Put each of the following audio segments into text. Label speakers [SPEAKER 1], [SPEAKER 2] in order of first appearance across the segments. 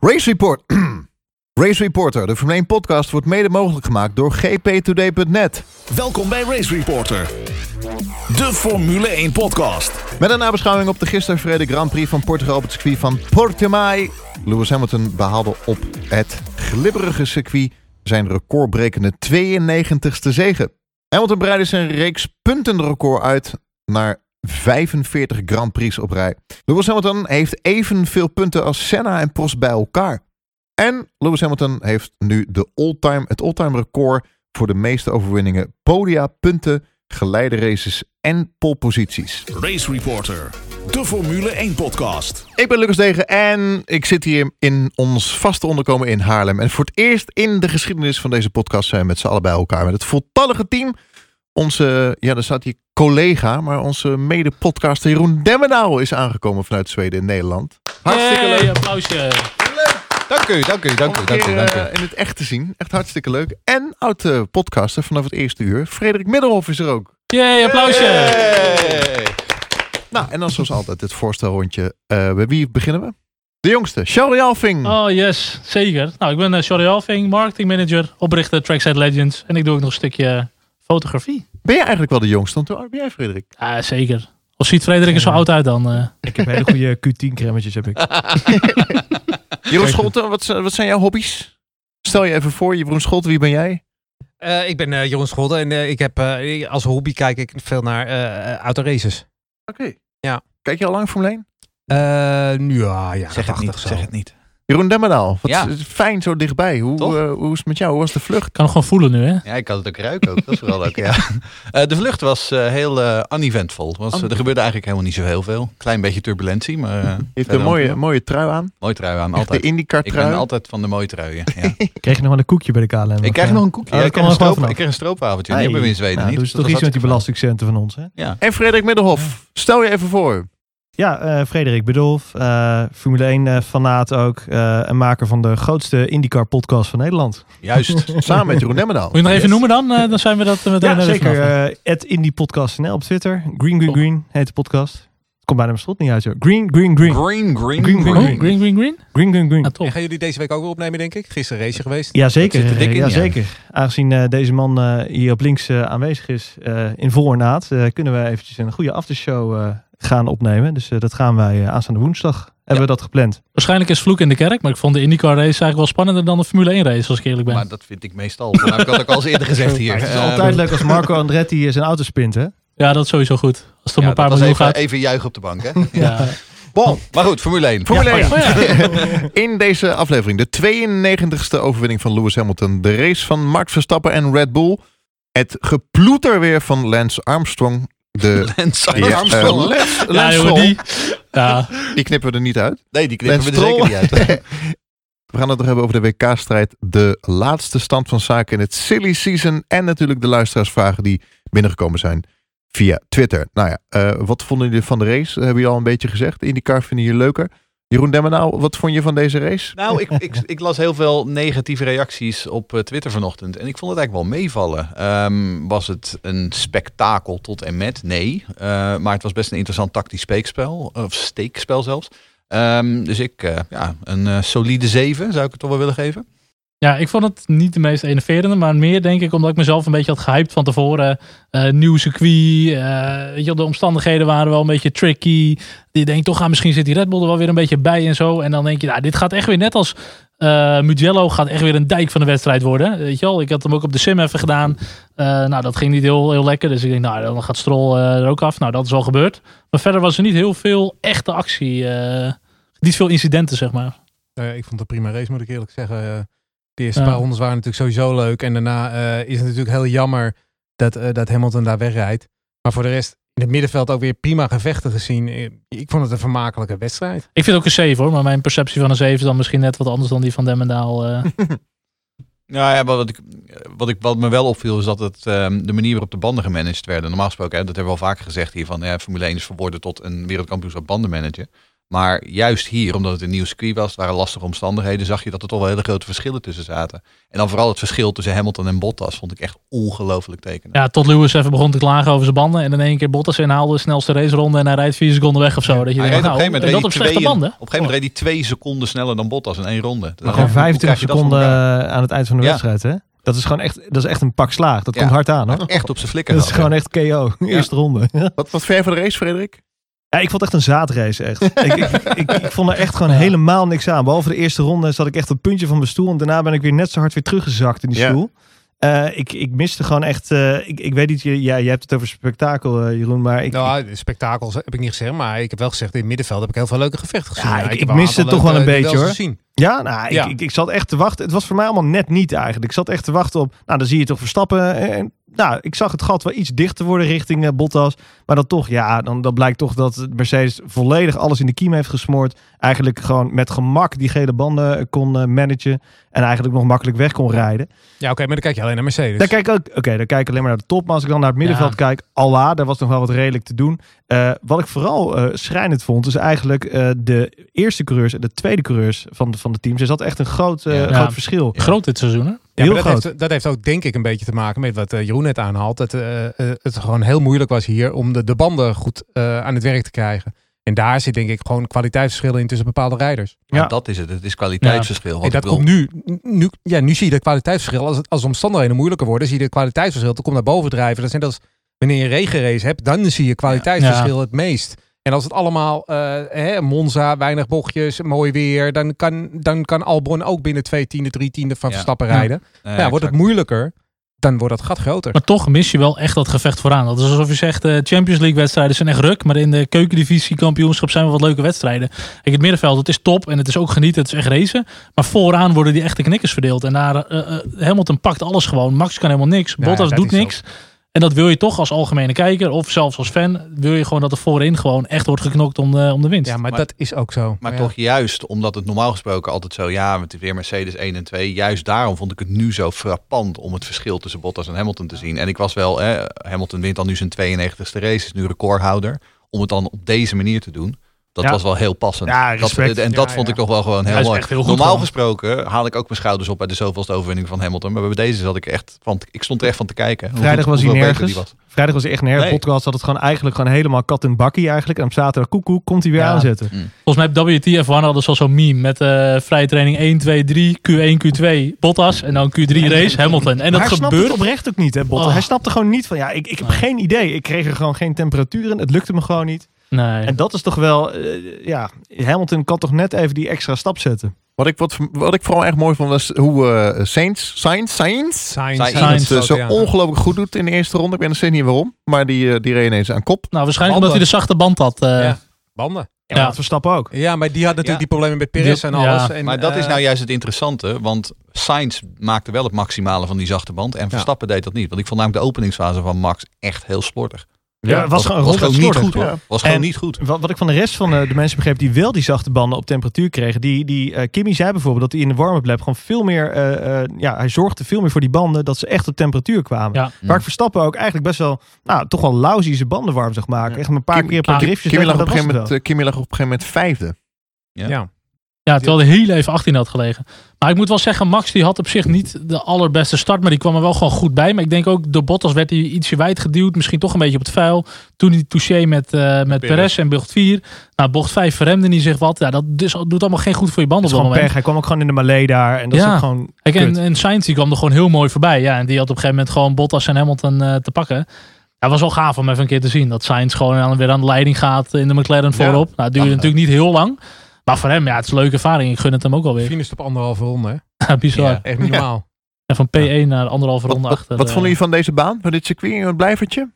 [SPEAKER 1] Race Report. Race Reporter, de Formule 1 podcast, wordt mede mogelijk gemaakt door gptoday.net.
[SPEAKER 2] Welkom bij Race Reporter, de Formule 1 podcast.
[SPEAKER 1] Met een nabeschouwing op de gisteren verreden Grand Prix van Portugal op het circuit van Portimao. Lewis Hamilton behaalde op het glibberige circuit zijn recordbrekende 92ste zegen. Hamilton breidde zijn reeks puntenrecord uit naar 45 Grand Prix op rij. Lewis Hamilton heeft evenveel punten als Senna en Prost bij elkaar. En Lewis Hamilton heeft nu de all-time, het all-time record voor de meeste overwinningen, podia, punten, geleide races en poleposities.
[SPEAKER 2] Race Reporter, de Formule 1 podcast.
[SPEAKER 1] Ik ben Lucas Degen en ik zit hier in ons vaste onderkomen in Haarlem. En voor het eerst in de geschiedenis van deze podcast zijn we met z'n allen bij elkaar. Met het voltallige team. Onze, ja, daar staat hier collega, maar onze mede-podcaster Jeroen Demmenauw is aangekomen vanuit Zweden en Nederland. Hartstikke
[SPEAKER 3] Hey,
[SPEAKER 1] leuk.
[SPEAKER 3] applausje.
[SPEAKER 4] Dank u, dank u,
[SPEAKER 1] Om
[SPEAKER 4] dank u,
[SPEAKER 1] een
[SPEAKER 4] dank u,
[SPEAKER 1] keer,
[SPEAKER 4] dank u.
[SPEAKER 1] eh, in het echt te zien. Echt hartstikke leuk. En oud-podcaster vanaf het eerste uur. Frederik Middelhoff is er ook.
[SPEAKER 3] Yay, applausje.
[SPEAKER 4] Hey.
[SPEAKER 1] Nou, en dan zoals altijd het voorstelrondje. Eh bij wie beginnen we? De jongste, Charlie Alving.
[SPEAKER 3] Oh yes, zeker. Nou, ik ben eh, Shorty Alving, marketing manager, oprichter Trackside Legends. En ik doe ook nog een stukje fotografie.
[SPEAKER 1] Ben jij eigenlijk wel de jongste? Want hoe oud ben jij, Frederik?
[SPEAKER 3] Ja, zeker. Of ziet Frederik er zo
[SPEAKER 5] Ja.
[SPEAKER 3] oud uit dan? eh?
[SPEAKER 5] Ik heb hele goede Q10-cremmetjes, heb ik.
[SPEAKER 1] Jeroen Scholten, wat, zijn- wat zijn jouw hobby's? Stel je even voor, Jeroen Scholten, wie ben jij?
[SPEAKER 4] Eh, ik ben eh, Jeroen Scholden en eh, ik heb, eh, ik- als hobby kijk ik veel naar eh eh, autoraces.
[SPEAKER 1] Oké.
[SPEAKER 4] Ja.
[SPEAKER 1] Kijk je al lang Formule 1?
[SPEAKER 4] Eh, nu, ja, ja,
[SPEAKER 2] Zeg het
[SPEAKER 4] 80
[SPEAKER 2] niet,
[SPEAKER 4] zo.
[SPEAKER 2] zeg het niet.
[SPEAKER 1] Jeroen Demmerdaal, wat
[SPEAKER 4] Ja.
[SPEAKER 1] is fijn zo dichtbij. Hoe,
[SPEAKER 4] Toch?
[SPEAKER 1] eh, hoe is het met jou? Hoe was de vlucht?
[SPEAKER 3] kan het gewoon voelen nu, hè?
[SPEAKER 4] Ja, ik kan het ook ruiken.
[SPEAKER 6] Ook, dat is vooral ook, ja. Eh, de vlucht was eh, heel eh uneventvol. Want, eh, er gebeurde eigenlijk helemaal niet zo heel veel. Klein beetje turbulentie, maar... eh,
[SPEAKER 1] Je hebt
[SPEAKER 6] verder
[SPEAKER 1] een mooie, mooie trui aan.
[SPEAKER 6] Mooi trui aan,
[SPEAKER 1] Echt
[SPEAKER 6] altijd.
[SPEAKER 1] de IndyCar
[SPEAKER 6] Ik ben
[SPEAKER 1] trui.
[SPEAKER 6] altijd van de mooie truien. Ja.
[SPEAKER 5] Ik kreeg nog wel een koekje bij de KLM.
[SPEAKER 6] ik krijg nog een koekje.
[SPEAKER 5] Oh,
[SPEAKER 6] Ja,
[SPEAKER 5] dat
[SPEAKER 6] ik, kreeg een
[SPEAKER 5] kan wel
[SPEAKER 6] stroop-
[SPEAKER 5] vanaf.
[SPEAKER 6] ik kreeg een stroopwaffeltje.
[SPEAKER 5] Hey.
[SPEAKER 6] Die hebben we in Zweden
[SPEAKER 5] Nou,
[SPEAKER 6] niet.
[SPEAKER 5] doen ze
[SPEAKER 6] Dat
[SPEAKER 5] toch iets
[SPEAKER 6] was
[SPEAKER 5] met die
[SPEAKER 6] hartstikke
[SPEAKER 5] belastingcenten van ons, hè?
[SPEAKER 1] En Frederik Middelhof, stel je even voor.
[SPEAKER 5] Ja, eh, Frederik Bedolf, eh, Formule 1-fanaat ook. eh, en maker van de grootste IndyCar-podcast van Nederland.
[SPEAKER 6] fijn. Juist.
[SPEAKER 1] Samen met Jeroen Demmerdaal.
[SPEAKER 3] Moet je nog even
[SPEAKER 6] Yes.
[SPEAKER 3] noemen dan? Eh, dan zijn we dat eh, meteen
[SPEAKER 5] ja,
[SPEAKER 3] er weer
[SPEAKER 5] zeker.
[SPEAKER 3] vanaf.
[SPEAKER 5] eh, at IndyPodcast.nl op Twitter. Green Green Green heet de podcast. Het komt bijna mijn slot niet uit, joh. Green Green Green.
[SPEAKER 6] Green, green,
[SPEAKER 5] Green,
[SPEAKER 6] green.
[SPEAKER 5] green.
[SPEAKER 3] Oh, green, green, green.
[SPEAKER 5] Green Green Green.
[SPEAKER 3] Ah, top.
[SPEAKER 4] En gaan jullie deze week ook weer opnemen, denk ik? Gisteren race geweest.
[SPEAKER 5] Jazeker,
[SPEAKER 6] Dat zit er dik in,
[SPEAKER 5] ja,
[SPEAKER 6] ja.
[SPEAKER 5] zeker. Aangezien eh, deze man eh, hier op links eh, aanwezig is eh, in vol ornaat, eh, kunnen we eventjes een goede aftershow eh, gaan opnemen. Dus eh, dat gaan wij eh, aanstaande woensdag. Hebben we dat gepland?
[SPEAKER 3] Waarschijnlijk is vloek in de kerk, maar ik vond de IndyCar race eigenlijk wel spannender dan de Formule 1 race, als ik eerlijk ben.
[SPEAKER 6] Maar dat vind ik meestal. Dat heb ik dat ook al eens eerder gezegd hier.
[SPEAKER 5] Maar het is
[SPEAKER 6] Eh,
[SPEAKER 5] altijd leuk als Marco Andretti eh, zijn auto spint, hè?
[SPEAKER 3] ja, dat is sowieso goed. Als het om
[SPEAKER 6] ja,
[SPEAKER 3] een paar
[SPEAKER 6] dat was
[SPEAKER 3] miljoen
[SPEAKER 6] even,
[SPEAKER 3] gaat.
[SPEAKER 6] even juichen op de bank, hè.
[SPEAKER 3] ja.
[SPEAKER 1] Bon,
[SPEAKER 6] Maar goed, Formule 1.
[SPEAKER 1] Formule 1.
[SPEAKER 3] Oh, ja.
[SPEAKER 1] In deze aflevering de 92e overwinning van Lewis Hamilton, de race van Max Verstappen en Red Bull, het geploeter weer van Lance Armstrong, de
[SPEAKER 6] Lens
[SPEAKER 1] Ja, eh,
[SPEAKER 6] Armstrong.
[SPEAKER 1] Lance,
[SPEAKER 3] Ja,
[SPEAKER 1] Lance
[SPEAKER 3] jongen,
[SPEAKER 1] Stroll.
[SPEAKER 3] die. Ja,
[SPEAKER 1] Die knippen we er niet uit.
[SPEAKER 6] Nee, die knippen we er
[SPEAKER 1] Lens
[SPEAKER 6] zeker niet uit.
[SPEAKER 1] We gaan het nog hebben over de WK-strijd, de laatste stand van zaken in het silly season en natuurlijk de luisteraarsvragen die binnengekomen zijn via Twitter. Nou ja, eh, wat vonden jullie van de race? Dat hebben jullie al een beetje gezegd. IndyCar vinden jullie leuker. Jeroen Demmenau, wat vond je van deze race?
[SPEAKER 6] Nou, ik, ik, ik las heel veel negatieve reacties op eh, Twitter vanochtend. En ik vond het eigenlijk wel meevallen. Ehm, was het een spektakel tot en met? Nee. Eh, maar het was best een interessant tactisch speekspel. Of steekspel zelfs. Ehm, dus ik, eh, ja, een eh, solide 7 zou ik het toch wel willen geven.
[SPEAKER 3] Ja, ik vond het niet de meest enerverende, maar meer denk ik omdat ik mezelf een beetje had gehyped van tevoren. Eh, nieuw circuit, eh, weet je, wel, de omstandigheden waren wel een beetje tricky. Je denkt toch, ah, misschien zit die Red Bull er wel weer een beetje bij en zo. En dan denk je, nou, dit gaat echt weer net als eh, Mugello, gaat echt weer een dijk van de wedstrijd worden. Weet je wel, ik had hem ook op de sim even gedaan. Eh, nou, dat ging niet heel, heel lekker, dus ik denk, nou, dan gaat Stroll eh, er ook af. Nou, dat is al gebeurd. Maar verder was er niet heel veel echte actie, eh, niet veel incidenten, zeg maar.
[SPEAKER 4] eh, ik vond het een prima race, moet ik eerlijk zeggen. Eh, De eerste
[SPEAKER 3] Ja.
[SPEAKER 4] paar rondes waren natuurlijk sowieso leuk. En daarna eh, is het natuurlijk heel jammer dat, eh, dat Hamilton daar wegrijdt. Maar voor de rest, in het middenveld ook weer prima gevechten gezien. Eh, Ik vond het een vermakelijke wedstrijd.
[SPEAKER 3] Ik vind ook een 7 hoor, maar mijn perceptie van een 7 is dan misschien net wat anders dan die van Demmendaal. eh.
[SPEAKER 6] Nou ja, wat, ik, wat, ik, wat me wel opviel is dat het, ehm, de manier waarop de banden gemanaged werden. Normaal gesproken, hè, dat hebben we al vaker gezegd hier. Van, ja, Formule 1 is verworden tot een wereldkampioenschap bandenmanager. Maar juist hier, omdat het een nieuw circuit was, het waren lastige omstandigheden, zag je dat er toch wel hele grote verschillen tussen zaten. En dan vooral het verschil tussen Hamilton en Bottas vond ik echt ongelooflijk tekenend.
[SPEAKER 3] Ja, tot Lewis even begon te klagen over zijn banden. En in één keer Bottas inhaalde de snelste raceronde. En hij rijdt vier seconden weg of zo. Dat je
[SPEAKER 6] Hij
[SPEAKER 3] denkt,
[SPEAKER 6] reed
[SPEAKER 3] nou,
[SPEAKER 6] op een gegeven moment
[SPEAKER 3] en
[SPEAKER 6] reed
[SPEAKER 3] dat
[SPEAKER 6] hij
[SPEAKER 3] op slechte
[SPEAKER 6] tweeën-
[SPEAKER 3] banden.
[SPEAKER 6] Op een gegeven moment reed hij twee seconden sneller dan Bottas in één ronde. Dan dacht
[SPEAKER 5] Maar
[SPEAKER 6] ik,
[SPEAKER 5] gewoon
[SPEAKER 6] hoe krijg
[SPEAKER 5] 25
[SPEAKER 6] je dat voor
[SPEAKER 5] seconden
[SPEAKER 6] elkaar?
[SPEAKER 5] eh, aan het eind van de
[SPEAKER 6] Ja.
[SPEAKER 5] wedstrijd, hè? Dat is gewoon echt, dat is echt een pak slaag. Dat
[SPEAKER 6] Ja.
[SPEAKER 5] komt hard aan, hoor.
[SPEAKER 6] Echt op zijn flikker.
[SPEAKER 5] Dat is
[SPEAKER 6] hadden.
[SPEAKER 5] gewoon echt KO. Eerste ronde.
[SPEAKER 1] Wat, wat ver voor de race, Frederik?
[SPEAKER 5] Ja, ik vond het echt een zaadrace, echt. ik, ik, ik, ik vond er echt gewoon helemaal niks aan. Behalve de eerste ronde zat ik echt op het puntje van mijn stoel. En daarna ben ik weer net zo hard weer teruggezakt in die
[SPEAKER 1] Ja.
[SPEAKER 5] stoel. Eh, ik, ik miste gewoon echt... eh, ik, ik weet niet, je, ja, je hebt het over spektakel, eh, Jeroen. Maar ik,
[SPEAKER 4] nou, de spektakels heb ik niet gezegd, maar ik heb wel gezegd in het middenveld heb ik heel veel leuke gevechten gezien.
[SPEAKER 5] Ja, ik-
[SPEAKER 4] heb
[SPEAKER 5] ik
[SPEAKER 4] een
[SPEAKER 5] miste
[SPEAKER 4] aantal
[SPEAKER 5] toch wel
[SPEAKER 4] leuke
[SPEAKER 5] een beetje,
[SPEAKER 4] duels
[SPEAKER 5] hoor.
[SPEAKER 4] gezien.
[SPEAKER 5] Ja, nou, ik,
[SPEAKER 4] Ja.
[SPEAKER 5] Ik, ik zat echt te wachten. Het was voor mij allemaal net niet eigenlijk. Ik zat echt te wachten op. Nou, dan zie je toch verstappen. En, en- nou, ik zag het gat wel iets dichter worden richting eh, Bottas. Maar dan toch, ja, dan, dan blijkt toch dat Mercedes volledig alles in de kiem heeft gesmoord. Eigenlijk gewoon met gemak die gele banden eh, kon eh, managen. En eigenlijk nog makkelijk weg kon rijden.
[SPEAKER 4] Ja, oké, maar dan kijk je alleen naar Mercedes.
[SPEAKER 5] Dan kijk ik ook, oké, dan kijk ik alleen maar naar de top. Maar als ik dan naar het middenveld
[SPEAKER 3] Ja.
[SPEAKER 5] kijk, Allah, daar was nog wel wat redelijk te doen. Eh, wat ik vooral eh, schrijnend vond, is eigenlijk eh, de eerste coureurs en de tweede coureurs van, de- van de teams. Er zat echt een groot, eh,
[SPEAKER 6] Ja.
[SPEAKER 5] groot
[SPEAKER 3] Ja.
[SPEAKER 5] verschil.
[SPEAKER 3] Groot dit seizoen, hè?
[SPEAKER 4] Ja,
[SPEAKER 5] Heel
[SPEAKER 4] maar dat,
[SPEAKER 5] groot.
[SPEAKER 4] heeft, dat heeft ook denk ik een beetje te maken met wat eh, Jeroen net aanhaalt. Dat eh, eh, het gewoon heel moeilijk was hier om de, de banden goed eh, aan het werk te krijgen. En daar zit denk ik gewoon kwaliteitsverschillen in tussen bepaalde rijders.
[SPEAKER 6] Maar
[SPEAKER 5] Ja.
[SPEAKER 6] Dat is het. Het is kwaliteitsverschil. Want
[SPEAKER 4] En dat
[SPEAKER 6] ik bedoel,
[SPEAKER 4] komt nu, nu, ja, nu zie je dat kwaliteitsverschil. Als, het- als de omstandigheden moeilijker worden, zie je de kwaliteitsverschil. Dat komt naar boven drijven. Dat is net als wanneer je een regenrace hebt, dan zie je kwaliteitsverschil het meest. En als het allemaal, eh, hè, Monza, weinig bochtjes, mooi weer, dan kan, dan kan Albon ook binnen twee tiende, drie tiende van
[SPEAKER 6] Ja.
[SPEAKER 4] Verstappen
[SPEAKER 3] Ja.
[SPEAKER 4] rijden. Nou
[SPEAKER 6] eh,
[SPEAKER 4] ja, wordt het
[SPEAKER 6] exact.
[SPEAKER 4] moeilijker, dan wordt dat gat groter.
[SPEAKER 3] Maar toch mis je wel echt dat gevecht vooraan. Dat is alsof je zegt, eh, Champions League wedstrijden zijn echt ruk. Maar in de keukendivisie kampioenschap zijn wel wat leuke wedstrijden. Kijk, het middenveld, het is top en het is ook genieten. Het is echt racen. Maar vooraan worden die echte knikkers verdeeld. En daar, eh, eh, Hamilton pakt alles gewoon. Max kan helemaal niks.
[SPEAKER 4] Ja,
[SPEAKER 3] Bottas
[SPEAKER 4] dat
[SPEAKER 3] doet
[SPEAKER 4] is
[SPEAKER 3] niks. En dat wil je toch als algemene kijker of zelfs als fan. Wil je gewoon dat er voorin gewoon echt wordt geknokt om de, om de winst.
[SPEAKER 4] Ja, maar,
[SPEAKER 6] Maar-
[SPEAKER 4] dat is ook zo.
[SPEAKER 6] Maar
[SPEAKER 4] Ja.
[SPEAKER 6] toch juist, omdat het normaal gesproken altijd zo, ja, met weer Mercedes 1 en 2. Juist daarom vond ik het nu zo frappant om het verschil tussen Bottas en Hamilton te zien. En ik was wel, eh, Hamilton wint dan nu zijn 92e race, is nu recordhouder. Om het dan op deze manier te doen, dat
[SPEAKER 5] Ja.
[SPEAKER 6] was wel heel passend.
[SPEAKER 5] Ja,
[SPEAKER 6] Dat-
[SPEAKER 5] respect.
[SPEAKER 6] en dat
[SPEAKER 4] Ja,
[SPEAKER 6] vond
[SPEAKER 4] ja.
[SPEAKER 6] ik toch wel gewoon heel
[SPEAKER 3] Hij is
[SPEAKER 6] mooi.
[SPEAKER 3] echt heel goed
[SPEAKER 6] normaal
[SPEAKER 3] gewoon.
[SPEAKER 6] gesproken haal ik ook mijn schouders op bij de zoveelste overwinning van Hamilton. Maar bij deze zat ik echt, van, ik stond er echt van te kijken. hoe
[SPEAKER 5] Vrijdag
[SPEAKER 6] goed-
[SPEAKER 5] was hij
[SPEAKER 6] hoeveel beter
[SPEAKER 5] nergens.
[SPEAKER 6] die was.
[SPEAKER 5] Vrijdag was hij echt nergens.
[SPEAKER 6] Nee.
[SPEAKER 5] Podcast had het gewoon eigenlijk gewoon helemaal kat en bakkie eigenlijk. En op zaterdag koekoek komt hij weer
[SPEAKER 3] Ja.
[SPEAKER 5] aanzetten.
[SPEAKER 3] Volgens mij op WTF1 hadden ze al zo'n meme met eh vrije training 1, 2, 3, Q1, Q2, Bottas en dan Q3 race, Hamilton. En dat
[SPEAKER 5] Maar hij snapt
[SPEAKER 3] gebeurt
[SPEAKER 5] het oprecht ook niet, hè, Botte.
[SPEAKER 4] Ah.
[SPEAKER 3] Oh.
[SPEAKER 5] Hij snapte gewoon niet van, ja, ik, ik heb
[SPEAKER 3] Nee.
[SPEAKER 5] geen idee. Ik kreeg er gewoon geen temperatuur in. Het lukte me gewoon niet.
[SPEAKER 3] Nee.
[SPEAKER 5] En dat is toch wel, eh, ja, Hamilton kan toch net even die extra stap zetten.
[SPEAKER 1] Wat ik, wat, wat ik vooral erg mooi vond was hoe eh Saints, Saints, Saints
[SPEAKER 4] Sainz,
[SPEAKER 6] Sainz. dus
[SPEAKER 4] Sainz,
[SPEAKER 1] het eh, zo
[SPEAKER 4] ja.
[SPEAKER 1] ongelooflijk goed doet in de eerste ronde. Ik weet nog steeds niet waarom, maar die, eh, die reed ineens aan kop.
[SPEAKER 3] Nou, waarschijnlijk omdat hij de zachte band had. eh.
[SPEAKER 4] Ja. Banden.
[SPEAKER 5] En
[SPEAKER 3] Ja.
[SPEAKER 5] dat Verstappen ook.
[SPEAKER 4] Ja, maar die had natuurlijk
[SPEAKER 6] Ja.
[SPEAKER 4] die problemen met Perez
[SPEAKER 3] Die-
[SPEAKER 4] en alles.
[SPEAKER 3] ja.
[SPEAKER 4] En,
[SPEAKER 6] Maar dat is
[SPEAKER 4] eh,
[SPEAKER 6] nou juist het interessante, want Sainz maakte wel het maximale van die zachte band en Verstappen deed dat niet. Want ik vond namelijk de openingsfase van Max echt heel slordig.
[SPEAKER 5] Ja, het was gewoon ronduit
[SPEAKER 6] niet
[SPEAKER 5] slordig,
[SPEAKER 6] goed. hoor.
[SPEAKER 5] ja.
[SPEAKER 6] Was gewoon
[SPEAKER 5] En-
[SPEAKER 6] niet goed.
[SPEAKER 5] Wat, wat ik van de rest van eh, de mensen begreep die wel die zachte banden op temperatuur kregen. Die, die eh, Kimmy zei bijvoorbeeld dat hij in de warm-up lab gewoon veel meer. eh, eh, ja, hij zorgde veel meer voor die banden dat ze echt op temperatuur kwamen.
[SPEAKER 3] Ja.
[SPEAKER 5] Waar ik Verstappen ook eigenlijk best wel, nou, toch wel lousy zijn banden warm zag maken. Echt een paar
[SPEAKER 1] Kim-
[SPEAKER 5] keer per
[SPEAKER 3] Ah,
[SPEAKER 5] driftjes.
[SPEAKER 1] Kimi
[SPEAKER 5] deed,
[SPEAKER 1] lag, op
[SPEAKER 5] maar
[SPEAKER 1] een
[SPEAKER 5] dat
[SPEAKER 1] gegeven
[SPEAKER 5] was
[SPEAKER 1] moment, eh, Kimi lag op een gegeven moment vijfde.
[SPEAKER 6] Ja.
[SPEAKER 4] Ja.
[SPEAKER 3] Ja, terwijl hij heel even 18 had gelegen. Maar ik moet wel zeggen, Max die had op zich niet de allerbeste start. Maar die kwam er wel gewoon goed bij. Maar ik denk ook, door Bottas werd hij ietsje wijd geduwd. Misschien toch een beetje op het vuil. Toen die touché met, eh met
[SPEAKER 6] Perez.
[SPEAKER 3] Perez en bocht 4. Nou, bocht 5 verremde hij zich wat. Ja, dat dus, doet allemaal geen goed voor je band
[SPEAKER 5] het
[SPEAKER 3] op
[SPEAKER 5] is
[SPEAKER 3] dat
[SPEAKER 5] gewoon
[SPEAKER 3] moment.
[SPEAKER 5] pech. Hij kwam ook gewoon in de Malay daar. En dat is
[SPEAKER 3] Ja.
[SPEAKER 5] ook gewoon.
[SPEAKER 3] Kijk, en,
[SPEAKER 5] Kut.
[SPEAKER 3] en Sainz die kwam er gewoon heel mooi voorbij. Ja, en die had op een gegeven moment gewoon Bottas en Hamilton eh, te pakken. Ja, was wel gaaf om even een keer te zien. Dat Sainz gewoon aan, weer aan de leiding gaat in de McLaren voorop. Nou, het duurde natuurlijk niet heel lang. Maar voor hem, ja, het is een leuke ervaring. Ik gun het hem ook alweer.
[SPEAKER 4] Finish op anderhalve ronde. hè.
[SPEAKER 3] Ja, Bizar.
[SPEAKER 6] Ja.
[SPEAKER 4] Echt niet normaal.
[SPEAKER 3] En van P1 naar anderhalve
[SPEAKER 1] Wat,
[SPEAKER 3] ronde
[SPEAKER 1] wat,
[SPEAKER 3] achter.
[SPEAKER 1] wat
[SPEAKER 3] eh,
[SPEAKER 1] vonden jullie van deze baan, van dit circuit, een blijvertje?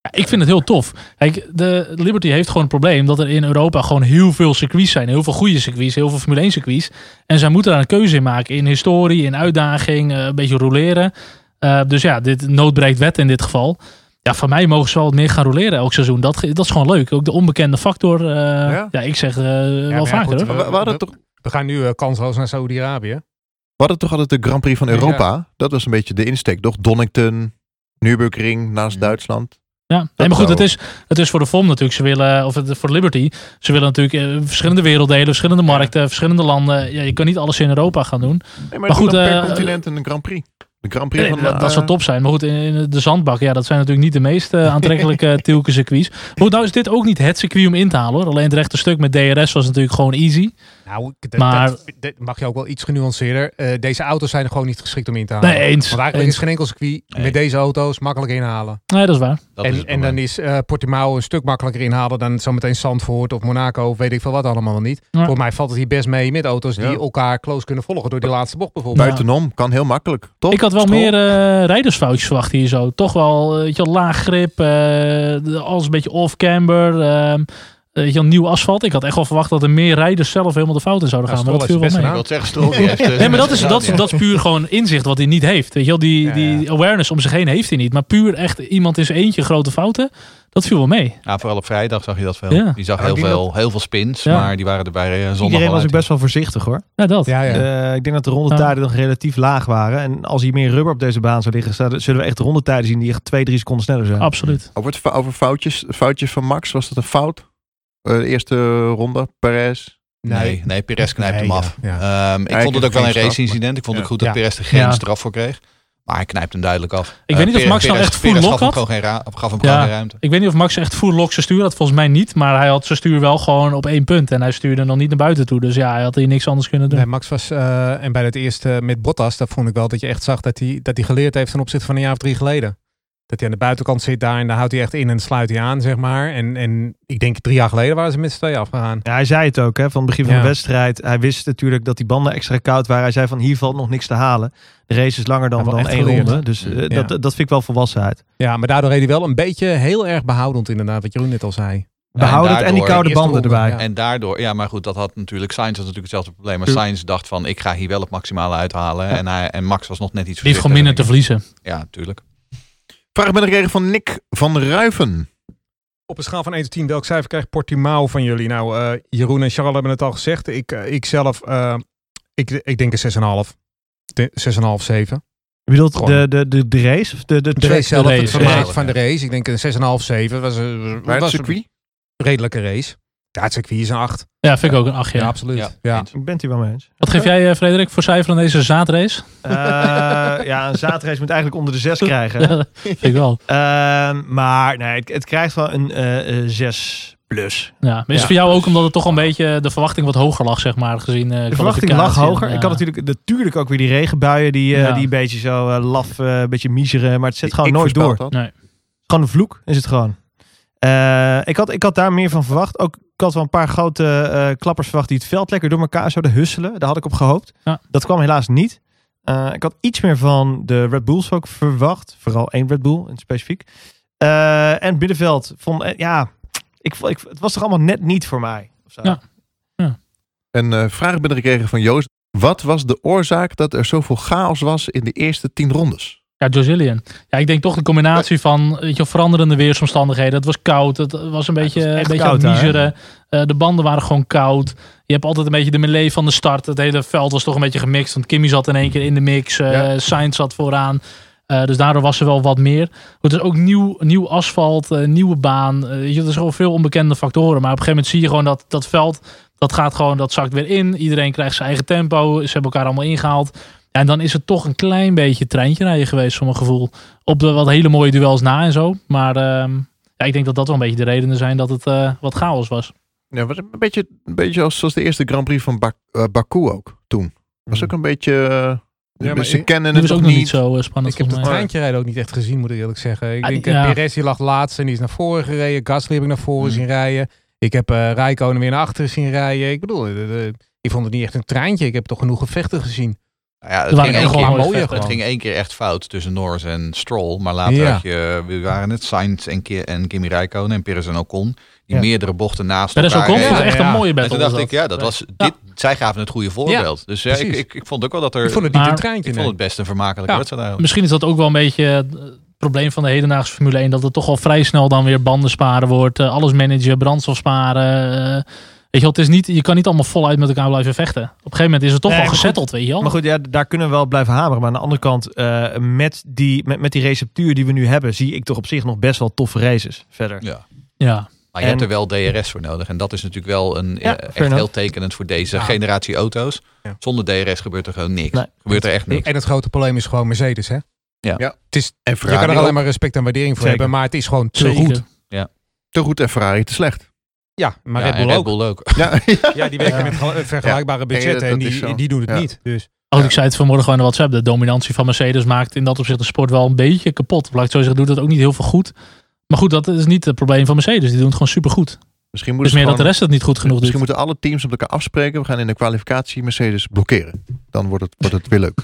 [SPEAKER 3] ja, ik vind het heel tof. Kijk, de Liberty heeft gewoon een probleem dat er in Europa gewoon heel veel circuits zijn. Heel veel goede circuits, heel veel Formule 1 circuits. En zij moeten daar een keuze in maken. In historie, in uitdaging, eh, een beetje roleren. Eh, dus ja, dit noodbreekt wet in dit geval. Ja, van mij mogen ze wel wat meer gaan roleren elk seizoen. Dat, ge- dat is gewoon leuk. Ook de onbekende factor. eh, ja. ik zeg eh,
[SPEAKER 4] maar
[SPEAKER 3] wel
[SPEAKER 4] ja,
[SPEAKER 3] vaker
[SPEAKER 4] goed,
[SPEAKER 3] hoor.
[SPEAKER 1] We, we hadden toch, we
[SPEAKER 4] We gaan nu eh, kansloos naar Saudi-Arabië.
[SPEAKER 1] hadden toch altijd de Grand Prix van Europa? Dat was een beetje de insteek, toch? Donington, Nürburgring naast
[SPEAKER 6] Ja.
[SPEAKER 1] Duitsland.
[SPEAKER 3] Ja, nee, maar goed, het is, het is voor de FOM natuurlijk. Ze willen, of het, voor Liberty, ze willen natuurlijk eh, verschillende werelddelen, verschillende markten, verschillende landen. Ja, je kan niet alles in Europa gaan doen.
[SPEAKER 1] Nee,
[SPEAKER 3] Maar goed,
[SPEAKER 1] doe dan per
[SPEAKER 3] eh,
[SPEAKER 1] continent een Grand Prix. De Grand Prix
[SPEAKER 3] Nee,
[SPEAKER 1] van
[SPEAKER 3] dat, dat
[SPEAKER 1] eh,
[SPEAKER 3] zou top zijn. Maar goed, in, in de zandbak, ja, dat zijn natuurlijk niet de meest eh, aantrekkelijke Tielke circuits. Maar goed, nou is dit ook niet het circuit om in te halen hoor. Alleen het rechte stuk met DRS was natuurlijk gewoon easy.
[SPEAKER 4] Nou, d- dat-
[SPEAKER 3] Maar-
[SPEAKER 4] dat, dat mag je ook wel iets genuanceerder. Eh, deze auto's zijn er gewoon niet geschikt om in te halen.
[SPEAKER 3] Nee, eens.
[SPEAKER 4] Ah, Want eigenlijk
[SPEAKER 3] eens.
[SPEAKER 4] is geen enkel circuit
[SPEAKER 6] Nee.
[SPEAKER 4] met deze auto's makkelijk inhalen.
[SPEAKER 3] Nee, dat is waar.
[SPEAKER 6] Dat is
[SPEAKER 4] en
[SPEAKER 6] het
[SPEAKER 4] en dan
[SPEAKER 6] probleem.
[SPEAKER 4] is eh Portimao een stuk makkelijker inhalen dan zometeen Zandvoort of Monaco of weet ik veel wat allemaal niet.
[SPEAKER 3] Ja.
[SPEAKER 4] Voor mij valt het hier best mee met auto's die
[SPEAKER 1] Ja.
[SPEAKER 4] elkaar close kunnen volgen door die laatste bocht bijvoorbeeld.
[SPEAKER 1] buitenom kan heel makkelijk, toch?
[SPEAKER 3] Ik had wel
[SPEAKER 1] School.
[SPEAKER 3] meer eh, rijdersfoutjes verwacht hier zo. Toch wel, eh, weet je wel, laag grip, eh, de- alles een beetje off-camber, ehm, eh, weet je wel, nieuw asfalt. Ik had echt wel verwacht dat er meer rijders zelf helemaal de fouten zouden
[SPEAKER 4] Ja,
[SPEAKER 3] gaan, maar dat viel
[SPEAKER 4] Stroll
[SPEAKER 3] wel
[SPEAKER 4] heeft zijn
[SPEAKER 3] mee.
[SPEAKER 6] Ik wil het zeggen, Stroll die heeft, eh,
[SPEAKER 3] Nee,
[SPEAKER 6] zijn
[SPEAKER 3] maar dat is,
[SPEAKER 6] best
[SPEAKER 3] dat, is,
[SPEAKER 6] gedaan,
[SPEAKER 3] dat is puur gewoon inzicht wat hij niet heeft. Weet je wel, die,
[SPEAKER 4] Ja,
[SPEAKER 3] die awareness om zich heen heeft hij niet. Maar puur echt iemand in zijn eentje grote fouten, dat viel wel mee.
[SPEAKER 6] ja. Ja, Nou, vooral op vrijdag zag je dat veel.
[SPEAKER 3] Ja.
[SPEAKER 6] Die zag
[SPEAKER 5] Ja,
[SPEAKER 6] heel,
[SPEAKER 5] die
[SPEAKER 6] veel, heel veel spins,
[SPEAKER 3] Ja.
[SPEAKER 6] maar die waren er bij eh, zondag
[SPEAKER 5] Iedereen
[SPEAKER 6] al
[SPEAKER 5] was ook
[SPEAKER 6] uit.
[SPEAKER 5] best wel voorzichtig hoor.
[SPEAKER 3] Ja, dat.
[SPEAKER 4] Ja, ja.
[SPEAKER 5] Eh, ik denk dat de rondetijden nog relatief laag waren. En als hier meer rubber op deze baan zou liggen, zouden- zullen we echt rondetijden zien die echt 2, 3 seconden sneller zijn.
[SPEAKER 3] Absoluut.
[SPEAKER 1] Over, het, over foutjes, foutjes van Max, was dat een fout? Eh, de eerste ronde, Perez.
[SPEAKER 6] Nee, nee, Perez knijpt
[SPEAKER 4] Nee,
[SPEAKER 6] hem
[SPEAKER 4] ja,
[SPEAKER 6] af.
[SPEAKER 4] ja.
[SPEAKER 6] Ehm, ik
[SPEAKER 1] Eigenlijk
[SPEAKER 6] vond het ook wel een
[SPEAKER 1] geen straf,
[SPEAKER 6] race-incident. Ik vond het
[SPEAKER 1] Ja.
[SPEAKER 6] goed dat
[SPEAKER 4] Ja.
[SPEAKER 6] Perez er geen
[SPEAKER 3] Ja.
[SPEAKER 6] straf voor kreeg. Maar hij knijpt hem duidelijk af. Ik
[SPEAKER 3] weet niet of Max nou echt full
[SPEAKER 6] Perez
[SPEAKER 3] lock
[SPEAKER 6] gaf hem
[SPEAKER 3] had.
[SPEAKER 6] gewoon geen, ra- gaf hem
[SPEAKER 3] Ja.
[SPEAKER 6] gewoon geen ruimte.
[SPEAKER 3] Ik weet niet of Max echt full lock zijn stuur had. Volgens mij niet. Maar hij had zijn stuur wel gewoon op één punt. En hij stuurde nog niet naar buiten toe. Dus ja, hij had hier niks anders kunnen doen.
[SPEAKER 4] Nee, Max was, eh, en bij het eerste met Bottas, dat vond ik wel dat je echt zag dat hij, dat hij geleerd heeft ten opzichte van een jaar of drie geleden. Dat hij aan de buitenkant zit daar en daar houdt hij echt in en sluit hij aan, zeg maar. En, en ik denk drie jaar geleden waren ze met z'n tweeën afgegaan.
[SPEAKER 5] Ja, hij zei het ook, hè, van het begin van
[SPEAKER 4] Ja.
[SPEAKER 5] de wedstrijd. Hij wist natuurlijk dat die banden extra koud waren. Hij zei van hier valt nog niks te halen. De race is langer dan,
[SPEAKER 4] Hij heeft wel
[SPEAKER 5] dan
[SPEAKER 4] echt
[SPEAKER 5] één
[SPEAKER 4] geleerd.
[SPEAKER 5] ronde. Dus eh,
[SPEAKER 4] Ja.
[SPEAKER 5] dat, dat vind ik wel volwassenheid.
[SPEAKER 4] Ja, maar daardoor reed hij wel een beetje heel erg behoudend inderdaad, wat Jeroen net al zei.
[SPEAKER 5] Behoudend en, die
[SPEAKER 6] daardoor-
[SPEAKER 5] koude
[SPEAKER 4] Eerste
[SPEAKER 5] banden
[SPEAKER 4] ronde,
[SPEAKER 5] erbij.
[SPEAKER 4] ja.
[SPEAKER 6] En daardoor, ja, maar goed, dat had natuurlijk Sainz had natuurlijk hetzelfde probleem. Maar
[SPEAKER 5] Ja.
[SPEAKER 6] Sainz dacht van, ik ga hier wel het maximale uithalen. En, hij, en Max was nog net iets
[SPEAKER 3] Die heeft
[SPEAKER 6] verzichter.
[SPEAKER 3] gewoon minder te verliezen.
[SPEAKER 6] Ja, natuurlijk.
[SPEAKER 1] Vraag ben ik gekregen van Nick van Ruiven.
[SPEAKER 4] Op een schaal van 1 tot 10, welk cijfer krijgt Portimao van jullie? Nou, eh, Jeroen en Charles hebben het al gezegd. Ik, eh, ik zelf, eh, ik, ik denk een 6,5. De- 6,5, 7.
[SPEAKER 5] Je bedoelt
[SPEAKER 4] Gewoon.
[SPEAKER 5] de, de, de, de race? Of de, de
[SPEAKER 4] De
[SPEAKER 5] track?
[SPEAKER 4] race zelf,
[SPEAKER 3] race,
[SPEAKER 4] het
[SPEAKER 3] ja.
[SPEAKER 4] vermaak van de race. Ik denk een 6,5, 7. Was, een-
[SPEAKER 1] Bij het
[SPEAKER 4] was
[SPEAKER 1] circuit.
[SPEAKER 4] een redelijke race. Ja, het circuit is een 8.
[SPEAKER 3] Ja, vind ik ook een achtje.
[SPEAKER 4] Ja, absoluut. Ja.
[SPEAKER 6] Ja. eens.
[SPEAKER 5] Ik ben het hier wel mee eens.
[SPEAKER 3] Wat geef jij, eh, Frederik, voor cijfer aan deze zaadrace?
[SPEAKER 5] Eh, ja, een zaadrace moet eigenlijk onder de zes krijgen.
[SPEAKER 3] vind ik wel.
[SPEAKER 5] Ehm, maar nee, het, het krijgt wel een eh, eh, 6 plus.
[SPEAKER 3] Ja. Maar is het
[SPEAKER 5] Ja.
[SPEAKER 3] voor jou ook omdat het toch een beetje de verwachting wat hoger lag, zeg maar, gezien eh,
[SPEAKER 5] De verwachting lag
[SPEAKER 3] kwalificatie?
[SPEAKER 5] hoger.
[SPEAKER 3] Ja.
[SPEAKER 5] Ik had natuurlijk, natuurlijk ook weer die regenbuien die, eh,
[SPEAKER 3] Ja.
[SPEAKER 5] die een beetje zo eh, laf, eh, een beetje miezeren. Maar het zet gewoon
[SPEAKER 1] Ik
[SPEAKER 5] nooit door.
[SPEAKER 1] voorspel
[SPEAKER 5] Het
[SPEAKER 1] dat.
[SPEAKER 5] is Gewoon een vloek is het gewoon. Eh, ik, had, ik had daar meer van verwacht. Ook, ik had wel een paar grote eh, klappers verwacht die het veld lekker door elkaar zouden husselen. Daar had ik op gehoopt.
[SPEAKER 3] Ja.
[SPEAKER 5] Dat kwam helaas niet. Eh, ik had iets meer van de Red Bulls ook verwacht. Vooral één Red Bull in het specifiek. Eh, en het middenveld vond, eh, ja, ik, vond- ik, het was toch allemaal net niet voor mij. Of zo.
[SPEAKER 3] Ja.
[SPEAKER 1] Een eh, vraag ben ik gekregen van Joost. Wat was de oorzaak dat er zoveel chaos was in de eerste tien rondes?
[SPEAKER 3] Ja, Jozillian. Ja, ik denk toch de combinatie van weet je, veranderende weersomstandigheden. Het was koud, het was een beetje,
[SPEAKER 5] echt
[SPEAKER 3] een beetje
[SPEAKER 5] koud
[SPEAKER 3] aan het
[SPEAKER 5] daar, hè?
[SPEAKER 3] miezeren. Eh, de banden waren gewoon koud. Je hebt altijd een beetje de melee van de start. Het hele veld was toch een beetje gemixt. Want Kimmy zat in één keer in de mix. eh
[SPEAKER 1] Ja.
[SPEAKER 3] Sainz zat vooraan. Eh, dus daardoor was er wel wat meer. Het is ook nieuw, nieuw asfalt, eh, nieuwe baan. Eh, weet je, er zijn gewoon veel onbekende factoren. Maar op een gegeven moment zie je gewoon dat dat veld, dat gaat gewoon, dat zakt weer in. Iedereen krijgt zijn eigen tempo. Ze hebben elkaar allemaal ingehaald. Ja, en dan is het toch een klein beetje treintje rijden geweest, voor mijn gevoel. Op de wat hele mooie duels na en zo. Maar ehm, ja, ik denk dat dat wel een beetje de redenen zijn dat het eh, wat chaos was.
[SPEAKER 1] Ja, was een beetje, een beetje als, zoals de eerste Grand Prix van Bak- eh, Baku ook toen. Was
[SPEAKER 3] Hmm.
[SPEAKER 1] ook een beetje... eh,
[SPEAKER 4] Ja, maar
[SPEAKER 1] ze
[SPEAKER 4] ik-
[SPEAKER 1] kennen
[SPEAKER 3] Die
[SPEAKER 1] het
[SPEAKER 3] was
[SPEAKER 1] ook
[SPEAKER 3] ook nog
[SPEAKER 1] niet.
[SPEAKER 3] niet zo eh, spannend
[SPEAKER 4] Ik heb
[SPEAKER 3] volgens
[SPEAKER 4] de
[SPEAKER 3] mij.
[SPEAKER 4] treintje rijden ook niet echt gezien, moet ik eerlijk zeggen. Ik
[SPEAKER 3] Ah,
[SPEAKER 4] denk,
[SPEAKER 3] die-
[SPEAKER 4] eh,
[SPEAKER 3] ja. Hmm.
[SPEAKER 4] Perez die lag laatst en die is naar voren gereden. Gasly heb ik naar voren zien rijden. Ik heb eh Rijkonen weer naar achteren zien rijden. Ik bedoel, eh, eh, ik vond het niet echt een treintje. Ik heb toch genoeg gevechten gezien.
[SPEAKER 6] Nou Ja,
[SPEAKER 3] Er
[SPEAKER 6] het,
[SPEAKER 3] waren
[SPEAKER 6] ging
[SPEAKER 3] echt
[SPEAKER 6] één
[SPEAKER 3] wel
[SPEAKER 6] keer,
[SPEAKER 4] gewoon
[SPEAKER 3] mooie
[SPEAKER 4] mooier
[SPEAKER 3] vechten.
[SPEAKER 6] het ging één keer echt fout tussen Norris en Stroll. Maar later
[SPEAKER 4] Ja.
[SPEAKER 6] had je, we waren het, Sainz en, Ki- en Kimi Räikkönen en Perez en Ocon. Die
[SPEAKER 5] Ja.
[SPEAKER 6] meerdere bochten naast
[SPEAKER 3] Perez
[SPEAKER 6] elkaar
[SPEAKER 3] Ocon
[SPEAKER 6] reden.
[SPEAKER 3] was
[SPEAKER 4] ja,
[SPEAKER 3] echt
[SPEAKER 4] ja.
[SPEAKER 3] een mooie
[SPEAKER 6] En
[SPEAKER 3] battle.
[SPEAKER 6] toen
[SPEAKER 3] was
[SPEAKER 6] dacht ik, ja, dat was, dit, zij gaven het goede voorbeeld. dus ja, ik,
[SPEAKER 4] precies.
[SPEAKER 6] ik, ik vond ook wel dat er...
[SPEAKER 4] Ik vond het niet
[SPEAKER 3] Maar-
[SPEAKER 4] een treintje.
[SPEAKER 6] ik
[SPEAKER 4] nee.
[SPEAKER 6] vond het best een vermakelijke
[SPEAKER 4] Ja.
[SPEAKER 6] wedstrijd eigenlijk.
[SPEAKER 3] Misschien is dat ook wel een beetje eh, het probleem van de hedendaagse Formule 1. Dat het toch al vrij snel dan weer banden sparen wordt. eh, alles managen, brandstof sparen. eh, je wel, het is niet, je kan niet allemaal voluit met elkaar blijven vechten. Op een gegeven moment is het toch
[SPEAKER 5] Nee,
[SPEAKER 3] wel
[SPEAKER 5] maar goed.
[SPEAKER 3] gezetteld, weet je wel.
[SPEAKER 5] Maar goed, ja, daar kunnen we wel op blijven hameren. Maar aan de andere kant, eh, met, die, met, met die receptuur die we nu hebben, zie ik toch op zich nog best wel toffe races verder.
[SPEAKER 6] Ja.
[SPEAKER 3] Ja.
[SPEAKER 6] Maar je
[SPEAKER 5] En-
[SPEAKER 6] hebt er wel DRS voor nodig. En dat is natuurlijk wel een, eh, echt
[SPEAKER 5] fair
[SPEAKER 6] heel
[SPEAKER 5] enough.
[SPEAKER 6] tekenend voor deze
[SPEAKER 4] Ja.
[SPEAKER 6] generatie auto's.
[SPEAKER 4] Ja.
[SPEAKER 6] Zonder DRS gebeurt er gewoon niks.
[SPEAKER 5] Nee.
[SPEAKER 6] Gebeurt er echt niks.
[SPEAKER 4] En het grote probleem is gewoon Mercedes, hè?
[SPEAKER 6] Ja.
[SPEAKER 1] Ja.
[SPEAKER 4] Het is,
[SPEAKER 1] En
[SPEAKER 4] je kan er
[SPEAKER 1] Ferrari
[SPEAKER 4] alleen
[SPEAKER 1] ook.
[SPEAKER 4] maar respect en waardering voor
[SPEAKER 5] Zeker.
[SPEAKER 4] hebben, maar het is gewoon te
[SPEAKER 3] Zeker.
[SPEAKER 4] goed.
[SPEAKER 1] te goed en Ferrari te slecht.
[SPEAKER 4] Ja, maar
[SPEAKER 6] Ja,
[SPEAKER 4] Red
[SPEAKER 6] en
[SPEAKER 4] Bull ook.
[SPEAKER 1] Ja,
[SPEAKER 4] Ja, die werken met gel- vergelijkbare budgetten
[SPEAKER 1] dat
[SPEAKER 4] en
[SPEAKER 1] is
[SPEAKER 4] die,
[SPEAKER 1] zo.
[SPEAKER 4] die doen het
[SPEAKER 1] Ja.
[SPEAKER 4] niet. Dus
[SPEAKER 3] Ook Oh, ik zei het vanmorgen gewoon in WhatsApp. De dominantie van Mercedes maakt in dat opzicht de sport wel een beetje kapot. Laat ik het zo zeggen, doet dat ook niet heel veel goed. Maar goed, dat is niet het probleem van Mercedes. Die doen het gewoon supergoed.
[SPEAKER 1] misschien
[SPEAKER 3] Dus
[SPEAKER 1] moeten, ze
[SPEAKER 3] meer dat de
[SPEAKER 1] gewoon-
[SPEAKER 3] rest het niet goed genoeg dus. doet.
[SPEAKER 1] misschien moeten alle teams met elkaar afspreken. We gaan in de kwalificatie Mercedes blokkeren. Dan wordt het, wordt het weer leuk.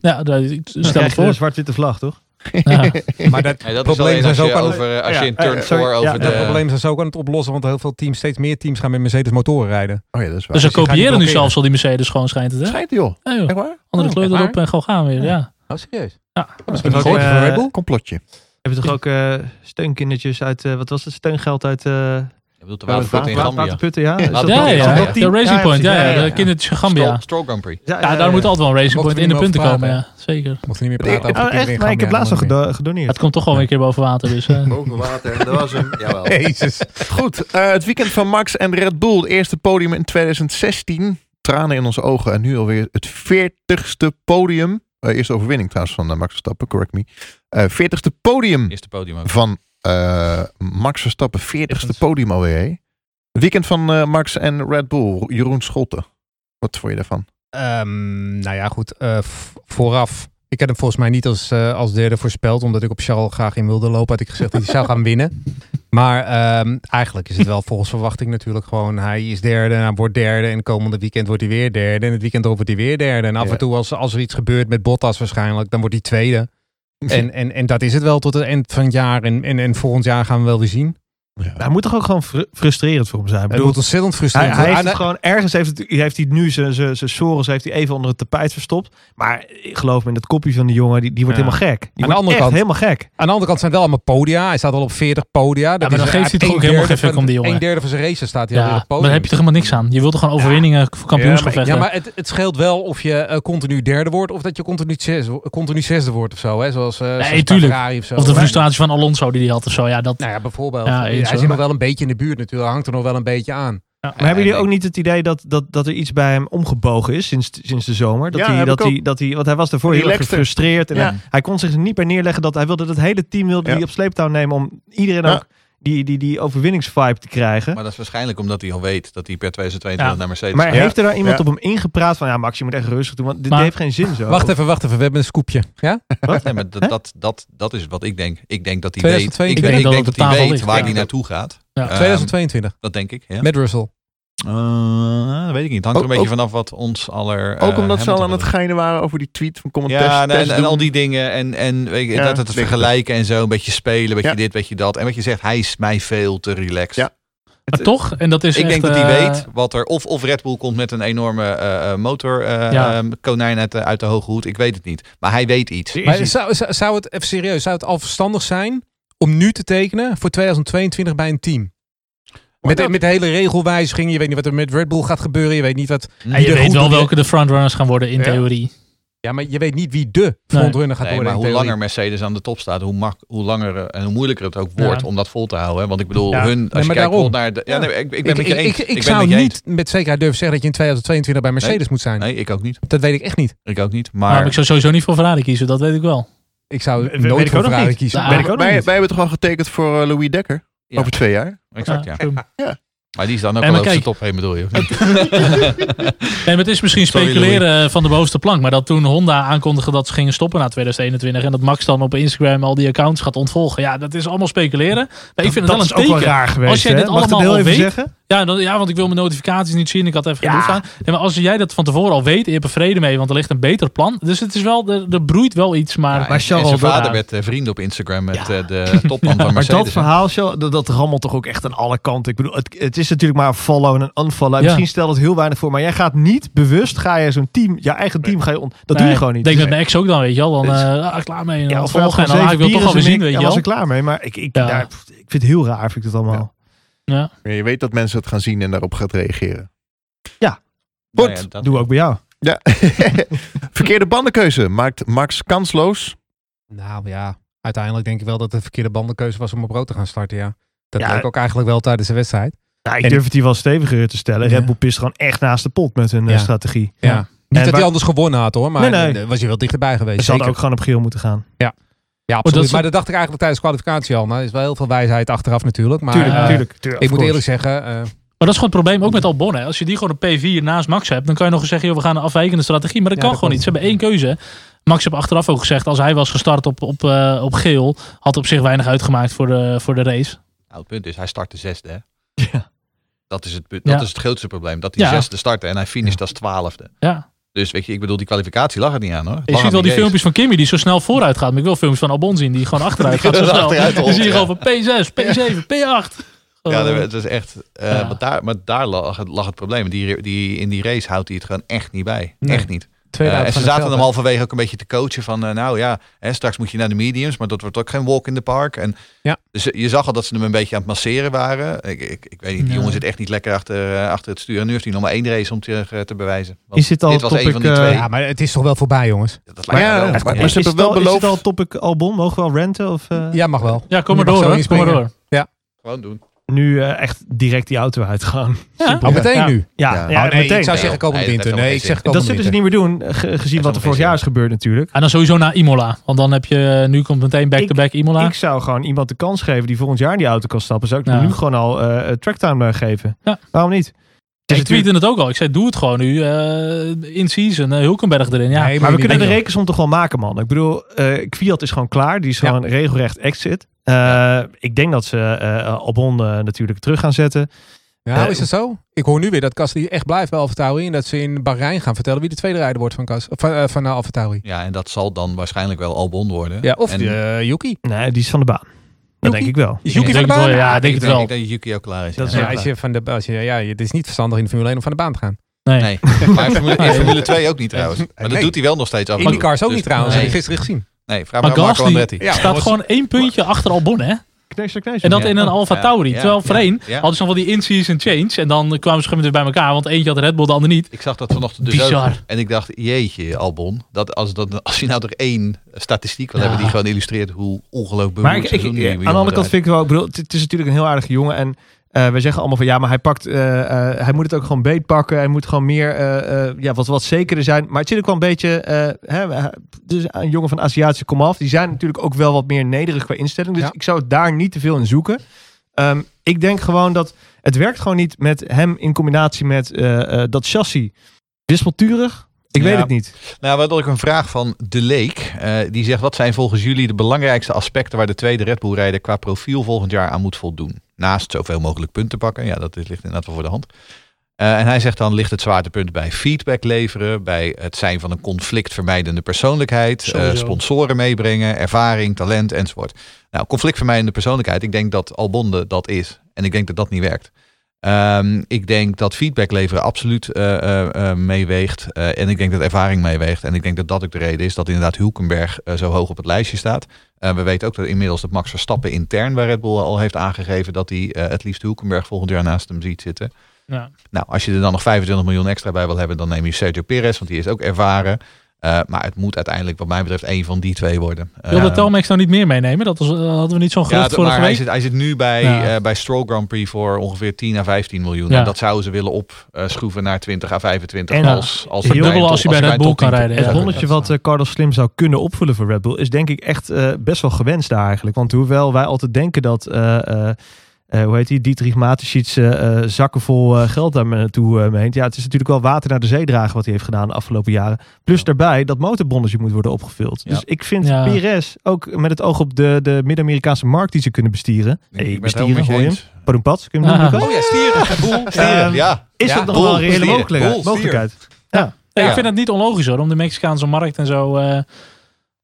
[SPEAKER 3] Ja, daar- ik
[SPEAKER 5] Dus
[SPEAKER 3] stel
[SPEAKER 5] Dan krijg
[SPEAKER 3] het
[SPEAKER 5] je een
[SPEAKER 3] voor.
[SPEAKER 5] zwart-witte vlag, toch?
[SPEAKER 3] Ja. Dus
[SPEAKER 4] Maar dat,
[SPEAKER 6] Nee, dat is
[SPEAKER 4] probleem
[SPEAKER 6] alleen
[SPEAKER 4] zijn
[SPEAKER 6] als
[SPEAKER 4] ze ook
[SPEAKER 6] je,
[SPEAKER 4] aan het-
[SPEAKER 6] over, eh, als
[SPEAKER 5] ja,
[SPEAKER 6] je in
[SPEAKER 5] eh,
[SPEAKER 6] turn
[SPEAKER 5] sorry,
[SPEAKER 6] 4
[SPEAKER 5] ja,
[SPEAKER 6] over
[SPEAKER 5] ja,
[SPEAKER 4] dat
[SPEAKER 6] de...
[SPEAKER 4] probleem zijn ze ook aan het oplossen, want heel veel teams, steeds meer teams gaan met Mercedes motoren rijden.
[SPEAKER 1] Oh ja, dat is waar.
[SPEAKER 3] Dus ze
[SPEAKER 4] die gaan die
[SPEAKER 3] kopiëren nu
[SPEAKER 4] blokkeren.
[SPEAKER 3] zelfs al die Mercedes gewoon schijnt het, hè?
[SPEAKER 1] Schijnt joh.
[SPEAKER 3] Ja, joh.
[SPEAKER 1] Echt waar?
[SPEAKER 3] Andere
[SPEAKER 1] Oh,
[SPEAKER 3] kleur
[SPEAKER 1] echt waar?
[SPEAKER 3] erop en gewoon gaan weer. Ja.
[SPEAKER 4] Oh, serieus?
[SPEAKER 3] Ja.
[SPEAKER 4] misschien
[SPEAKER 5] ook,
[SPEAKER 4] ook
[SPEAKER 5] eh,
[SPEAKER 4] van Red Bull?
[SPEAKER 1] Complotje.
[SPEAKER 5] Hebben we toch ook eh, steunkindertjes uit, eh, wat was het, steungeld uit eh
[SPEAKER 6] Ik bedoel, de watervoort in
[SPEAKER 5] wa-
[SPEAKER 6] Gambia.
[SPEAKER 5] waterputten? Ja, Is dat
[SPEAKER 6] Ja,
[SPEAKER 5] ook-
[SPEAKER 3] Ja,
[SPEAKER 5] is
[SPEAKER 3] ja,
[SPEAKER 5] dat
[SPEAKER 3] ja.
[SPEAKER 5] team?
[SPEAKER 3] De Racing
[SPEAKER 5] ja,
[SPEAKER 3] Point, ja,
[SPEAKER 5] precies,
[SPEAKER 3] ja,
[SPEAKER 5] ja,
[SPEAKER 3] de
[SPEAKER 5] ja.
[SPEAKER 3] kindertje
[SPEAKER 6] Stroll,
[SPEAKER 3] Gambia.
[SPEAKER 6] Stroll Grand Prix.
[SPEAKER 5] Ja,
[SPEAKER 3] Ja, daar moet altijd wel een Racing
[SPEAKER 4] Mochten
[SPEAKER 3] Point
[SPEAKER 4] we
[SPEAKER 3] in de
[SPEAKER 4] niet
[SPEAKER 3] punten
[SPEAKER 4] over
[SPEAKER 3] komen, ja. Zeker.
[SPEAKER 4] Mochten we niet meer
[SPEAKER 1] Ik-
[SPEAKER 4] praten over de
[SPEAKER 5] Oh,
[SPEAKER 4] kinderen
[SPEAKER 5] echt?
[SPEAKER 4] in
[SPEAKER 5] Maar ik heb
[SPEAKER 4] Gambia,
[SPEAKER 5] laatst al
[SPEAKER 4] helemaal
[SPEAKER 5] gedo-
[SPEAKER 3] Het
[SPEAKER 5] gedoneerd.
[SPEAKER 3] komt toch wel weer een keer boven water, dus... eh.
[SPEAKER 1] Boven water, dat was hem. Jawel.
[SPEAKER 4] niet meer. Jezus.
[SPEAKER 1] Goed, eh, het weekend van Max en Red Bull. Het eerste podium in 2016. Tranen in onze ogen en nu alweer het 40ste podium. Eh, eerste overwinning trouwens van eh, Max Verstappen, correct me. Eh 40ste podium
[SPEAKER 6] Eerste podium ook.
[SPEAKER 1] van eh, Max Verstappen. 40ste podium alweer. hè? Het weekend van eh, Max en Red Bull. Jeroen Schotten. Wat vond je daarvan?
[SPEAKER 4] Ehm, nou ja, goed. eh, v- vooraf. Ik heb hem volgens mij niet als, eh, als derde voorspeld. Omdat ik op Charles graag in wilde lopen. Had ik gezegd dat hij zou gaan winnen. Maar ehm, eigenlijk is het wel volgens verwachting natuurlijk gewoon. Hij is derde en hij wordt derde. En komende weekend wordt hij weer derde. En het weekend erop wordt hij weer derde. En af
[SPEAKER 1] Ja.
[SPEAKER 4] en toe als, als er iets gebeurt met Bottas waarschijnlijk. Dan wordt hij tweede. En, en, en dat is het wel tot het eind van het jaar. En, en, en volgend jaar gaan we wel weer zien.
[SPEAKER 5] Nou, het moet toch ook gewoon fru- frustrerend voor hem zijn? Ik
[SPEAKER 4] Het
[SPEAKER 5] bedoel,
[SPEAKER 4] wordt ontzettend
[SPEAKER 5] hij,
[SPEAKER 4] frustrerend. Ah,
[SPEAKER 5] hij heeft
[SPEAKER 4] Aan de-
[SPEAKER 5] het gewoon ergens heeft, het, heeft hij nu zijn zijn zijn sores heeft hij even onder het tapijt verstopt. Maar ik geloof me, dat kopje van die jongen, die, die wordt
[SPEAKER 4] Ja.
[SPEAKER 5] helemaal gek. Die
[SPEAKER 4] de
[SPEAKER 5] wordt
[SPEAKER 4] andere
[SPEAKER 5] echt
[SPEAKER 4] kant-
[SPEAKER 5] helemaal gek.
[SPEAKER 4] Aan de andere kant zijn het wel allemaal podia. Hij staat al op 40 podia. Dat
[SPEAKER 3] maar dan
[SPEAKER 4] is-
[SPEAKER 3] geeft hij toch
[SPEAKER 4] een
[SPEAKER 3] ook helemaal
[SPEAKER 4] derde
[SPEAKER 3] geen fuck
[SPEAKER 4] van-
[SPEAKER 3] om die jongen.
[SPEAKER 4] Een derde van zijn races staat hij
[SPEAKER 3] Ja,
[SPEAKER 4] al op
[SPEAKER 3] maar
[SPEAKER 4] het podium.
[SPEAKER 3] daar heb je toch helemaal niks aan. Je wilt toch gewoon overwinningen voor kampioensgevechten.
[SPEAKER 4] ja, maar het, het scheelt wel of je eh, continu derde wordt of dat je continu, zes, continu zesde wordt of zo. Hè? Zoals, eh zoals bij
[SPEAKER 3] tuurlijk.
[SPEAKER 4] Ferrari of zo.
[SPEAKER 3] Of de
[SPEAKER 4] Maar-
[SPEAKER 3] frustratie van Alonso die hij had of zo. Ja, dat,
[SPEAKER 4] Nou ja, bijvoorbeeld.
[SPEAKER 3] Ja,
[SPEAKER 4] hij
[SPEAKER 3] eens,
[SPEAKER 4] zit
[SPEAKER 3] hoor.
[SPEAKER 4] nog wel een beetje in de buurt natuurlijk. Hij hangt er nog wel een beetje aan.
[SPEAKER 5] Maar hebben jullie
[SPEAKER 6] nee.
[SPEAKER 5] ook niet het idee dat, dat, dat er iets bij hem omgebogen is sinds, sinds de zomer? Dat
[SPEAKER 1] Ja,
[SPEAKER 5] hij,
[SPEAKER 1] heb
[SPEAKER 5] dat
[SPEAKER 1] ik ook.
[SPEAKER 5] hij, dat hij, want hij was daarvoor heel erg
[SPEAKER 1] Relaxter.
[SPEAKER 5] gefrustreerd. En
[SPEAKER 1] Ja.
[SPEAKER 5] hij, hij kon zich er niet bij neerleggen dat hij wilde dat het hele team wilde
[SPEAKER 1] Ja.
[SPEAKER 5] die op sleeptouw nemen om iedereen
[SPEAKER 1] Ja.
[SPEAKER 5] ook die, die, die overwinningsvibe te krijgen. Maar,
[SPEAKER 6] Maar dat is waarschijnlijk omdat hij al weet dat hij per 2022
[SPEAKER 3] Ja.
[SPEAKER 6] naar Mercedes gaat.
[SPEAKER 1] Ja.
[SPEAKER 5] heeft er daar iemand
[SPEAKER 1] Ja.
[SPEAKER 5] op hem ingepraat van ja, Max, je moet echt rustig doen, want dit
[SPEAKER 3] Maar-
[SPEAKER 5] heeft geen zin zo.
[SPEAKER 4] Wacht even, wacht even. We hebben een scoopje. Ja?
[SPEAKER 6] Nee, maar
[SPEAKER 5] Hè?
[SPEAKER 6] dat, dat, dat, dat is wat ik denk. Ik denk dat hij weet, ik,
[SPEAKER 4] 2022.
[SPEAKER 6] weet- ik denk,
[SPEAKER 3] Ik denk dat het
[SPEAKER 6] dat
[SPEAKER 3] op
[SPEAKER 6] hij
[SPEAKER 3] tafel
[SPEAKER 6] weet
[SPEAKER 3] ligt.
[SPEAKER 6] waar
[SPEAKER 3] Ja.
[SPEAKER 6] hij naartoe gaat.
[SPEAKER 3] Ja.
[SPEAKER 6] Ehm,
[SPEAKER 4] 2022.
[SPEAKER 6] dat denk ik, ja.
[SPEAKER 4] Met Russell.
[SPEAKER 6] Eh, dat weet ik niet. Het hangt er
[SPEAKER 1] Ook-
[SPEAKER 6] een beetje
[SPEAKER 1] ook-
[SPEAKER 6] vanaf wat ons aller... eh,
[SPEAKER 1] Oh, Ook omdat ze al aan
[SPEAKER 6] Hamilton
[SPEAKER 1] het geinen waren over die tweet van
[SPEAKER 6] wil.
[SPEAKER 1] commentaar.
[SPEAKER 6] ja, en- en, en al die dingen en, en weet je,
[SPEAKER 1] Ja,
[SPEAKER 6] dat het
[SPEAKER 1] zeker.
[SPEAKER 6] vergelijken en zo, een beetje spelen, weet
[SPEAKER 1] Ja.
[SPEAKER 6] je dit, weet je dat. En wat je zegt, hij is mij veel te relaxed.
[SPEAKER 1] Ja.
[SPEAKER 3] maar toch, en dat is
[SPEAKER 4] Dus
[SPEAKER 6] ik
[SPEAKER 3] echt,
[SPEAKER 6] denk dat hij
[SPEAKER 3] eh,
[SPEAKER 6] weet wat er. Of, of Red Bull komt met een enorme eh motorkonijn
[SPEAKER 3] Ja.
[SPEAKER 6] konijn uit, de- uit de hoge hoed. Ik weet het niet. Maar hij weet iets.
[SPEAKER 5] Is
[SPEAKER 4] Maar
[SPEAKER 5] hij-
[SPEAKER 4] zou, zou, zou het, even serieus, zou het al verstandig zijn om nu te tekenen voor 2022 bij een team?
[SPEAKER 1] Oh,
[SPEAKER 4] Met, met de hele regelwijziging, je weet niet wat er met Red Bull gaat gebeuren, je weet niet wat...
[SPEAKER 6] Hm.
[SPEAKER 3] en je
[SPEAKER 4] er
[SPEAKER 3] weet
[SPEAKER 4] goed
[SPEAKER 3] wel
[SPEAKER 4] op-
[SPEAKER 3] welke de frontrunners gaan worden in
[SPEAKER 4] Ja.
[SPEAKER 3] theorie.
[SPEAKER 4] Ja, maar je weet niet wie de frontrunner gaat
[SPEAKER 6] Nee,
[SPEAKER 4] worden.
[SPEAKER 6] maar
[SPEAKER 4] in
[SPEAKER 6] hoe
[SPEAKER 4] theorie.
[SPEAKER 6] langer Mercedes aan de top staat, hoe, mak, hoe langer eh, en hoe moeilijker het ook wordt
[SPEAKER 3] Ja.
[SPEAKER 6] om dat vol te houden. hè. Want ik bedoel,
[SPEAKER 3] Ja.
[SPEAKER 6] hun, als
[SPEAKER 4] Nee,
[SPEAKER 6] je
[SPEAKER 4] maar
[SPEAKER 6] kijkt
[SPEAKER 4] daarom.
[SPEAKER 6] bijvoorbeeld naar de. Ja,
[SPEAKER 4] Ja.
[SPEAKER 6] nee, ik, ik ben
[SPEAKER 4] ik,
[SPEAKER 6] met je
[SPEAKER 4] ik,
[SPEAKER 6] eens.
[SPEAKER 4] ik, ik
[SPEAKER 6] ben
[SPEAKER 4] zou
[SPEAKER 6] met je
[SPEAKER 4] niet
[SPEAKER 6] eens.
[SPEAKER 4] met zekerheid durven zeggen dat je in 2022 bij Mercedes moet zijn.
[SPEAKER 6] Nee, ik ook niet.
[SPEAKER 4] Dat weet ik echt niet.
[SPEAKER 6] Ik ook niet.
[SPEAKER 3] Maar,
[SPEAKER 6] Maar
[SPEAKER 3] ik zou sowieso niet voor Ferrari kiezen, dat weet ik wel.
[SPEAKER 4] Ik zou
[SPEAKER 5] We- we- weet
[SPEAKER 4] nooit
[SPEAKER 5] ik
[SPEAKER 4] voor
[SPEAKER 5] ook nog
[SPEAKER 4] Ferrari
[SPEAKER 5] niet.
[SPEAKER 4] kiezen.
[SPEAKER 3] Nou,
[SPEAKER 5] Weet ik ook nog
[SPEAKER 1] wij,
[SPEAKER 5] niet.
[SPEAKER 1] wij hebben toch al getekend voor eh, Louis Dekker?
[SPEAKER 6] Ja.
[SPEAKER 1] Over twee jaar.
[SPEAKER 6] exact, ja.
[SPEAKER 3] true.
[SPEAKER 6] Maar die is dan ook
[SPEAKER 3] Nee,
[SPEAKER 6] al
[SPEAKER 3] maar
[SPEAKER 6] over de
[SPEAKER 3] kijk.
[SPEAKER 6] top heen, bedoel je? of niet?
[SPEAKER 3] Nee, maar het is misschien
[SPEAKER 6] Sorry,
[SPEAKER 3] speculeren eh, van de bovenste plank. Maar dat toen Honda aankondigde dat ze gingen stoppen na 2021. En dat Max dan op Instagram al die accounts gaat ontvolgen. Ja, dat is allemaal speculeren. Maar ik vind
[SPEAKER 5] dat
[SPEAKER 3] het wel
[SPEAKER 5] is
[SPEAKER 3] een teken.
[SPEAKER 5] ook wel raar geweest.
[SPEAKER 3] Als jij dit
[SPEAKER 5] hè? Mag ik
[SPEAKER 3] allemaal
[SPEAKER 5] dat heel
[SPEAKER 3] al
[SPEAKER 5] even
[SPEAKER 3] weet,
[SPEAKER 5] zeggen?
[SPEAKER 3] Ja, dan, ja, want ik wil mijn notificaties niet zien. Ik had even
[SPEAKER 5] Ja.
[SPEAKER 3] genoeg staan. Nee, maar als jij dat van tevoren al weet, je hebt er vrede mee. Want er ligt een beter plan. Dus het is wel, er, er broeit wel iets. Maar
[SPEAKER 6] Ja, en-
[SPEAKER 5] maar
[SPEAKER 6] en
[SPEAKER 5] Charles
[SPEAKER 6] zijn vader
[SPEAKER 5] Daan.
[SPEAKER 6] werd eh, vrienden op Instagram met eh, de topman van
[SPEAKER 5] Maar
[SPEAKER 6] Mercedes.
[SPEAKER 5] dat
[SPEAKER 6] hè.
[SPEAKER 5] verhaal, Sjo, dat, dat rammelt toch ook echt aan alle kanten. Ik bedoel, het, het is natuurlijk maar een follow en een unfollow. En
[SPEAKER 3] Ja.
[SPEAKER 5] Misschien stelt het heel weinig voor, maar jij gaat niet bewust, ga je zo'n team, je eigen team, ga je on... Dat doe je
[SPEAKER 3] Nee,
[SPEAKER 5] gewoon niet.
[SPEAKER 3] Denk
[SPEAKER 5] Dus-
[SPEAKER 3] met mijn ex ook dan, weet je wel. Dan
[SPEAKER 5] Dus-
[SPEAKER 3] eh, ah, klaar mee. En dan
[SPEAKER 5] of
[SPEAKER 3] volgen. En dan ah, ik wil toch
[SPEAKER 5] wel
[SPEAKER 3] wel weer zien, weet je
[SPEAKER 5] was
[SPEAKER 3] wel.
[SPEAKER 5] er klaar mee, maar ik, ik,
[SPEAKER 3] Ja.
[SPEAKER 5] daar, pff, ik vind het heel raar, vind ik het allemaal.
[SPEAKER 3] Ja.
[SPEAKER 1] Maar je weet dat mensen het gaan zien en daarop gaat reageren.
[SPEAKER 5] Goed,
[SPEAKER 6] Nou ja, dat-
[SPEAKER 5] doe ook bij jou.
[SPEAKER 1] Ja. Verkeerde bandenkeuze maakt Max kansloos.
[SPEAKER 4] Nou ja, uiteindelijk denk ik wel dat het de verkeerde bandenkeuze was om op rood te gaan starten, ja. Dat
[SPEAKER 5] Ja.
[SPEAKER 4] denk ik ook eigenlijk wel tijdens de wedstrijd.
[SPEAKER 5] Nou, ik
[SPEAKER 4] En-
[SPEAKER 5] durf het hier wel steviger te stellen.
[SPEAKER 4] Ja.
[SPEAKER 5] Red Bull pist gewoon echt naast de pot met hun eh,
[SPEAKER 4] Ja.
[SPEAKER 5] strategie.
[SPEAKER 4] Ja.
[SPEAKER 5] En
[SPEAKER 4] Niet dat
[SPEAKER 5] waar-
[SPEAKER 4] hij anders gewonnen had hoor, maar
[SPEAKER 5] Nee, nee.
[SPEAKER 4] eh, was je wel dichterbij geweest.
[SPEAKER 5] Ze hadden
[SPEAKER 4] zeker.
[SPEAKER 5] ook Oh, gewoon op geel moeten gaan.
[SPEAKER 4] Ja,
[SPEAKER 3] dat
[SPEAKER 4] absoluut.
[SPEAKER 3] is-
[SPEAKER 4] maar dat dacht ik eigenlijk tijdens kwalificatie al. Nou, er is wel heel veel wijsheid achteraf natuurlijk. Maar
[SPEAKER 5] tuurlijk,
[SPEAKER 4] eh,
[SPEAKER 5] tuurlijk, tuurlijk.
[SPEAKER 4] ik
[SPEAKER 5] of
[SPEAKER 4] moet eerlijk
[SPEAKER 5] course.
[SPEAKER 4] zeggen, eh,
[SPEAKER 3] Maar dat is gewoon het probleem ook met Albon. Hè. Als je die gewoon een P4 naast Max hebt, dan kan je nog eens zeggen, joh, we gaan een afwijkende strategie. Maar dat
[SPEAKER 4] Ja,
[SPEAKER 3] kan
[SPEAKER 4] dat
[SPEAKER 3] gewoon
[SPEAKER 4] kan.
[SPEAKER 3] niet. Ze hebben één keuze. Max heeft achteraf ook gezegd, als hij was gestart op, op, eh, op geel, had op zich weinig uitgemaakt voor de, voor de race.
[SPEAKER 6] Nou, het punt is, hij start de zesde. Hè?
[SPEAKER 5] Ja.
[SPEAKER 6] Dat is het, punt-
[SPEAKER 3] Ja.
[SPEAKER 6] dat is het grootste probleem. Dat hij
[SPEAKER 3] Ja.
[SPEAKER 6] zesde startte en hij finisht als twaalfde.
[SPEAKER 3] Ja.
[SPEAKER 6] Dus weet je, ik bedoel, die kwalificatie lag er niet aan hoor.
[SPEAKER 3] Je ziet wel die filmpjes van Kimmy die zo snel vooruit gaat. Maar ik wil filmpjes van Albon zien die gewoon achteruit gaat. Zo
[SPEAKER 6] Die
[SPEAKER 3] snel.
[SPEAKER 6] achteruit
[SPEAKER 3] dan
[SPEAKER 6] rolt,
[SPEAKER 3] zie je
[SPEAKER 6] ja.
[SPEAKER 3] gewoon van P6, P7, P8.
[SPEAKER 6] Ja,
[SPEAKER 3] Gewoon-
[SPEAKER 6] dat is echt. eh,
[SPEAKER 3] Ja.
[SPEAKER 6] maar, daar, maar daar lag, het- lag het probleem. Die, die, in die race houdt hij het gewoon echt niet bij.
[SPEAKER 4] Nee.
[SPEAKER 6] Echt niet.
[SPEAKER 4] tweede
[SPEAKER 6] Eh,
[SPEAKER 4] uit
[SPEAKER 6] en ze
[SPEAKER 4] van
[SPEAKER 6] zaten
[SPEAKER 4] het
[SPEAKER 6] hem
[SPEAKER 4] veld,
[SPEAKER 6] halverwege ook een beetje te coachen van, eh, nou ja, hè, straks moet je naar de mediums, maar dat wordt ook geen walk in the park. En
[SPEAKER 4] Ja.
[SPEAKER 6] Dus je zag al dat ze hem een beetje aan het masseren waren. Ik, ik, ik weet niet, die
[SPEAKER 3] Ja.
[SPEAKER 6] jongen zit echt niet lekker achter, eh, achter het stuur. En nu heeft hij nog maar één race om te, te bewijzen. Want
[SPEAKER 5] Is dit al
[SPEAKER 6] dit was
[SPEAKER 5] topic,
[SPEAKER 6] een van die
[SPEAKER 5] eh,
[SPEAKER 6] twee.
[SPEAKER 4] hè. Ja, maar het is toch wel voorbij jongens.
[SPEAKER 6] dat lijkt
[SPEAKER 1] Maar
[SPEAKER 6] me
[SPEAKER 1] ja,
[SPEAKER 6] wel.
[SPEAKER 1] het- maar-
[SPEAKER 6] Ja.
[SPEAKER 1] maar ze
[SPEAKER 5] Is het
[SPEAKER 1] hebben wel
[SPEAKER 5] al- Is
[SPEAKER 1] beloofd.
[SPEAKER 5] het al topic Albon? Mogen we wel renten? Of, eh,
[SPEAKER 4] Ja, mag wel.
[SPEAKER 3] Ja, kom maar
[SPEAKER 4] Je mag
[SPEAKER 3] door
[SPEAKER 4] zo
[SPEAKER 3] hoor. Kom
[SPEAKER 4] inspringen.
[SPEAKER 3] maar door.
[SPEAKER 6] Gewoon doen.
[SPEAKER 5] Nu eh, echt direct die auto uitgaan.
[SPEAKER 3] Ja.
[SPEAKER 4] Oh, meteen
[SPEAKER 5] Ja.
[SPEAKER 4] nu.
[SPEAKER 5] Ja,
[SPEAKER 1] Ja.
[SPEAKER 5] ja.
[SPEAKER 4] oh, nee,
[SPEAKER 5] meteen.
[SPEAKER 4] ik zou
[SPEAKER 6] Nee,
[SPEAKER 4] zeggen Kopen
[SPEAKER 6] dat dus
[SPEAKER 4] Winter.
[SPEAKER 6] heeft helemaal
[SPEAKER 4] Nee, ik
[SPEAKER 6] geen
[SPEAKER 4] zeg
[SPEAKER 6] zin.
[SPEAKER 4] Kopen
[SPEAKER 5] Dat zullen ze niet meer doen, eh, ge- gezien wat
[SPEAKER 6] nog
[SPEAKER 5] er vorig
[SPEAKER 6] geen zin.
[SPEAKER 5] jaar is gebeurd natuurlijk.
[SPEAKER 3] En dan sowieso naar Imola. Want dan heb je, eh, nu komt meteen back-to-back Imola.
[SPEAKER 5] Ik zou gewoon iemand de kans geven die volgend jaar in die auto kan stappen. Zou ik
[SPEAKER 3] Ja.
[SPEAKER 5] nu gewoon al eh, tracktime eh, geven.
[SPEAKER 3] Ja.
[SPEAKER 5] Waarom niet?
[SPEAKER 3] Ja,
[SPEAKER 5] Is
[SPEAKER 3] ik
[SPEAKER 5] het weer-
[SPEAKER 3] tweette het ook al. Ik zei, doe het gewoon nu. eh, in season, eh, Hulkenberg erin. Ja.
[SPEAKER 4] Nee,
[SPEAKER 5] Maar we kunnen de
[SPEAKER 4] niet.
[SPEAKER 5] rekensom toch wel maken, man. Ik bedoel, eh Kwiat is gewoon klaar. Die is
[SPEAKER 4] Ja.
[SPEAKER 5] gewoon regelrecht exit. Eh, Ik denk dat ze eh Albon eh, natuurlijk terug gaan zetten.
[SPEAKER 4] Ja, is dat zo? Ik hoor nu weer dat Kastli echt blijft bij AlphaTauri. En dat ze in Bahrein gaan vertellen wie de tweede rijder wordt van, Kas, van, eh, van eh, AlphaTauri.
[SPEAKER 6] Ja, en dat zal dan waarschijnlijk wel Albon worden.
[SPEAKER 4] Ja, of
[SPEAKER 6] en,
[SPEAKER 4] eh, Yuki.
[SPEAKER 5] Nee, die is van de baan. Dat denk ik wel.
[SPEAKER 4] Is
[SPEAKER 3] Ik
[SPEAKER 4] Yuki
[SPEAKER 3] denk
[SPEAKER 4] van de
[SPEAKER 3] het wel,
[SPEAKER 4] baan?
[SPEAKER 3] Ja, ik denk het
[SPEAKER 6] ik denk,
[SPEAKER 3] wel.
[SPEAKER 6] ik denk dat Yuki ook klaar is.
[SPEAKER 5] Dat
[SPEAKER 6] ja.
[SPEAKER 5] is
[SPEAKER 4] Ja,
[SPEAKER 5] ook
[SPEAKER 4] als je van de, als je, ja, het is niet verstandig in de Formule 1 om van de baan te gaan.
[SPEAKER 3] Nee.
[SPEAKER 6] Nee, maar in Formule, in
[SPEAKER 3] Nee.
[SPEAKER 6] Formule 2 ook niet trouwens. Maar dat
[SPEAKER 4] Nee.
[SPEAKER 6] doet hij wel nog steeds af en toe.
[SPEAKER 4] IndyCar is ook
[SPEAKER 6] Dus-
[SPEAKER 4] niet trouwens,
[SPEAKER 6] Nee,
[SPEAKER 4] heb ik gisteren gezien.
[SPEAKER 6] nee, vraag
[SPEAKER 3] Maar
[SPEAKER 6] maar aan Marco
[SPEAKER 3] Gasly
[SPEAKER 6] Andretti.
[SPEAKER 4] Ja,
[SPEAKER 3] staat gewoon één puntje achter Albon, hè?
[SPEAKER 5] Knees, knees.
[SPEAKER 3] En dat
[SPEAKER 6] Ja.
[SPEAKER 3] in een Alfa
[SPEAKER 6] Ja.
[SPEAKER 3] Tauri.
[SPEAKER 6] Ja.
[SPEAKER 3] Terwijl voorheen
[SPEAKER 6] Ja.
[SPEAKER 3] hadden ze nog wel die in-season change. En dan kwamen ze gewoon bij elkaar. Want eentje had Red Bull, de ander niet.
[SPEAKER 6] Ik zag dat vanochtend dus
[SPEAKER 3] Bizar.
[SPEAKER 6] ook. En ik dacht, jeetje Albon, dat als, dat, als je nou toch één statistiek wil
[SPEAKER 3] Ja.
[SPEAKER 6] hebben die gewoon illustreert hoe ongelooflijk
[SPEAKER 5] Maar ik,
[SPEAKER 6] beroerd
[SPEAKER 5] ik,
[SPEAKER 6] seizoen die
[SPEAKER 5] aan
[SPEAKER 6] jongen
[SPEAKER 5] de andere kant
[SPEAKER 6] draait.
[SPEAKER 5] vind ik wel, ik bedoel, het, het is natuurlijk een heel aardige jongen. En eh, we zeggen allemaal van ja, maar hij pakt, eh, eh, hij moet het ook gewoon beet pakken. Hij moet gewoon meer, eh, eh, ja, wat, wat zekerder zijn. Maar het zit ook wel een beetje, eh, hè, eh, dus een jongen van Aziatische komaf. Die zijn natuurlijk ook wel wat meer nederig qua instelling. Dus
[SPEAKER 4] Ja.
[SPEAKER 5] ik zou het daar niet te veel in zoeken. Ehm, ik denk gewoon dat het werkt gewoon niet met hem in combinatie met eh, eh, dat chassis. Wispelturig? Ik
[SPEAKER 6] Ja.
[SPEAKER 5] weet het niet.
[SPEAKER 6] Nou, we hadden ook een vraag van De Leek. Eh, die zegt, wat zijn volgens jullie de belangrijkste aspecten waar de tweede Red Bull rijder qua profiel volgend jaar aan moet voldoen? Naast zoveel mogelijk punten pakken. Ja, dat ligt inderdaad wel voor de hand. Eh, en hij zegt dan, ligt het zwaartepunt bij feedback leveren, bij het zijn van een conflictvermijdende persoonlijkheid, eh, sponsoren meebrengen, ervaring, talent enzovoort. Nou, conflictvermijdende persoonlijkheid, ik denk dat Albonde dat is. En ik denk dat dat niet werkt. Ehm, ik denk dat feedback leveren absoluut eh, eh, eh, meeweegt. Eh, en ik denk dat ervaring meeweegt. En ik denk dat dat ook de reden is dat inderdaad Hulkenberg eh, zo hoog op het lijstje staat. Eh, we weten ook dat inmiddels dat Max Verstappen intern bij Red Bull al heeft aangegeven dat hij eh, het liefst Hulkenberg volgend jaar naast hem ziet zitten.
[SPEAKER 3] Ja.
[SPEAKER 6] Nou, als je er dan nog 25 miljoen extra bij wil hebben, dan neem je Sergio Perez, want die is ook ervaren. Eh, maar het moet uiteindelijk, wat mij betreft, één van die twee worden.
[SPEAKER 3] Wilde
[SPEAKER 6] Eh,
[SPEAKER 3] Telmex nou niet meer meenemen? Dat was, eh, hadden we niet zo'n
[SPEAKER 6] ja,
[SPEAKER 3] gerucht
[SPEAKER 6] d-
[SPEAKER 3] vorige
[SPEAKER 6] maar hij
[SPEAKER 3] week.
[SPEAKER 6] zit, hij zit nu bij,
[SPEAKER 3] Ja.
[SPEAKER 6] eh, bij Stroll Grand Prix voor ongeveer 10 à 15 miljoen.
[SPEAKER 3] Ja.
[SPEAKER 6] En dat zouden ze willen opschroeven naar 20 à 25.
[SPEAKER 5] En,
[SPEAKER 6] als, als
[SPEAKER 3] dubbel
[SPEAKER 6] een top-
[SPEAKER 3] als hij bij
[SPEAKER 6] een
[SPEAKER 3] Red Bull
[SPEAKER 6] top
[SPEAKER 3] kan
[SPEAKER 6] 10 top-
[SPEAKER 3] rijden,
[SPEAKER 5] Het
[SPEAKER 3] Ja,
[SPEAKER 5] rolletje
[SPEAKER 3] dat is
[SPEAKER 5] wat eh, Carlos Slim zou kunnen opvullen voor Red Bull is denk ik echt eh, best wel gewenst daar eigenlijk. Want hoewel wij altijd denken dat, eh, eh, eh, hoe heet die, Dietrich Mateschitz eh, eh, zakken vol eh, geld daar naartoe eh, meent. Ja, het is natuurlijk wel water naar de zee dragen wat hij heeft gedaan de afgelopen jaren. Plus daarbij dat motorbonnetje moet worden opgevuld.
[SPEAKER 6] Ja.
[SPEAKER 5] Dus ik vind
[SPEAKER 3] Ja.
[SPEAKER 5] Pires ook met het oog op de, de Midden-Amerikaanse markt die ze kunnen bestieren.
[SPEAKER 6] Ik ben het
[SPEAKER 5] Hey,
[SPEAKER 6] helemaal
[SPEAKER 5] bestieren,
[SPEAKER 6] met je
[SPEAKER 5] hoor je hem?
[SPEAKER 6] eens.
[SPEAKER 5] Pardon, Pats, kun je hem doen,
[SPEAKER 3] Ah.
[SPEAKER 5] Lucas?
[SPEAKER 6] Oh ja, stieren. Boel, stieren.
[SPEAKER 5] Ehm,
[SPEAKER 6] ja.
[SPEAKER 5] Is
[SPEAKER 4] Ja,
[SPEAKER 5] dat nog
[SPEAKER 6] boel,
[SPEAKER 5] wel een reële
[SPEAKER 6] stieren,
[SPEAKER 5] mogelijkheid?
[SPEAKER 6] boel, stier.
[SPEAKER 5] mogelijkheid?
[SPEAKER 3] Nee,
[SPEAKER 6] Ja.
[SPEAKER 3] Ik vind het niet onlogisch hoor. Om de Mexicaanse markt en zo eh,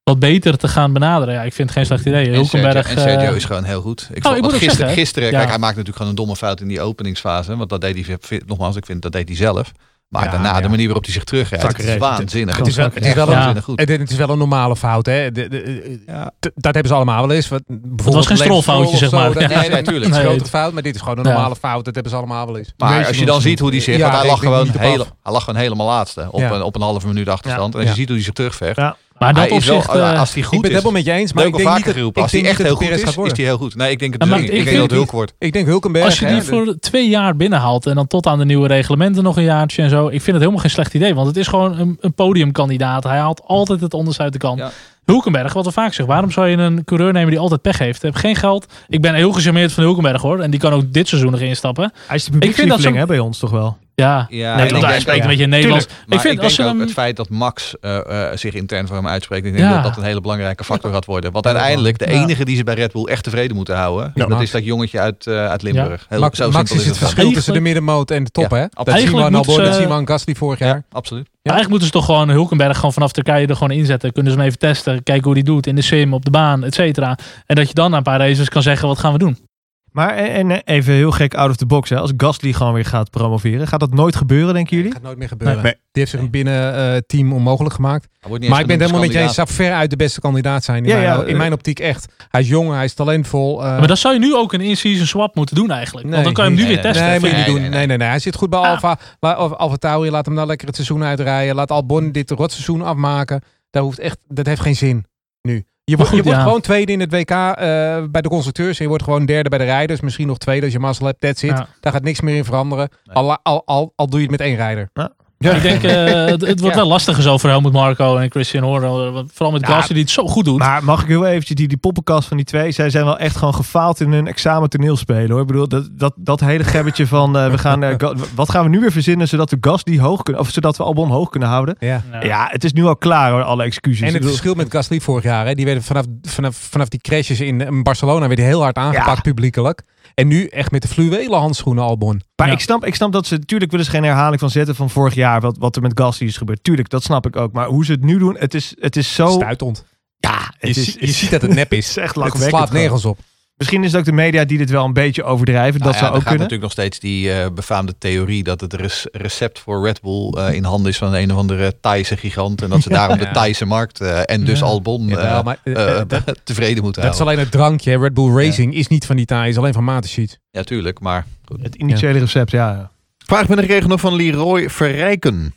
[SPEAKER 3] wat beter te gaan benaderen. Ja, ik vind het geen slecht idee.
[SPEAKER 6] En Sergio,
[SPEAKER 3] Hulkenberg...
[SPEAKER 6] en Sergio
[SPEAKER 3] eh,
[SPEAKER 6] is gewoon heel goed. Ik
[SPEAKER 3] oh,
[SPEAKER 6] vond,
[SPEAKER 3] ik moet
[SPEAKER 6] want
[SPEAKER 3] ook
[SPEAKER 6] gisteren,
[SPEAKER 3] zeggen, hè?
[SPEAKER 6] gisteren
[SPEAKER 3] Ja.
[SPEAKER 6] kijk, hij maakt natuurlijk gewoon een domme fout in die openingsfase. Want dat deed hij, nogmaals, ik vind dat deed hij zelf. Maar
[SPEAKER 3] Ja,
[SPEAKER 6] daarna,
[SPEAKER 3] ja.
[SPEAKER 6] de manier waarop hij zich terugrijdt, het is
[SPEAKER 5] Zakkerij.
[SPEAKER 6] waanzinnig.
[SPEAKER 4] Het is wel, het is wel
[SPEAKER 6] Ja.
[SPEAKER 4] een,
[SPEAKER 6] Waanzinnig goed.
[SPEAKER 4] het, het is wel een normale fout. Hè? De, de-
[SPEAKER 5] Ja.
[SPEAKER 4] t- dat hebben ze allemaal wel eens. Wat, bijvoorbeeld
[SPEAKER 3] was geen
[SPEAKER 4] Lance
[SPEAKER 3] strolfoutje,
[SPEAKER 4] Stroll
[SPEAKER 3] zeg
[SPEAKER 4] of zo,
[SPEAKER 3] maar.
[SPEAKER 4] dat is
[SPEAKER 6] Nee,
[SPEAKER 4] een
[SPEAKER 6] nee, tuurlijk.
[SPEAKER 4] iets
[SPEAKER 3] Nee,
[SPEAKER 4] grotere
[SPEAKER 3] het-
[SPEAKER 4] fout, maar dit is gewoon een
[SPEAKER 3] Ja.
[SPEAKER 4] normale fout. Dat hebben ze allemaal wel eens.
[SPEAKER 6] Maar als je dan ziet hoe die zich,
[SPEAKER 4] Ja,
[SPEAKER 6] want hij lag,
[SPEAKER 4] reed
[SPEAKER 6] gewoon
[SPEAKER 4] niet op
[SPEAKER 6] heel,
[SPEAKER 4] af.
[SPEAKER 6] hij lag gewoon helemaal laatste op,
[SPEAKER 4] Ja.
[SPEAKER 6] een, op een halve minuut achterstand. En als je
[SPEAKER 4] Ja.
[SPEAKER 6] ziet hoe hij zich terugvecht.
[SPEAKER 5] Ja.
[SPEAKER 3] Maar dat
[SPEAKER 6] hij is
[SPEAKER 3] opzicht...
[SPEAKER 6] wel,
[SPEAKER 3] eh,
[SPEAKER 6] als hij goed
[SPEAKER 4] ik ben het
[SPEAKER 6] is,
[SPEAKER 4] helemaal met je eens, maar
[SPEAKER 6] maar
[SPEAKER 4] ik
[SPEAKER 6] ook al
[SPEAKER 4] denk niet
[SPEAKER 6] vaker
[SPEAKER 4] dat, ik
[SPEAKER 6] geroepen. Als hij
[SPEAKER 4] denk
[SPEAKER 6] echt
[SPEAKER 4] niet
[SPEAKER 6] heel
[SPEAKER 4] dat
[SPEAKER 6] goed
[SPEAKER 4] Perez
[SPEAKER 6] is,
[SPEAKER 4] gaat
[SPEAKER 6] is
[SPEAKER 4] worden.
[SPEAKER 6] hij heel goed. Nee, ik denk het
[SPEAKER 3] Ja,
[SPEAKER 6] dus
[SPEAKER 3] maar
[SPEAKER 6] niet.
[SPEAKER 3] ik
[SPEAKER 6] Ik denk
[SPEAKER 3] vind
[SPEAKER 6] dat het
[SPEAKER 4] niet-
[SPEAKER 6] Hulk wordt.
[SPEAKER 4] Ik denk Hulkenberg.
[SPEAKER 3] Als je die voor twee jaar binnenhaalt en dan tot aan de nieuwe reglementen nog een jaartje en zo. Ik vind het helemaal geen slecht idee, want het is gewoon een, een podiumkandidaat. Hij haalt altijd het onderste uit de kant.
[SPEAKER 6] Ja.
[SPEAKER 3] Hulkenberg, wat we vaak zeggen. Waarom zou je een coureur nemen die altijd pech heeft? Heb geen geld. Ik ben heel gecharmeerd van Hulkenberg hoor. En die kan ook dit seizoen nog instappen.
[SPEAKER 5] Hij is de
[SPEAKER 3] vind dat
[SPEAKER 5] publiekslieveling
[SPEAKER 3] zo-
[SPEAKER 5] hè, bij ons toch wel.
[SPEAKER 3] Ja,
[SPEAKER 6] Ja,
[SPEAKER 5] Nee,
[SPEAKER 6] ik
[SPEAKER 5] want
[SPEAKER 3] hij
[SPEAKER 6] denk-
[SPEAKER 3] spreekt een beetje Nederlands.
[SPEAKER 6] Maar
[SPEAKER 3] ik vind als ze
[SPEAKER 6] ook
[SPEAKER 3] hem...
[SPEAKER 6] het feit dat Max eh, eh, zich intern voor hem uitspreekt, ik denk
[SPEAKER 3] Ja.
[SPEAKER 6] dat dat een hele belangrijke factor gaat worden. Want uiteindelijk, de
[SPEAKER 3] Ja.
[SPEAKER 6] enige die ze bij Red Bull echt tevreden moeten houden,
[SPEAKER 4] Ja.
[SPEAKER 6] dat is dat jongetje uit, eh, uit Limburg. Heel,
[SPEAKER 4] Max,
[SPEAKER 6] zo
[SPEAKER 4] Max
[SPEAKER 6] simpel
[SPEAKER 4] is het verschil
[SPEAKER 3] Eigenlijk-
[SPEAKER 4] tussen de middenmoot en de top,
[SPEAKER 6] Ja,
[SPEAKER 4] hè?
[SPEAKER 6] absoluut.
[SPEAKER 4] Dat zien we
[SPEAKER 3] Eigenlijk
[SPEAKER 4] aan
[SPEAKER 3] moeten
[SPEAKER 4] Albon, dat
[SPEAKER 3] ze-
[SPEAKER 4] zien we aan Gasly vorig jaar.
[SPEAKER 6] Absoluut.
[SPEAKER 3] Maar Eigenlijk moeten ze toch gewoon Hulkenberg gewoon vanaf Turkije er gewoon inzetten. Kunnen ze hem even testen, kijken hoe die doet in de sim, op de baan, et cetera. En dat je dan na een paar races kan zeggen, wat gaan we doen?
[SPEAKER 5] Maar en, en even heel gek out of the box. Hè. Als Gasly gewoon weer gaat promoveren. Gaat dat nooit gebeuren, denken jullie?
[SPEAKER 4] Dat gaat nooit meer gebeuren.
[SPEAKER 1] Nee.
[SPEAKER 4] Die heeft zich een binnenteam onmogelijk gemaakt.
[SPEAKER 6] Hij wordt niet
[SPEAKER 4] Maar
[SPEAKER 6] eens
[SPEAKER 4] ik ben het helemaal met
[SPEAKER 6] genoemd
[SPEAKER 4] je eens.
[SPEAKER 6] als
[SPEAKER 4] Zou ver uit de beste kandidaat zijn. In,
[SPEAKER 5] Ja, eh,
[SPEAKER 4] mijn,
[SPEAKER 5] ja,
[SPEAKER 4] in mijn optiek echt. Hij is jong, hij is talentvol. eh,
[SPEAKER 3] Maar dat zou je nu ook een in-season swap moeten doen eigenlijk.
[SPEAKER 4] Nee,
[SPEAKER 3] Want dan kan je hem nu
[SPEAKER 6] niet.
[SPEAKER 3] weer testen.
[SPEAKER 4] Nee,
[SPEAKER 6] vind
[SPEAKER 4] moet je
[SPEAKER 6] ik.
[SPEAKER 4] niet doen.
[SPEAKER 6] Nee,
[SPEAKER 4] Nee,
[SPEAKER 6] nee,
[SPEAKER 4] nee, nee. Hij zit goed bij
[SPEAKER 3] Ah.
[SPEAKER 4] Alfa. La- of Alfa Tauri. Laat hem nou lekker het seizoen uitrijden. Laat Albon dit rotseizoen afmaken. Daar hoeft echt, dat heeft geen zin nu. Je, wordt-
[SPEAKER 3] goed,
[SPEAKER 4] je wordt
[SPEAKER 3] ja.
[SPEAKER 4] gewoon tweede in het WK eh, bij de constructeurs. En je wordt gewoon derde bij de rijders. Misschien nog tweede als je mazzel hebt. That's it.
[SPEAKER 3] Ja.
[SPEAKER 4] Daar gaat niks meer in veranderen.
[SPEAKER 6] Nee.
[SPEAKER 4] Al, al, al, al doe je het met één rijder.
[SPEAKER 3] Ik denk, eh, het, het wordt
[SPEAKER 4] Ja.
[SPEAKER 3] wel lastiger zo voor Helmut Marco en Christian Horner. Want Vooral met
[SPEAKER 5] Ja,
[SPEAKER 3] Gasly die het zo goed doet.
[SPEAKER 5] Maar mag ik heel eventjes die, die poppenkast van die twee? Zij zijn wel echt gewoon gefaald in hun examen toneelspelen hoor. Ik bedoel, dat, dat, dat hele gebbetje van eh, we gaan, eh, Ga- wat gaan we nu weer verzinnen zodat we Gasly hoog kunnen, of zodat we Albon hoog kunnen houden?
[SPEAKER 4] Ja.
[SPEAKER 5] Ja, het is nu al klaar hoor, alle excuses.
[SPEAKER 4] En
[SPEAKER 5] Ik
[SPEAKER 4] het
[SPEAKER 5] bedoel,
[SPEAKER 4] verschil met Gasly vorig jaar, hè, die werden vanaf, vanaf, vanaf die crashes in eh, Barcelona werd hij heel hard aangepakt
[SPEAKER 5] Ja.
[SPEAKER 4] publiekelijk. En nu echt met de fluwelen handschoenen Albon.
[SPEAKER 5] Maar
[SPEAKER 3] Ja.
[SPEAKER 5] ik, snap, ik snap dat ze, natuurlijk willen ze geen herhaling van zetten van vorig jaar, wat, wat er met Gasly is gebeurd. Tuurlijk, dat snap ik ook. Maar hoe ze het nu doen, het is, het is zo...
[SPEAKER 4] Stuitend.
[SPEAKER 5] Oh. Ja,
[SPEAKER 4] Je,
[SPEAKER 5] het is,
[SPEAKER 4] zie- je ziet dat het nep
[SPEAKER 5] het
[SPEAKER 4] is.
[SPEAKER 5] is echt
[SPEAKER 4] Het
[SPEAKER 5] lachwekkend.
[SPEAKER 4] slaat
[SPEAKER 5] gewoon.
[SPEAKER 4] nergens op.
[SPEAKER 5] Misschien is het ook de media die dit wel een beetje overdrijven.
[SPEAKER 6] Nou
[SPEAKER 5] dat
[SPEAKER 6] ja, er
[SPEAKER 5] zou ook
[SPEAKER 6] gaat
[SPEAKER 5] kunnen.
[SPEAKER 6] natuurlijk nog steeds die eh, befaamde theorie dat het res- recept voor Red Bull eh, in handen is van een of andere Thaise gigant. En dat ze daarom de
[SPEAKER 4] Ja.
[SPEAKER 6] Thaise markt eh, en dus
[SPEAKER 3] Ja.
[SPEAKER 6] Albon eh,
[SPEAKER 4] Jawel, maar, eh,
[SPEAKER 6] eh,
[SPEAKER 4] eh, dat,
[SPEAKER 6] tevreden moeten
[SPEAKER 4] dat is
[SPEAKER 6] houden.
[SPEAKER 4] alleen het drankje. hè. Red Bull Racing is niet van die taai, is alleen van Matensheet.
[SPEAKER 6] Ja, tuurlijk. Maar
[SPEAKER 5] Het initiële recept, ja.
[SPEAKER 1] Vraag met een regel nog van Leroy Verrijken.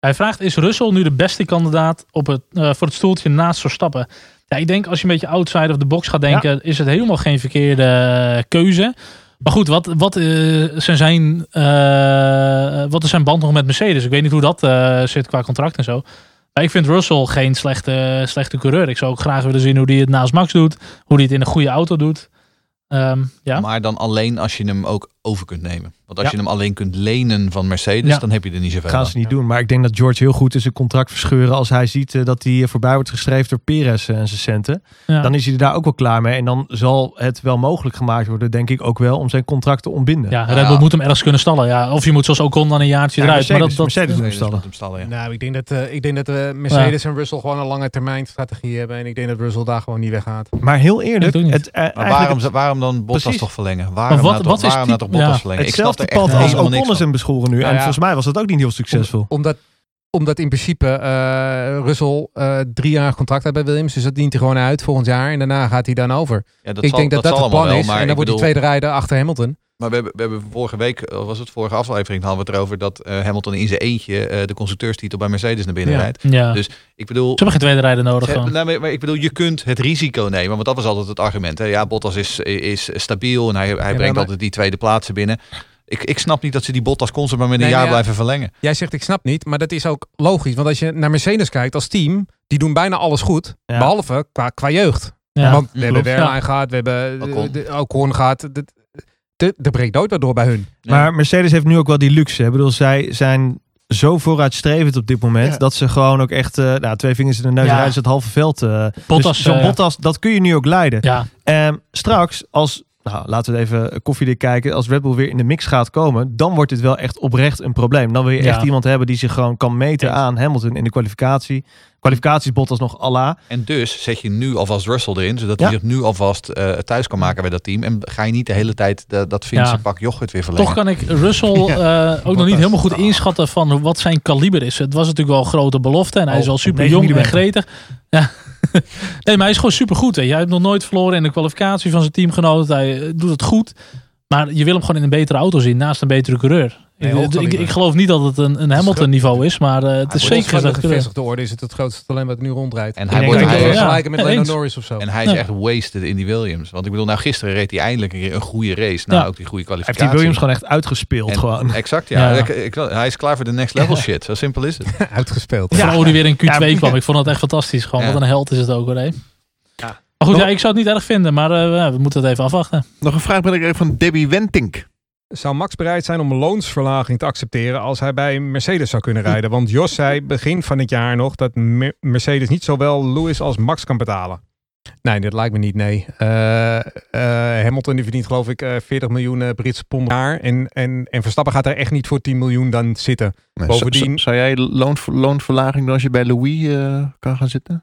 [SPEAKER 3] Hij vraagt, is Russell nu de beste kandidaat op het, eh, voor het stoeltje naast Verstappen? Ja, ik denk als je een beetje outside of the box gaat denken, is het helemaal geen verkeerde eh, keuze. Maar goed, wat, wat, eh, zijn zijn, eh, wat is zijn band nog met Mercedes? Ik weet niet hoe dat eh, zit qua contract en zo. Maar ik vind Russell geen slechte, slechte coureur. Ik zou ook graag willen zien hoe hij het naast Max doet. Hoe hij het in een goede auto doet. Ehm, ja.
[SPEAKER 6] Maar dan alleen als je hem ook over kunt nemen. Want als
[SPEAKER 3] Ja.
[SPEAKER 6] je hem alleen kunt lenen van Mercedes,
[SPEAKER 3] Ja.
[SPEAKER 6] dan heb je er niet zoveel
[SPEAKER 5] Dat gaan
[SPEAKER 6] aan.
[SPEAKER 5] ze niet doen. Maar ik denk dat George heel goed is een contract verscheuren. als hij ziet eh, dat hij eh, voorbij wordt geschreven door Perez eh, en zijn centen.
[SPEAKER 3] ja.
[SPEAKER 5] Dan is hij er daar ook wel klaar mee. En dan zal het wel mogelijk gemaakt worden, denk ik ook wel, om zijn contract te ontbinden.
[SPEAKER 3] ja, Red Bull
[SPEAKER 6] Ja.
[SPEAKER 3] moet hem ergens kunnen stallen. Ja. Of je moet zoals Ocon dan een jaartje
[SPEAKER 5] Ja,
[SPEAKER 3] eruit. maar dat,
[SPEAKER 5] Mercedes,
[SPEAKER 3] dat,
[SPEAKER 5] Mercedes moet
[SPEAKER 6] Mercedes
[SPEAKER 5] bestellen.
[SPEAKER 6] moet hem stallen, ja.
[SPEAKER 4] Nou, ik denk dat, ik denk dat eh, Mercedes en Russell gewoon een lange termijn strategie hebben. En ik denk dat Russell daar gewoon niet weggaat.
[SPEAKER 5] Maar heel eerlijk,
[SPEAKER 3] Ik doe niet.
[SPEAKER 5] het, eh,
[SPEAKER 6] Maar
[SPEAKER 5] eigenlijk
[SPEAKER 6] waarom, waarom dan Bottas
[SPEAKER 5] Precies.
[SPEAKER 6] toch verlengen? Waarom,
[SPEAKER 3] wat-
[SPEAKER 6] nou toch,
[SPEAKER 3] wat is
[SPEAKER 6] waarom nou toch
[SPEAKER 3] type-
[SPEAKER 6] Bottas
[SPEAKER 3] ja.
[SPEAKER 6] verlengen? Ik snap
[SPEAKER 5] hetzelfde
[SPEAKER 6] er echt
[SPEAKER 5] pad als
[SPEAKER 6] helemaal niks
[SPEAKER 5] Ocon is
[SPEAKER 6] van.
[SPEAKER 5] hem beschoren nu.
[SPEAKER 4] Ja,
[SPEAKER 5] en
[SPEAKER 4] ja.
[SPEAKER 5] volgens mij was dat ook niet heel succesvol.
[SPEAKER 4] omdat, omdat in principe eh Russell eh drie jaar contract heeft bij Williams. Dus dat dient hij gewoon uit volgend jaar. En daarna gaat hij dan over.
[SPEAKER 6] Ja, dat
[SPEAKER 4] ik
[SPEAKER 6] zal-
[SPEAKER 4] denk dat dat,
[SPEAKER 6] zal
[SPEAKER 4] het
[SPEAKER 6] allemaal
[SPEAKER 4] plan
[SPEAKER 6] wel,
[SPEAKER 4] is.
[SPEAKER 6] maar
[SPEAKER 4] en
[SPEAKER 6] ik
[SPEAKER 4] dan wordt
[SPEAKER 6] bedoel-
[SPEAKER 4] die tweede rijder achter Hamilton.
[SPEAKER 6] Maar we hebben, we hebben vorige week, eh, was het vorige aflevering, hadden we het erover dat eh, Hamilton in zijn eentje eh, de constructeurstitel bij Mercedes naar binnen
[SPEAKER 4] Ja.
[SPEAKER 6] rijdt.
[SPEAKER 3] ja.
[SPEAKER 6] Dus ik bedoel,
[SPEAKER 3] Ze hebben geen tweede rijder nodig.
[SPEAKER 6] Ze
[SPEAKER 3] gewoon.
[SPEAKER 6] hebben- nou, maar- maar ik bedoel, je kunt het risico nemen, want dat was altijd het argument. Hè. Ja, Bottas is, is stabiel en hij, hij brengt
[SPEAKER 4] maar-
[SPEAKER 6] altijd die tweede plaatsen binnen. Ik, ik snap niet dat ze die Bottas constant maar met een
[SPEAKER 4] Nee,
[SPEAKER 6] jaar
[SPEAKER 4] maar ja.
[SPEAKER 6] blijven verlengen.
[SPEAKER 4] Jij zegt ik snap niet, maar dat is ook logisch. Want als je naar Mercedes kijkt als team, die doen bijna alles goed.
[SPEAKER 5] Ja.
[SPEAKER 4] Behalve qua, qua jeugd.
[SPEAKER 3] Ja.
[SPEAKER 4] Want we hebben
[SPEAKER 3] klopt.
[SPEAKER 4] Werlein
[SPEAKER 3] Ja.
[SPEAKER 4] gehad, we hebben
[SPEAKER 6] Ocon.
[SPEAKER 4] Alcorn de, Ocon gehad. De, de, er breekt nooit wat door bij hun.
[SPEAKER 5] Maar Mercedes heeft nu ook wel die luxe. Ik bedoel, zij zijn zo vooruitstrevend op dit moment.
[SPEAKER 4] Ja.
[SPEAKER 5] Dat ze gewoon ook echt eh, nou, twee vingers in de neus
[SPEAKER 3] Ja.
[SPEAKER 5] rijden. ze Het halve veld. eh.
[SPEAKER 3] Bottas,
[SPEAKER 5] Dus zo'n
[SPEAKER 3] eh,
[SPEAKER 5] Bottas, dat kun je nu ook leiden.
[SPEAKER 3] ja.
[SPEAKER 5] Ehm, straks, als, nou, laten we even koffiedik kijken. Als Red Bull weer in de mix gaat komen. Dan wordt dit wel echt oprecht een probleem. Dan wil je
[SPEAKER 3] Ja.
[SPEAKER 5] echt iemand hebben die zich gewoon kan meten aan Hamilton in de kwalificatie. kwalificaties Bottas nog Allah.
[SPEAKER 6] En dus zet je nu alvast Russell erin, zodat
[SPEAKER 5] Ja.
[SPEAKER 6] hij het nu alvast eh, thuis kan maken bij dat team. En ga je niet de hele tijd de- dat Finse
[SPEAKER 3] Ja.
[SPEAKER 6] pak yoghurt weer verlengen.
[SPEAKER 3] Toch kan ik Russell eh, ook nog niet helemaal goed inschatten van hoe- wat zijn kaliber is. Het was natuurlijk wel een grote belofte en hij is
[SPEAKER 5] Oh,
[SPEAKER 3] wel
[SPEAKER 5] op
[SPEAKER 3] super
[SPEAKER 5] 9
[SPEAKER 3] jong en
[SPEAKER 5] millimeter.
[SPEAKER 3] gretig. Ja. nee, maar hij is gewoon super goed. Jij hebt nog nooit verloren in de kwalificatie van zijn teamgenoot. Hij eh, doet het goed. Maar je wil hem gewoon in een betere auto zien, naast een betere coureur.
[SPEAKER 4] Nee,
[SPEAKER 3] ik,
[SPEAKER 4] hoog
[SPEAKER 3] ik,
[SPEAKER 4] kaliber.
[SPEAKER 3] ik geloof niet dat het een, een Hamilton niveau is, maar eh, het is
[SPEAKER 4] Volgens
[SPEAKER 3] zeker
[SPEAKER 4] mij
[SPEAKER 3] dat
[SPEAKER 4] de gevestigde orde is het het grootste talent wat nu rondrijdt.
[SPEAKER 6] En
[SPEAKER 4] Ik
[SPEAKER 6] hij
[SPEAKER 4] denk
[SPEAKER 6] wordt-
[SPEAKER 4] dat je
[SPEAKER 6] hij
[SPEAKER 4] kan
[SPEAKER 6] wordt-
[SPEAKER 4] vergelijken met
[SPEAKER 3] ja,
[SPEAKER 4] Lando
[SPEAKER 3] eens.
[SPEAKER 4] Norris of zo.
[SPEAKER 6] En hij is
[SPEAKER 3] Ja.
[SPEAKER 6] echt wasted in die Williams. Want ik bedoel, nou gisteren reed hij eindelijk een keer een goede race. Nou,
[SPEAKER 3] Ja.
[SPEAKER 6] ook die goede
[SPEAKER 5] Hij heeft
[SPEAKER 6] kwalificatie.
[SPEAKER 5] die Williams gewoon echt uitgespeeld.
[SPEAKER 6] En-
[SPEAKER 5] gewoon.
[SPEAKER 6] Exact, ja.
[SPEAKER 3] Ja.
[SPEAKER 6] Ik- ik- hij is klaar voor de next level shit. Zo simpel is het.
[SPEAKER 4] Uitgespeeld.
[SPEAKER 3] Ja. Vooral hoe die weer in Q2
[SPEAKER 5] Ja.
[SPEAKER 3] kwam. Ik vond dat echt fantastisch. Gewoon,
[SPEAKER 6] Ja.
[SPEAKER 3] wat een held is het ook hoor. hè. Maar goed, ja, ik zou het niet erg vinden, maar eh, ja, we moeten het even afwachten.
[SPEAKER 1] Nog een vraag ben ik even van Debbie Wentink.
[SPEAKER 4] Zou Max bereid zijn om een loonsverlaging te accepteren als hij bij Mercedes zou kunnen rijden? Want Jos zei begin van het jaar nog dat Mer- Mercedes niet zowel Lewis als Max kan betalen. Nee, dat lijkt me niet, nee. Eh, eh, Hamilton die verdient geloof ik eh, 40 miljoen eh, Britse pond per jaar. En, en, en Verstappen gaat er echt niet voor 10 miljoen dan zitten.
[SPEAKER 1] Nee, zou-
[SPEAKER 4] Bovendien-
[SPEAKER 1] zou jij loon, loonverlaging doen als je bij Louis eh, kan gaan zitten?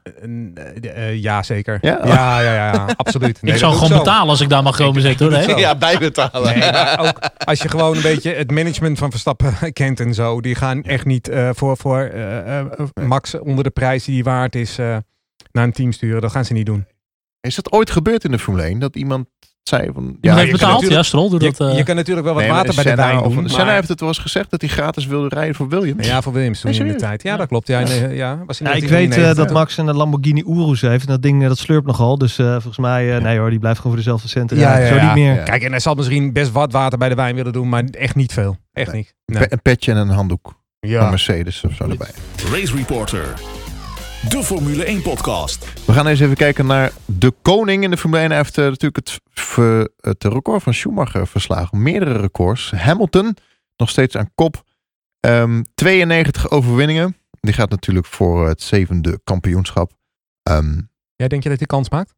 [SPEAKER 4] Eh, eh, ja, zeker.
[SPEAKER 1] Ja?
[SPEAKER 4] ja, ja, ja, ja, absoluut. Nee,
[SPEAKER 3] ik
[SPEAKER 4] dat
[SPEAKER 3] zou
[SPEAKER 4] doe
[SPEAKER 3] gewoon
[SPEAKER 4] zo.
[SPEAKER 3] betalen als ik daar mag komen zitten hoor. hè.
[SPEAKER 4] Zo.
[SPEAKER 6] Ja, bijbetalen.
[SPEAKER 4] Nee, maar ook als je gewoon een beetje het management van Verstappen kent en zo. Die gaan echt niet eh, voor, voor eh, eh, Max onder de prijs die hij waard is eh, naar een team sturen. Dat gaan ze niet doen.
[SPEAKER 1] Is dat ooit gebeurd in de Formule 1? Dat iemand zei van...
[SPEAKER 3] Ja,
[SPEAKER 1] je
[SPEAKER 3] heeft
[SPEAKER 1] kunt
[SPEAKER 3] betaald.
[SPEAKER 1] natuurlijk-
[SPEAKER 3] Ja, Strol doet
[SPEAKER 4] Je,
[SPEAKER 3] dat. eh,
[SPEAKER 4] je kan natuurlijk wel wat
[SPEAKER 1] Nee, maar
[SPEAKER 4] water bij de
[SPEAKER 1] Senna
[SPEAKER 4] wijn
[SPEAKER 1] of-
[SPEAKER 4] doen.
[SPEAKER 1] Senna
[SPEAKER 4] maar-
[SPEAKER 1] heeft het wel eens gezegd dat hij gratis wilde rijden voor Williams.
[SPEAKER 4] Ja, voor Williams toen
[SPEAKER 1] Nee,
[SPEAKER 4] in de
[SPEAKER 1] serieus?
[SPEAKER 4] tijd. Ja, dat klopt. Ja, nee, ja, was in
[SPEAKER 5] Ja, ik weet eh,
[SPEAKER 4] 1993.
[SPEAKER 5] dat Max een Lamborghini Urus heeft. En dat ding eh, dat slurpt nogal. Dus eh, volgens mij, eh, nee hoor, die blijft gewoon voor dezelfde centen.
[SPEAKER 4] Ja,
[SPEAKER 5] rijden.
[SPEAKER 4] ja,
[SPEAKER 5] Zo
[SPEAKER 4] ja.
[SPEAKER 5] niet meer.
[SPEAKER 1] Ja.
[SPEAKER 4] Kijk, en hij zal misschien best wat water bij de wijn willen doen, maar echt niet veel. Echt
[SPEAKER 1] Nee.
[SPEAKER 4] niet.
[SPEAKER 1] Pe- Een petje en een handdoek. Een
[SPEAKER 4] Ja.
[SPEAKER 1] Mercedes of zo erbij.
[SPEAKER 2] Race Reporter. De Formule 1 podcast.
[SPEAKER 1] We gaan eens even kijken naar de koning in de Formule 1. Hij heeft eh, natuurlijk het, ver- het record van Schumacher verslagen. Meerdere records. Hamilton nog steeds aan kop. Ehm, 92 overwinningen. Die gaat natuurlijk voor het zevende kampioenschap. Ehm,
[SPEAKER 4] Jij denk je dat hij kans maakt?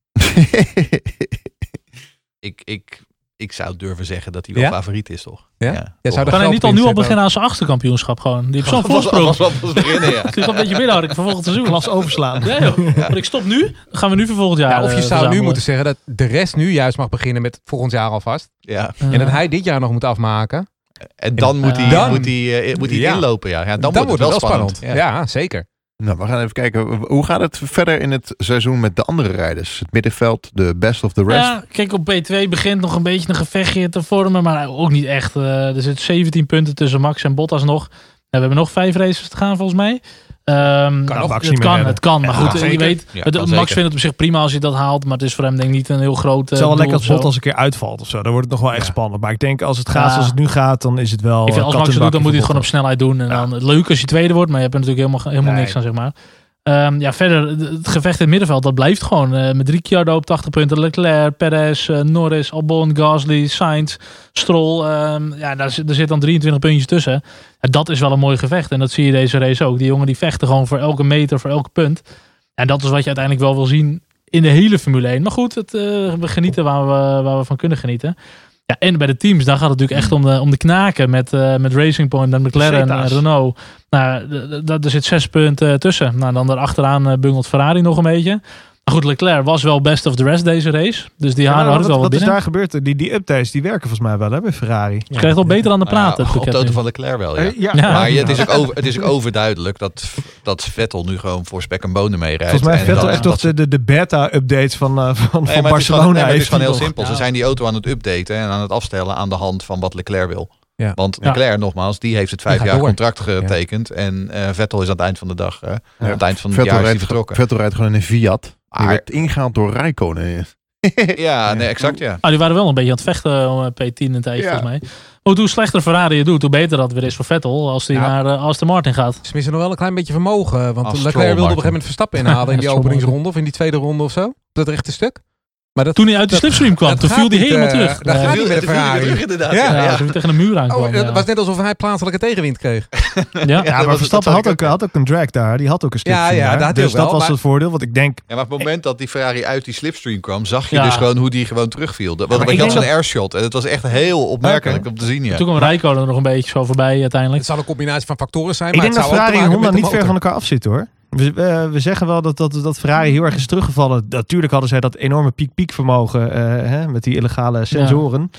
[SPEAKER 6] Ik, ik, ik zou durven zeggen dat hij wel
[SPEAKER 4] Ja?
[SPEAKER 6] favoriet is, toch?
[SPEAKER 4] Ja?
[SPEAKER 6] toch.
[SPEAKER 4] zou
[SPEAKER 3] kan hij
[SPEAKER 4] geld
[SPEAKER 3] niet al nu al
[SPEAKER 4] inzetten.
[SPEAKER 3] beginnen aan zijn achterkampioenschap gewoon? Die heeft zo'n
[SPEAKER 6] Dat was- dat
[SPEAKER 3] voorsprong.
[SPEAKER 6] was wel pas beginnen, ja.
[SPEAKER 3] Het is wel een beetje binnenhouden voor volgend seizoen.
[SPEAKER 5] Glas overslaan.
[SPEAKER 3] Nee joh. Maar ik stop nu. Dan gaan we nu voor volgend jaar.
[SPEAKER 4] Ja,
[SPEAKER 3] eh,
[SPEAKER 4] of je zou nu
[SPEAKER 3] verzamelen.
[SPEAKER 4] moeten zeggen dat de rest nu juist mag beginnen met volgend jaar alvast.
[SPEAKER 6] ja.
[SPEAKER 4] En dat
[SPEAKER 3] Ja.
[SPEAKER 4] hij dit jaar nog moet afmaken.
[SPEAKER 6] En dan moet hij,
[SPEAKER 4] Dan-
[SPEAKER 6] moet hij, eh, moet hij
[SPEAKER 4] Ja.
[SPEAKER 6] inlopen, ja. ja dan,
[SPEAKER 4] dan,
[SPEAKER 6] wordt het wel spannend. Ja.
[SPEAKER 4] Ja. zeker.
[SPEAKER 1] nou, we gaan even kijken. Hoe gaat het verder in het seizoen met de andere rijders? Het middenveld, de best of the rest.
[SPEAKER 3] Ja, kijk, op P2 begint nog een beetje een gevechtje te vormen, maar ook niet echt. Eh, er zit 17 punten tussen Max en Bottas nog. Nou, we hebben nog vijf races te gaan, volgens mij. Ehm,
[SPEAKER 5] Kan
[SPEAKER 3] het
[SPEAKER 5] Max
[SPEAKER 3] het
[SPEAKER 5] niet meer
[SPEAKER 3] kan,
[SPEAKER 5] redden.
[SPEAKER 3] het kan. Maar
[SPEAKER 6] Ja,
[SPEAKER 3] goed,
[SPEAKER 6] kan
[SPEAKER 3] je
[SPEAKER 6] zeker.
[SPEAKER 3] weet,
[SPEAKER 6] Ja,
[SPEAKER 3] het-
[SPEAKER 6] kan
[SPEAKER 3] Max
[SPEAKER 6] zeker.
[SPEAKER 3] vindt het op zich prima als hij dat haalt, maar het is voor hem denk ik niet een heel groot
[SPEAKER 5] Het
[SPEAKER 3] eh,
[SPEAKER 5] is wel
[SPEAKER 3] doel
[SPEAKER 5] lekker als
[SPEAKER 3] of zo.
[SPEAKER 5] Bottas een keer uitvalt of zo. Dan wordt het nog wel echt
[SPEAKER 4] Ja.
[SPEAKER 5] spannend. Maar ik denk als het gaat
[SPEAKER 3] Ja.
[SPEAKER 5] zoals het nu gaat, dan is het wel.
[SPEAKER 3] Ik vind, als
[SPEAKER 5] eh,
[SPEAKER 3] Max het doet, dan moet hij het gewoon op
[SPEAKER 5] kattenbakkie
[SPEAKER 3] snelheid doen. En
[SPEAKER 5] Ja.
[SPEAKER 3] dan, leuk als je tweede wordt, maar je hebt er natuurlijk helemaal, helemaal
[SPEAKER 4] Nee.
[SPEAKER 3] niks aan, zeg maar. Ehm, ja, verder, de- het gevecht in het middenveld, dat blijft gewoon. eh, met Ricciardo op 80 punten, Leclerc, Perez, eh, Norris, Albon, Gasly, Sainz, Stroll. ehm, ja, daar, zit- daar zit dan 23 puntjes tussen. Ja, dat is wel een mooi gevecht. En dat zie je deze race ook. Die jongen die vechten gewoon voor elke meter, voor elk punt. En dat is wat je uiteindelijk wel wil zien in de hele Formule 1. Maar goed, het, eh, we genieten waar we, waar we van kunnen genieten. Ja, en bij de teams, daar gaat het natuurlijk echt om de, om de knaken. Met, eh, met Racing Point en McLaren en
[SPEAKER 5] Zeta's.
[SPEAKER 3] Renault. Nou, d- d- d- er zit zes punten tussen. Nou, dan daarachteraan eh, bungelt Ferrari nog een beetje. Maar goed, Leclerc was wel best of the rest deze race. Dus die
[SPEAKER 5] Ja, maar
[SPEAKER 3] haren had
[SPEAKER 5] wat,
[SPEAKER 3] het wel wat
[SPEAKER 5] wat is
[SPEAKER 3] binnen.
[SPEAKER 5] daar gebeurd? Die, die updates die werken volgens mij wel hè, bij Ferrari.
[SPEAKER 3] Je krijgt al beter aan de praten.
[SPEAKER 6] Nou
[SPEAKER 3] het
[SPEAKER 6] ja, op de
[SPEAKER 3] pakket
[SPEAKER 6] auto
[SPEAKER 3] nu.
[SPEAKER 6] van Leclerc wel, ja.
[SPEAKER 5] Eh, ja.
[SPEAKER 3] Ja.
[SPEAKER 6] Maar ja, het, is ook over, het is ook overduidelijk dat, dat Vettel nu gewoon voor spek en bonen mee rijdt.
[SPEAKER 5] Volgens mij
[SPEAKER 6] En
[SPEAKER 5] Vettel
[SPEAKER 6] dat-
[SPEAKER 5] echt toch de, de, de beta-updates van, eh, van,
[SPEAKER 6] Nee,
[SPEAKER 5] van
[SPEAKER 6] maar het is
[SPEAKER 5] Barcelona.
[SPEAKER 6] gewoon- nee, maar het
[SPEAKER 5] heeft
[SPEAKER 6] is gewoon
[SPEAKER 5] hij
[SPEAKER 6] heel
[SPEAKER 5] nog.
[SPEAKER 6] simpel. Ze
[SPEAKER 3] Ja.
[SPEAKER 6] zijn die auto aan het updaten en aan het afstellen aan de hand van wat Leclerc wil.
[SPEAKER 4] Ja.
[SPEAKER 6] Want
[SPEAKER 3] Ja.
[SPEAKER 6] Leclerc, nogmaals, die heeft het vijf
[SPEAKER 4] gaat
[SPEAKER 6] jaar
[SPEAKER 4] door.
[SPEAKER 6] contract getekend. En eh, Vettel is aan het eind van de dag, eh, aan het eind van het
[SPEAKER 1] Vettel
[SPEAKER 6] jaar is hij
[SPEAKER 1] rijdt,
[SPEAKER 6] vertrokken.
[SPEAKER 1] Vettel rijdt gewoon in een Fiat. Die
[SPEAKER 6] Maar-
[SPEAKER 1] werd ingehaald door Rijkonen.
[SPEAKER 6] Ja, nee, exact ja.
[SPEAKER 3] Ah, die waren wel een beetje aan het vechten om eh, P10 een tijdje,
[SPEAKER 1] Ja.
[SPEAKER 3] volgens mij. Maar goed, hoe slechter Ferrari het doet, hoe beter dat weer is voor Vettel als hij
[SPEAKER 4] Ja.
[SPEAKER 3] naar eh, Aston Martin gaat.
[SPEAKER 4] Ze missen nog wel een klein beetje vermogen. Want Leclerc
[SPEAKER 6] Als
[SPEAKER 4] wilde op
[SPEAKER 6] Stroll
[SPEAKER 4] een gegeven
[SPEAKER 6] maakt hem.
[SPEAKER 4] moment Verstappen inhalen in die
[SPEAKER 3] Stroll
[SPEAKER 4] openingsronde. Of in die tweede ronde of zo. Op Dat rechte stuk. Maar dat,
[SPEAKER 3] Toen hij uit de
[SPEAKER 4] Dat-
[SPEAKER 3] slipstream kwam,
[SPEAKER 4] dat
[SPEAKER 3] toen
[SPEAKER 4] gaat
[SPEAKER 3] viel hij
[SPEAKER 4] niet,
[SPEAKER 3] helemaal
[SPEAKER 4] eh,
[SPEAKER 3] terug.
[SPEAKER 4] dat
[SPEAKER 3] Ja.
[SPEAKER 4] gaat
[SPEAKER 3] Ja,
[SPEAKER 4] niet. met de Ferrari.
[SPEAKER 6] terug, inderdaad.
[SPEAKER 4] Ja.
[SPEAKER 6] Ja,
[SPEAKER 3] ja, alsof hij tegen een muur aankwam.
[SPEAKER 4] oh, dat
[SPEAKER 3] ja.
[SPEAKER 4] was net alsof hij plaatselijke tegenwind kreeg.
[SPEAKER 3] Ja.
[SPEAKER 5] Ja, maar
[SPEAKER 6] dat-
[SPEAKER 5] Verstappen
[SPEAKER 6] dat
[SPEAKER 5] had
[SPEAKER 6] had
[SPEAKER 5] ook,
[SPEAKER 6] ik ook.
[SPEAKER 5] had ook een drag daar. Die had ook een stuk.
[SPEAKER 4] Ja, ja, dat had hij
[SPEAKER 5] dus
[SPEAKER 4] ook wel,
[SPEAKER 5] dat was
[SPEAKER 4] maar-
[SPEAKER 5] het voordeel. Want ik denk,
[SPEAKER 6] Ja, maar op het moment dat die Ferrari uit die slipstream kwam, zag je
[SPEAKER 3] Ja.
[SPEAKER 6] dus gewoon hoe die gewoon terugviel. Dat, want
[SPEAKER 5] maar
[SPEAKER 6] je
[SPEAKER 5] ik
[SPEAKER 6] had
[SPEAKER 5] denk
[SPEAKER 6] zo'n airshot en het was echt heel opmerkelijk om te zien. Ja.
[SPEAKER 3] Toen kwam Rijkonen er nog een beetje zo voorbij uiteindelijk.
[SPEAKER 4] Het zal een combinatie van factoren zijn.
[SPEAKER 5] ik
[SPEAKER 4] maar
[SPEAKER 5] denk dat
[SPEAKER 4] het zou ook
[SPEAKER 5] Ferrari
[SPEAKER 4] te
[SPEAKER 5] en
[SPEAKER 4] maken
[SPEAKER 5] Honda
[SPEAKER 4] hebben
[SPEAKER 5] niet
[SPEAKER 4] met de motor.
[SPEAKER 5] ver van elkaar afzitten hoor. We, eh, we zeggen wel dat, dat, dat Ferrari heel erg is teruggevallen. Natuurlijk hadden zij dat enorme piek-piek vermogen eh, hè, met die illegale sensoren. Waar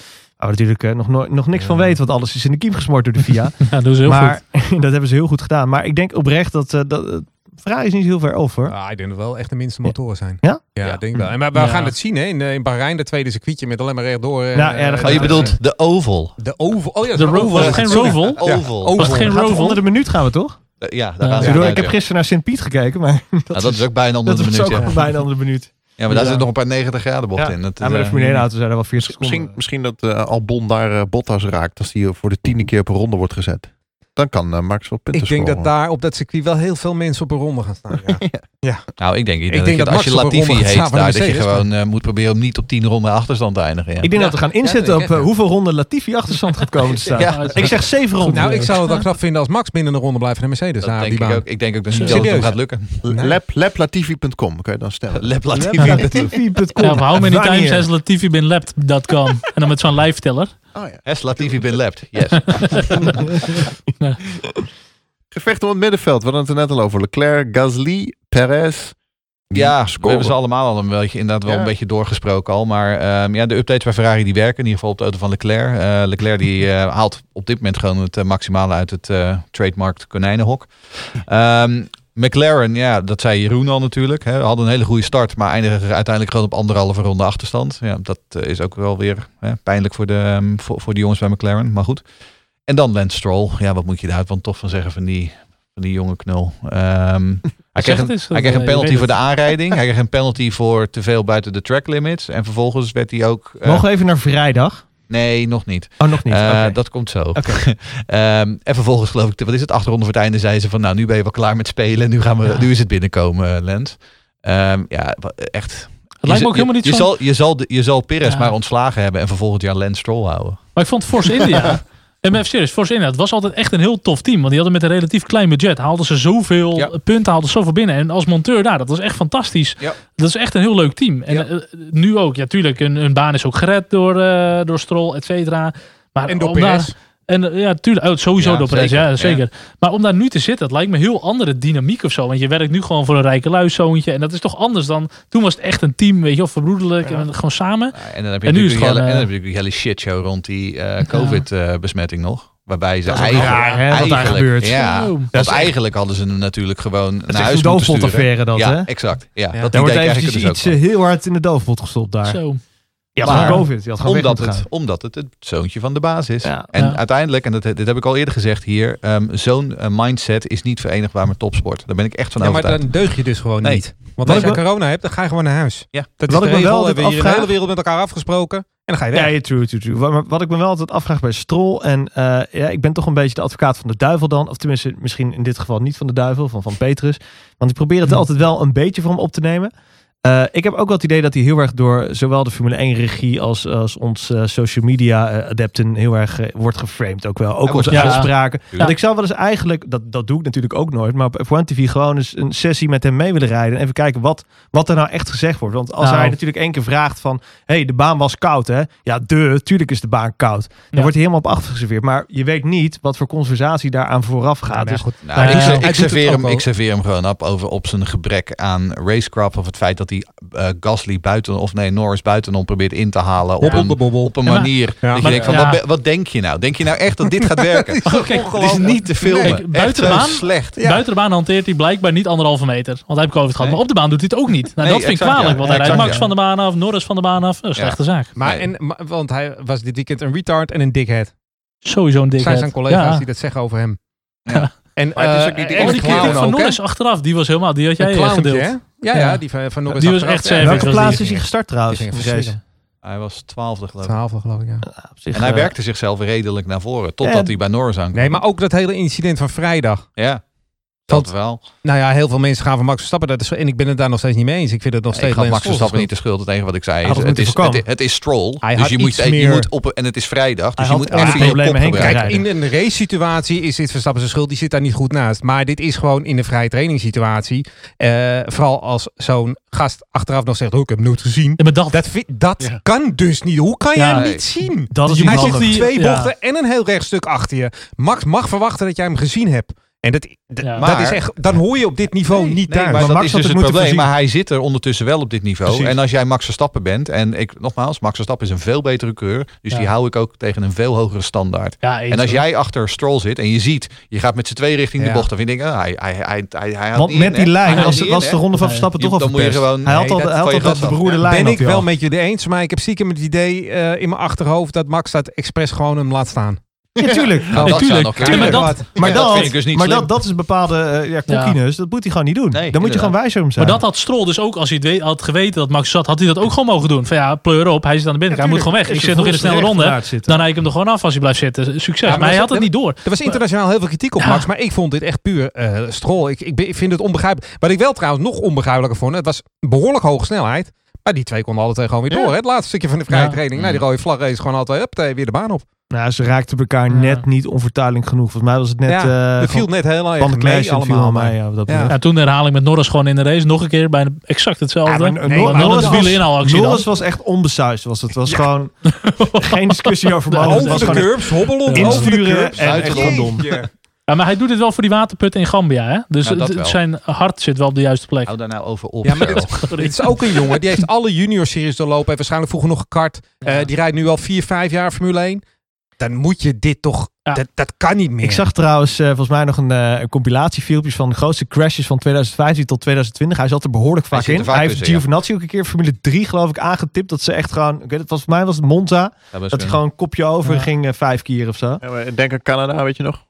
[SPEAKER 5] we natuurlijk eh, nog, nooit- nog niks van weten, want alles is in de kiem gesmoord door de FIA.
[SPEAKER 3] Ja, doen ze heel
[SPEAKER 5] maar
[SPEAKER 3] goed.
[SPEAKER 5] dat hebben ze heel goed gedaan. Maar ik denk oprecht dat, eh, dat eh, Ferrari is niet heel ver over. hoor.
[SPEAKER 4] Ah, ik denk dat wel echt de minste motoren zijn.
[SPEAKER 5] Ja?
[SPEAKER 4] Ja,
[SPEAKER 6] Ja.
[SPEAKER 4] denk ik wel. En maar we
[SPEAKER 3] Ja.
[SPEAKER 4] gaan het zien hè, in, eh, in Bahrein, dat tweede circuitje met alleen maar rechtdoor. eh,
[SPEAKER 5] Nou, ja, dan gaat-
[SPEAKER 6] Oh, je
[SPEAKER 5] Ja,
[SPEAKER 6] bedoelt de oval.
[SPEAKER 4] De oval. Oh ja, dat
[SPEAKER 3] De
[SPEAKER 4] is een
[SPEAKER 3] Roval. Was het geen
[SPEAKER 4] Sorry.
[SPEAKER 3] Roval?
[SPEAKER 4] Ja,
[SPEAKER 6] Oval.
[SPEAKER 4] oval.
[SPEAKER 3] Was het geen
[SPEAKER 5] Gaat
[SPEAKER 3] Roval?
[SPEAKER 5] onder de minuut gaan we toch?
[SPEAKER 6] Ja, daar
[SPEAKER 3] Ja.
[SPEAKER 6] gaan ze
[SPEAKER 5] Ik bedoel,
[SPEAKER 6] vanuit,
[SPEAKER 5] ik heb
[SPEAKER 6] ja.
[SPEAKER 5] gisteren naar Sint-Piet gekeken, maar dat,
[SPEAKER 6] Nou, dat is ook bijna onder
[SPEAKER 5] dat
[SPEAKER 6] de
[SPEAKER 5] was
[SPEAKER 6] minuut.
[SPEAKER 5] ook
[SPEAKER 6] Ja.
[SPEAKER 5] al bijna onder de minuut.
[SPEAKER 6] ja, maar daar zit nog een paar 90 graden bocht
[SPEAKER 5] Ja.
[SPEAKER 6] in. Dat,
[SPEAKER 5] Ja, maar de
[SPEAKER 6] eh,
[SPEAKER 5] Formule 1 auto's zijn er wel 40
[SPEAKER 1] Misschien,
[SPEAKER 5] seconden.
[SPEAKER 1] misschien dat eh, Albon daar eh, Bottas raakt als die voor de tiende keer per ronde wordt gezet. Dan kan eh, Max wel punten
[SPEAKER 4] Ik denk dat
[SPEAKER 1] scoren.
[SPEAKER 4] daar op dat circuit wel heel veel mensen op een ronde gaan staan. Ja.
[SPEAKER 6] nou, ik denk, ik
[SPEAKER 4] denk
[SPEAKER 6] denk, dat, je-
[SPEAKER 4] dat
[SPEAKER 6] als je
[SPEAKER 4] Max op een
[SPEAKER 6] Latifi
[SPEAKER 4] ronde gaat
[SPEAKER 6] heet,
[SPEAKER 4] staan
[SPEAKER 6] daar
[SPEAKER 4] van de
[SPEAKER 6] dat je
[SPEAKER 4] Mercedes,
[SPEAKER 6] gewoon eh, moet proberen om niet op 10 ronden achterstand te eindigen. Ja.
[SPEAKER 5] Ik denk dat we gaan inzetten
[SPEAKER 4] dat
[SPEAKER 5] op
[SPEAKER 4] denk ik
[SPEAKER 5] eh,
[SPEAKER 4] echt,
[SPEAKER 5] hoeveel ronden Latifi achterstand gaat komen te staan.
[SPEAKER 6] Ja.
[SPEAKER 5] Ik zeg 7 ronden.
[SPEAKER 4] Nou, ik zou het wel knap vinden als Max binnen een ronde blijft naar Mercedes.
[SPEAKER 6] dat
[SPEAKER 4] naar
[SPEAKER 6] Dus denk
[SPEAKER 4] die baan.
[SPEAKER 6] ik ook. Ik denk ook dat niet dat het hem
[SPEAKER 4] Serieus?
[SPEAKER 6] gaat lukken.
[SPEAKER 1] Lab, lablatifi.com kun je dan stellen.
[SPEAKER 6] Lep Latifi.
[SPEAKER 5] Latifi.com.
[SPEAKER 3] Ja, of how many
[SPEAKER 5] Wanneer?
[SPEAKER 3] times has Latifi been lapped.com. en dan met zo'n live teller.
[SPEAKER 1] Oh, ja.
[SPEAKER 6] Has Latifi been lapped? Yes.
[SPEAKER 1] Gevecht om het middenveld. We hadden het er net al over. Leclerc, Gasly, Perez. Die
[SPEAKER 6] Ja, we
[SPEAKER 1] scoren.
[SPEAKER 6] hebben ze allemaal al een beetje, inderdaad wel
[SPEAKER 1] Ja.
[SPEAKER 6] een beetje doorgesproken al. Maar ehm, ja, de updates bij Ferrari die werken, in ieder geval op de auto van Leclerc. Eh, Leclerc die eh, haalt op dit moment gewoon het eh, maximale uit het eh trademarked konijnenhok. Ehm, McLaren, ja, dat zei Jeroen al natuurlijk. Hè, hadden een hele goede start, maar eindigen uiteindelijk gewoon op anderhalve ronde achterstand. Ja, dat eh, is ook wel weer hè, pijnlijk voor de, ehm, voor, voor de jongens bij McLaren, maar goed. En dan Lance Stroll. Ja, wat moet je daar dan toch van zeggen van die, van die jonge knul. Ehm, hij kreeg een,
[SPEAKER 3] het eens,
[SPEAKER 6] hij kreeg een
[SPEAKER 3] eh, je
[SPEAKER 6] penalty
[SPEAKER 3] weet
[SPEAKER 6] voor de
[SPEAKER 3] het.
[SPEAKER 6] aanrijding. Hij kreeg een penalty voor te veel buiten de track limits. En vervolgens werd hij ook... eh,
[SPEAKER 5] Nog even naar vrijdag.
[SPEAKER 6] Nee, nog niet.
[SPEAKER 5] Oh, nog niet.
[SPEAKER 6] Eh,
[SPEAKER 5] Oké.
[SPEAKER 6] Dat komt zo.
[SPEAKER 5] Oké.
[SPEAKER 6] Ehm, en vervolgens geloof ik, wat is het, acht ronden voor het einde, zeiden ze van nou, nu ben je wel klaar met spelen. Nu, gaan we, nu is het binnenkomen, eh, Lens. Ehm, ja, wa- echt.
[SPEAKER 3] Het lijkt me ook helemaal niet
[SPEAKER 6] je,
[SPEAKER 3] zo'n-
[SPEAKER 6] zal, je, zal, de- je zal Perez
[SPEAKER 3] Ja.
[SPEAKER 6] maar ontslagen hebben en vervolgens jaar Lens Stroll houden.
[SPEAKER 3] Maar ik vond Force India. En even serieus, Force India, het was altijd echt een heel tof team. Want die hadden met een relatief klein budget, haalden ze zoveel
[SPEAKER 6] Ja.
[SPEAKER 3] punten, haalden zoveel binnen. En als monteur daar, dat was echt fantastisch.
[SPEAKER 6] Ja.
[SPEAKER 3] Dat is echt een heel leuk team. En
[SPEAKER 6] Ja.
[SPEAKER 3] eh, nu ook, ja tuurlijk, hun, hun baan is ook gered door, eh, door Stroll, et cetera. Maar
[SPEAKER 4] En door
[SPEAKER 3] om
[SPEAKER 4] Perez.
[SPEAKER 3] daar- En eh, ja, tuurlijk, oh, sowieso
[SPEAKER 6] Ja,
[SPEAKER 3] door Perez,
[SPEAKER 6] zeker,
[SPEAKER 3] ja, zeker. Maar om daar nu te zitten, het lijkt me een heel andere dynamiek of zo. Want je werkt nu gewoon voor een rijke luiszoontje. En dat is toch anders dan, toen was het echt een team, weet je wel, verbroederlijk. En gewoon samen.
[SPEAKER 6] Nou, En dan heb je
[SPEAKER 3] En nu is het
[SPEAKER 6] natuurlijk, die,
[SPEAKER 3] gewoon,
[SPEAKER 6] hele, en dan
[SPEAKER 3] eh,
[SPEAKER 6] heb je natuurlijk die hele shitshow rond die eh, COVID-besmetting nog. Waarbij ze
[SPEAKER 5] Dat is ook
[SPEAKER 6] eigenlijk...
[SPEAKER 5] raar, hè, wat daar
[SPEAKER 6] eigenlijk-
[SPEAKER 5] gebeurt.
[SPEAKER 6] Ja,
[SPEAKER 3] Zo.
[SPEAKER 6] want
[SPEAKER 5] Dat is echt-
[SPEAKER 6] eigenlijk hadden ze hem natuurlijk gewoon
[SPEAKER 5] Dat
[SPEAKER 6] naar
[SPEAKER 5] is echt
[SPEAKER 6] huis
[SPEAKER 5] een
[SPEAKER 6] moeten sturen.
[SPEAKER 5] doofpotaffaire dat,
[SPEAKER 6] ja,
[SPEAKER 5] hè?
[SPEAKER 6] exact. Ja,
[SPEAKER 4] Ja.
[SPEAKER 6] dat
[SPEAKER 5] Daar
[SPEAKER 6] idee
[SPEAKER 5] wordt
[SPEAKER 6] krijg
[SPEAKER 5] eventjes
[SPEAKER 6] ik er dus ook
[SPEAKER 5] iets
[SPEAKER 6] van.
[SPEAKER 5] eh, heel hard in de doofpot gestopt daar.
[SPEAKER 3] Zo.
[SPEAKER 5] Je had
[SPEAKER 6] Maar-
[SPEAKER 5] gewoon COVID. Je had gewoon
[SPEAKER 6] Omdat
[SPEAKER 5] weg moeten
[SPEAKER 6] het, omdat het het zoontje van de baas is.
[SPEAKER 5] Ja.
[SPEAKER 6] en
[SPEAKER 3] Ja.
[SPEAKER 6] uiteindelijk, en dat, dit heb ik al eerder gezegd hier, ehm, zo'n eh, mindset is niet verenigbaar met topsport. Daar ben ik echt van
[SPEAKER 4] Ja, maar
[SPEAKER 6] overtuigd.
[SPEAKER 4] dan deug je dus gewoon
[SPEAKER 6] Nee.
[SPEAKER 4] niet. Want
[SPEAKER 5] Wat
[SPEAKER 4] als
[SPEAKER 5] ik
[SPEAKER 4] je
[SPEAKER 5] me-
[SPEAKER 4] corona hebt, dan ga je gewoon naar huis.
[SPEAKER 6] Ja.
[SPEAKER 4] Dat is
[SPEAKER 5] Wat
[SPEAKER 4] de
[SPEAKER 5] ik me wel
[SPEAKER 4] regel.
[SPEAKER 5] altijd
[SPEAKER 4] Hebben hier de hele
[SPEAKER 5] afvraag-
[SPEAKER 4] wereld met elkaar afgesproken. En dan ga je weg.
[SPEAKER 5] gaan. Ja, ja, true, true, true. Wa- Maar wat ik me wel altijd afvraag bij Strol en eh, ja, ik ben toch een beetje de advocaat van de duivel dan. Of tenminste, misschien in dit geval niet van de duivel, van, van Petrus. Want ik probeer het altijd wel een beetje voor hem op te nemen. Eh, ik heb ook wel het idee dat hij heel erg door zowel de Formule 1-regie als, als ons eh, social media-adepten heel erg eh, wordt geframed ook wel. Ook
[SPEAKER 6] wordt-
[SPEAKER 5] onze
[SPEAKER 3] ja.
[SPEAKER 5] uitspraken.
[SPEAKER 6] Ja.
[SPEAKER 5] Want ik zou wel eens eigenlijk, dat, dat doe ik natuurlijk ook nooit, maar op F1 TV gewoon eens een sessie met hem mee willen rijden. En even kijken wat, wat er nou echt gezegd wordt. Want als
[SPEAKER 3] Nou.
[SPEAKER 5] hij natuurlijk één keer vraagt van, hé, hey, de baan was koud hè. Ja, de, tuurlijk is de baan koud. Dan
[SPEAKER 3] Ja.
[SPEAKER 5] wordt hij helemaal op achtergeserveerd. Maar je weet niet wat voor conversatie daaraan vooraf gaat.
[SPEAKER 4] Nou,
[SPEAKER 5] dus
[SPEAKER 4] goed.
[SPEAKER 6] Nou,
[SPEAKER 3] Nou,
[SPEAKER 6] ik,
[SPEAKER 3] ja,
[SPEAKER 6] ser-
[SPEAKER 4] hij doet
[SPEAKER 6] ik,
[SPEAKER 4] het
[SPEAKER 6] serveer
[SPEAKER 4] ook
[SPEAKER 6] hem,
[SPEAKER 4] al.
[SPEAKER 6] ik serveer hem gewoon op over op zijn gebrek aan racecraft of het feit dat hij eh, Gasly buiten of nee Norris buitenom probeert in te halen op
[SPEAKER 4] Op
[SPEAKER 6] een,
[SPEAKER 4] de bobbel.
[SPEAKER 6] op een
[SPEAKER 3] Ja, maar-
[SPEAKER 6] manier
[SPEAKER 4] Ja.
[SPEAKER 6] dat je
[SPEAKER 4] Maar-
[SPEAKER 6] denkt van
[SPEAKER 3] ja.
[SPEAKER 6] wat, be- wat denk je nou? Denk je nou echt dat dit gaat werken?
[SPEAKER 3] Maar goed, kijk,
[SPEAKER 6] Het is niet te filmen.
[SPEAKER 3] Kijk, buiten de
[SPEAKER 6] echt zo
[SPEAKER 3] baan-
[SPEAKER 6] slecht.
[SPEAKER 3] Buiten de baan hanteert hij blijkbaar niet anderhalve meter. Want hij heeft COVID gehad.
[SPEAKER 6] Nee.
[SPEAKER 3] Maar op de baan doet hij het ook niet. Nou,
[SPEAKER 6] Nee,
[SPEAKER 3] dat vind ik
[SPEAKER 6] exact,
[SPEAKER 3] kwalijk.
[SPEAKER 6] ja.
[SPEAKER 3] Want hij
[SPEAKER 6] Ja,
[SPEAKER 3] rijdt Max
[SPEAKER 6] exact,
[SPEAKER 3] van de baan af, Norris van de baan af. Een slechte zaak.
[SPEAKER 4] Maar en,
[SPEAKER 6] Nee.
[SPEAKER 4] maar- want hij was dit weekend een retard en een dickhead.
[SPEAKER 3] Sowieso een dikke.
[SPEAKER 4] zijn zijn collega's die dat zeggen over hem.
[SPEAKER 6] Ja.
[SPEAKER 4] En,
[SPEAKER 6] Maar het is ook
[SPEAKER 4] eh,
[SPEAKER 6] niet de
[SPEAKER 4] en
[SPEAKER 3] Oh, die
[SPEAKER 6] eerste
[SPEAKER 4] clown
[SPEAKER 6] keer
[SPEAKER 3] kritiek van
[SPEAKER 4] ook, hè?
[SPEAKER 3] Norris achteraf, die was helemaal, die had jij
[SPEAKER 4] Een
[SPEAKER 3] eh,
[SPEAKER 4] clowntje,
[SPEAKER 3] gedeeld.
[SPEAKER 4] hè? Ja,
[SPEAKER 3] Ja.
[SPEAKER 4] ja, die van, van Norris.
[SPEAKER 3] Die was
[SPEAKER 4] achteraf.
[SPEAKER 3] echt
[SPEAKER 4] Ja,
[SPEAKER 3] savage,
[SPEAKER 5] Welke
[SPEAKER 3] was
[SPEAKER 5] plaats
[SPEAKER 3] die.
[SPEAKER 5] is hij gestart trouwens?
[SPEAKER 4] Die ging
[SPEAKER 5] in de race?
[SPEAKER 4] verschrikkelijk.
[SPEAKER 6] Hij was twaalfde geloof ik.
[SPEAKER 4] Twaalfde, geloof ik, ja.
[SPEAKER 5] Ja, op zich,
[SPEAKER 6] En hij
[SPEAKER 5] eh,
[SPEAKER 6] werkte zichzelf redelijk naar voren. Totdat
[SPEAKER 5] Ja.
[SPEAKER 6] hij bij Norris aankwam.
[SPEAKER 4] Nee, maar ook dat hele incident van vrijdag.
[SPEAKER 6] Ja, dat
[SPEAKER 4] Want-
[SPEAKER 6] wel.
[SPEAKER 4] Nou ja, heel veel mensen gaan van Max Verstappen. Dat is, en ik ben het daar nog steeds niet mee eens. Ik vind het nog
[SPEAKER 6] ik
[SPEAKER 4] steeds
[SPEAKER 6] gaf
[SPEAKER 4] Lance
[SPEAKER 6] Max
[SPEAKER 4] Stroll
[SPEAKER 6] Verstappen niet de schuld. Het enige wat ik zei
[SPEAKER 5] Hij
[SPEAKER 6] is,
[SPEAKER 5] had
[SPEAKER 6] het
[SPEAKER 5] het
[SPEAKER 6] is,
[SPEAKER 5] moeten
[SPEAKER 6] het,
[SPEAKER 5] voorkomen.
[SPEAKER 6] het is stroll.
[SPEAKER 4] Hij
[SPEAKER 6] dus
[SPEAKER 4] had
[SPEAKER 6] je moet,
[SPEAKER 4] iets
[SPEAKER 6] je
[SPEAKER 4] meer-
[SPEAKER 6] moet op, en het is vrijdag. Dus
[SPEAKER 5] Hij
[SPEAKER 6] je
[SPEAKER 5] had
[SPEAKER 6] moet
[SPEAKER 5] echt
[SPEAKER 6] even je
[SPEAKER 5] problemen
[SPEAKER 6] kop
[SPEAKER 5] heen
[SPEAKER 6] gebruiken.
[SPEAKER 5] kunnen
[SPEAKER 4] Kijk, in een race situatie is dit Verstappen zijn schuld. Die zit daar niet goed naast. Maar dit is gewoon in de vrije training situatie. eh, vooral als zo'n gast achteraf nog zegt, oh, ik heb hem nooit gezien.
[SPEAKER 3] Ja, maar dat,
[SPEAKER 4] Dat, vi- dat
[SPEAKER 3] Ja.
[SPEAKER 4] kan dus niet. Hoe kan jij
[SPEAKER 3] Ja,
[SPEAKER 4] hem
[SPEAKER 6] nee.
[SPEAKER 4] niet zien?
[SPEAKER 5] Dat is
[SPEAKER 3] Je
[SPEAKER 5] niet
[SPEAKER 4] Hij zit
[SPEAKER 5] handig.
[SPEAKER 3] die-
[SPEAKER 4] twee
[SPEAKER 3] ja.
[SPEAKER 4] bochten en een heel recht stuk achter je. Max mag verwachten dat jij hem gezien hebt. En En dat, dat,
[SPEAKER 3] Ja.
[SPEAKER 4] dat
[SPEAKER 6] Maar-
[SPEAKER 4] is echt, dan hoor je op dit niveau
[SPEAKER 6] Nee,
[SPEAKER 4] niet
[SPEAKER 6] nee,
[SPEAKER 4] thuis.
[SPEAKER 6] maar
[SPEAKER 5] Maar
[SPEAKER 6] dat
[SPEAKER 5] Max
[SPEAKER 6] is
[SPEAKER 5] had
[SPEAKER 6] dus
[SPEAKER 5] het
[SPEAKER 6] het
[SPEAKER 5] moeten
[SPEAKER 6] probleem.
[SPEAKER 5] voorzien.
[SPEAKER 6] Maar hij zit er ondertussen wel op dit niveau.
[SPEAKER 5] Precies.
[SPEAKER 6] En als jij Max Verstappen bent, en ik, nogmaals, Max Verstappen is een veel betere keur. Dus
[SPEAKER 3] Ja.
[SPEAKER 6] die hou ik ook tegen een veel hogere standaard.
[SPEAKER 3] Ja, eens,
[SPEAKER 6] En als
[SPEAKER 3] hoor.
[SPEAKER 6] jij achter Stroll zit en je ziet, je gaat met z'n twee richting
[SPEAKER 4] Ja.
[SPEAKER 6] de bocht, dan vind ik, ah, hij, hij, hij, hij, hij haalt
[SPEAKER 5] Want
[SPEAKER 6] niet
[SPEAKER 5] met
[SPEAKER 6] in, hè.
[SPEAKER 5] die
[SPEAKER 6] Hij
[SPEAKER 5] lijn
[SPEAKER 6] haalt
[SPEAKER 5] was,
[SPEAKER 6] niet
[SPEAKER 5] was
[SPEAKER 6] in,
[SPEAKER 5] de
[SPEAKER 6] hè.
[SPEAKER 5] ronde van
[SPEAKER 3] Nee.
[SPEAKER 5] Verstappen
[SPEAKER 6] Je-
[SPEAKER 5] toch al
[SPEAKER 6] dan moet je
[SPEAKER 5] verpest.
[SPEAKER 6] gewoon-
[SPEAKER 5] Hij had
[SPEAKER 6] nee,
[SPEAKER 5] al
[SPEAKER 6] dat
[SPEAKER 5] hij had
[SPEAKER 6] kan je
[SPEAKER 5] altijd de
[SPEAKER 6] gas af.
[SPEAKER 5] beroerde
[SPEAKER 6] Ja.
[SPEAKER 5] lijn.
[SPEAKER 4] ben
[SPEAKER 5] had
[SPEAKER 4] ik
[SPEAKER 5] hij
[SPEAKER 4] wel
[SPEAKER 5] al.
[SPEAKER 4] met je eens, maar ik heb stiekem het idee eh, in mijn achterhoofd dat Max dat expres gewoon hem laat staan.
[SPEAKER 5] Ja, tuurlijk.
[SPEAKER 6] Nou, dat zou
[SPEAKER 3] tuurlijk, tuurlijk.
[SPEAKER 6] nog kunnen.
[SPEAKER 3] maar dat-
[SPEAKER 4] Laat-
[SPEAKER 5] Maar,
[SPEAKER 6] Ja, dat
[SPEAKER 5] dat,
[SPEAKER 6] vind ik dus niet
[SPEAKER 5] maar
[SPEAKER 6] slim.
[SPEAKER 5] dat, dat is bepaalde eh, ja, kokkiness. Dat moet hij gewoon niet doen.
[SPEAKER 6] Nee,
[SPEAKER 5] Dan moet je
[SPEAKER 6] inderdaad.
[SPEAKER 5] gewoon wijzer om
[SPEAKER 3] Maar
[SPEAKER 5] zijn.
[SPEAKER 3] dat had Strol dus ook, als hij het weet, had geweten dat Max zat, had hij dat ook gewoon mogen doen. Van ja, pleur op, hij zit aan de binnenkant, hij moet gewoon weg. Ik zit nog in de snelle ronde, dan rijd ik hem er gewoon af als hij blijft zitten. Succes.
[SPEAKER 4] maar
[SPEAKER 3] maar hij
[SPEAKER 4] dat-
[SPEAKER 3] had het niet door.
[SPEAKER 4] Er was internationaal heel veel kritiek op Max, maar ik vond dit echt puur eh strol. Ik, ik, be- ik vind het onbegrijpelijk. Wat ik wel trouwens nog onbegrijpelijker vond, het was behoorlijk hoge snelheid. Maar die twee konden alle twee gewoon weer door. Hè? Het laatste stukje van de vrije
[SPEAKER 3] Ja.
[SPEAKER 4] training. Nou, die
[SPEAKER 5] Mm.
[SPEAKER 4] rode vlag race gewoon altijd hup, eh, weer de baan op.
[SPEAKER 5] Nou, ze raakten elkaar net niet onvertuidelijk genoeg. Volgens mij was het net...
[SPEAKER 4] ja,
[SPEAKER 5] eh,
[SPEAKER 4] er viel
[SPEAKER 5] gewoon
[SPEAKER 4] net heel erg
[SPEAKER 5] bandenkneus
[SPEAKER 4] mee
[SPEAKER 5] en viel
[SPEAKER 4] allemaal.
[SPEAKER 5] aan
[SPEAKER 4] maar-
[SPEAKER 5] mij. Ja, wat dat
[SPEAKER 4] Ja.
[SPEAKER 5] betreft.
[SPEAKER 3] Ja, toen de herhaling met Norris gewoon in de race. Nog een keer bijna exact
[SPEAKER 5] Ja,
[SPEAKER 3] hetzelfde.
[SPEAKER 5] maar
[SPEAKER 3] Dan
[SPEAKER 5] Nor-
[SPEAKER 3] dan
[SPEAKER 5] Norris
[SPEAKER 3] de
[SPEAKER 5] was-
[SPEAKER 3] wieleninhaalactie dan.
[SPEAKER 5] Norris was echt onbesuisd. Was het. was gewoon geen discussie over
[SPEAKER 3] Ja,
[SPEAKER 5] mannen.
[SPEAKER 3] dat
[SPEAKER 5] Het was
[SPEAKER 4] Over de
[SPEAKER 5] gewoon
[SPEAKER 4] curbs, hobbelend,
[SPEAKER 3] Ja.
[SPEAKER 4] over de
[SPEAKER 5] insturen
[SPEAKER 4] curbs.
[SPEAKER 5] en
[SPEAKER 6] uit
[SPEAKER 5] echt
[SPEAKER 6] de
[SPEAKER 5] gewoon dom.
[SPEAKER 4] Jeetje.
[SPEAKER 3] Ja, maar hij doet het wel voor die waterputten in Gambia. Hè? Dus
[SPEAKER 6] Nou,
[SPEAKER 3] het-
[SPEAKER 6] dat
[SPEAKER 3] het
[SPEAKER 6] wel.
[SPEAKER 3] zijn hart zit wel op de juiste plek.
[SPEAKER 6] Hou daar nou over op.
[SPEAKER 4] Ja, maar dit-
[SPEAKER 6] Charles.
[SPEAKER 4] Dit is ook een jongen, die heeft alle junior series doorlopen. Heeft waarschijnlijk vroeger nog gekart. Eh, die rijdt nu al 4, 5 jaar Formule 1. Dan moet je dit toch...
[SPEAKER 3] Ja.
[SPEAKER 4] Dat, dat kan niet meer.
[SPEAKER 5] Ik zag trouwens eh, volgens mij nog een, eh, een compilatiefilmpje van de grootste crashes van 2015 tot 2020. Hij zat er behoorlijk vaak
[SPEAKER 6] zit er
[SPEAKER 5] in.
[SPEAKER 6] vaak
[SPEAKER 5] hij heeft
[SPEAKER 6] tussen, ja.
[SPEAKER 5] Giovinazzi ook een keer Formule 3 geloof ik aangetipt. Dat ze echt gewoon, oké, dat was, voor mij was het Monza.
[SPEAKER 6] Ja, best
[SPEAKER 5] Dat hij
[SPEAKER 6] wel.
[SPEAKER 5] gewoon een kopje over
[SPEAKER 3] Ja.
[SPEAKER 5] ging eh, vijf keer of zo.
[SPEAKER 1] Ja, maar Denk aan Canada, weet je nog?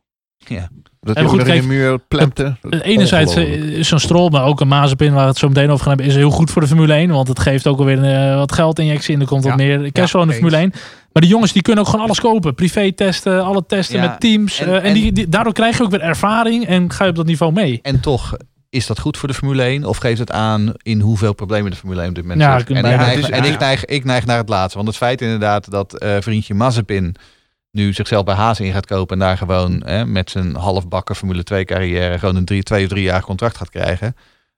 [SPEAKER 6] Ja.
[SPEAKER 1] Dat
[SPEAKER 3] En
[SPEAKER 1] hij
[SPEAKER 3] goed,
[SPEAKER 1] goed, in de
[SPEAKER 3] kijk,
[SPEAKER 1] muur plemte.
[SPEAKER 3] Enerzijds eh,
[SPEAKER 1] Ongelooflijk.
[SPEAKER 3] is zo'n strol, maar ook een Mazepin, waar we het zo meteen over gaan hebben, is heel goed voor de Formule 1. Want het geeft ook alweer eh, wat geldinjectie in. Er komt wat
[SPEAKER 4] Ja,
[SPEAKER 3] meer cashflow in de
[SPEAKER 4] eens.
[SPEAKER 3] Formule 1. Maar die jongens die kunnen ook gewoon alles kopen. Privé testen, alle testen
[SPEAKER 6] Ja,
[SPEAKER 3] met teams.
[SPEAKER 6] en-
[SPEAKER 3] eh, En,
[SPEAKER 6] en-
[SPEAKER 3] die, die- daardoor krijg je ook weer ervaring en ga je op dat niveau mee.
[SPEAKER 6] En toch, is dat goed voor de Formule 1? Of geeft het aan in hoeveel problemen de Formule 1 op dit moment
[SPEAKER 3] Ja,
[SPEAKER 6] zit?
[SPEAKER 3] ik-
[SPEAKER 6] En,
[SPEAKER 3] ja,
[SPEAKER 6] ik,
[SPEAKER 3] het
[SPEAKER 6] neig,
[SPEAKER 1] is-
[SPEAKER 6] en
[SPEAKER 1] ja.
[SPEAKER 6] ik, neig, ik neig naar het laatste. Want het feit inderdaad dat eh, vriendje Mazepin nu zichzelf bij Haas in gaat kopen... en daar gewoon hè, met zijn halfbakken Formule 2 carrière... gewoon een drie, twee of drie jaar contract gaat krijgen...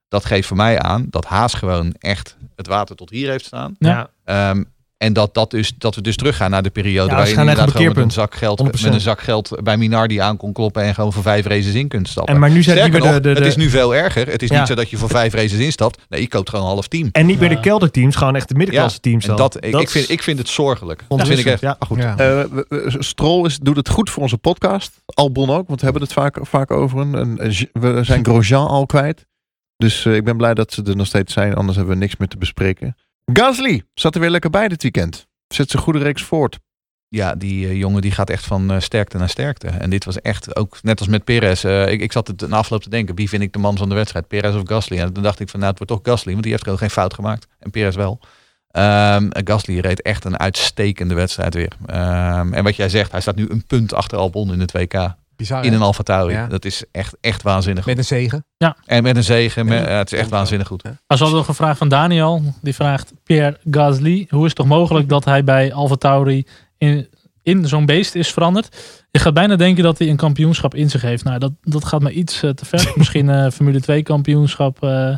[SPEAKER 6] dat geeft voor mij aan dat Haas gewoon echt het water tot hier heeft staan.
[SPEAKER 3] Ja.
[SPEAKER 6] Ehm, en dat, dat, dus, dat we dus teruggaan naar de periode
[SPEAKER 5] Ja,
[SPEAKER 6] waar
[SPEAKER 5] ze
[SPEAKER 6] je
[SPEAKER 5] gaan echt
[SPEAKER 6] inderdaad
[SPEAKER 5] op een
[SPEAKER 6] gewoon met een,
[SPEAKER 5] keerpunt.
[SPEAKER 6] zak geld,
[SPEAKER 5] 100%.
[SPEAKER 6] met een zak geld bij Minardi aan kon kloppen en gewoon voor vijf races in kunt stappen.
[SPEAKER 5] En maar nu zijn die
[SPEAKER 6] Sterker
[SPEAKER 5] weer
[SPEAKER 6] nog,
[SPEAKER 5] de, de,
[SPEAKER 6] het
[SPEAKER 5] de-
[SPEAKER 6] is nu veel erger. Het is
[SPEAKER 5] Ja.
[SPEAKER 6] niet zo dat je voor vijf races instapt. Nee, je koopt gewoon een half team.
[SPEAKER 5] en niet meer de
[SPEAKER 3] Ja.
[SPEAKER 5] kelderteams, gewoon echt de middenklasse teams.
[SPEAKER 6] En
[SPEAKER 5] dan.
[SPEAKER 6] dat, ik, ik vind, ik vind het zorgelijk.
[SPEAKER 5] is
[SPEAKER 6] Dat vind ik echt.
[SPEAKER 5] Ja.
[SPEAKER 6] Maar goed.
[SPEAKER 4] Ja.
[SPEAKER 1] Eh, we- we- Stroll is, doet het goed voor onze podcast. Albon ook, want we hebben het vaak, vaak over hem. En, eh, G- we zijn Grosjean al kwijt. Dus eh, ik ben blij dat ze er nog steeds zijn. Anders hebben we niks meer te bespreken. Gasly zat er weer lekker bij dit weekend. Zet zijn goede reeks voort.
[SPEAKER 6] Ja, die eh, jongen die gaat echt van eh, sterkte naar sterkte. En dit was echt ook, net als met Perez. eh, ik, ik zat het na afloop te denken, wie vind ik de man van de wedstrijd? Perez of Gasly? En toen dacht ik van, nou, het wordt toch Gasly. Want die heeft gewoon geen fout gemaakt. En Perez wel. Ehm, en Gasly reed echt een uitstekende wedstrijd weer. Ehm, en wat jij zegt, hij staat nu een punt achter Albon in het
[SPEAKER 5] Oh,
[SPEAKER 6] WK.
[SPEAKER 4] Bizar,
[SPEAKER 6] In
[SPEAKER 4] hè?
[SPEAKER 6] een Alfa Tauri.
[SPEAKER 4] Ja.
[SPEAKER 6] Dat is echt, echt waanzinnig.
[SPEAKER 4] Met een zegen.
[SPEAKER 6] En met een zegen.
[SPEAKER 4] Ja.
[SPEAKER 6] met- eh, het is echt waanzinnig goed.
[SPEAKER 3] Maar ze hadden nog een vraag van Daniel. Die vraagt Pierre Gasly. Hoe is het toch mogelijk dat hij bij Alfa Tauri in, in zo'n beest is veranderd? Je gaat bijna denken dat hij een kampioenschap in zich heeft. Nou, dat, dat gaat me iets eh, te ver. Misschien eh, Formule 2 kampioenschap. eh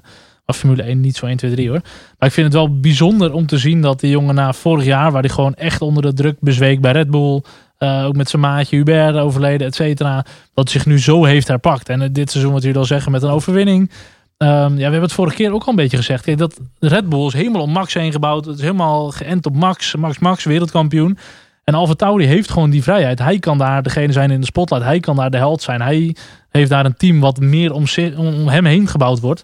[SPEAKER 3] of Formule 1 niet zo 1, 2, 3 hoor. Maar ik vind het wel bijzonder om te zien dat die jongen na vorig jaar... waar hij gewoon echt onder de druk bezweek bij Red Bull... eh, ook met zijn maatje Hubert overleden, et cetera. Dat hij zich nu zo heeft herpakt. En eh, dit seizoen, wat jullie al zeggen, met een overwinning. Ehm, ja, we hebben het vorige keer ook al een beetje gezegd. Kijk, dat Red Bull is helemaal om Max heen gebouwd. Het is helemaal geënt op Max. Max, Max, wereldkampioen. En Alfa Tauri heeft gewoon die vrijheid. Hij kan daar degene zijn in de spotlight. Hij kan daar de held zijn. Hij heeft daar een team wat meer om, zi- om om hem heen gebouwd wordt.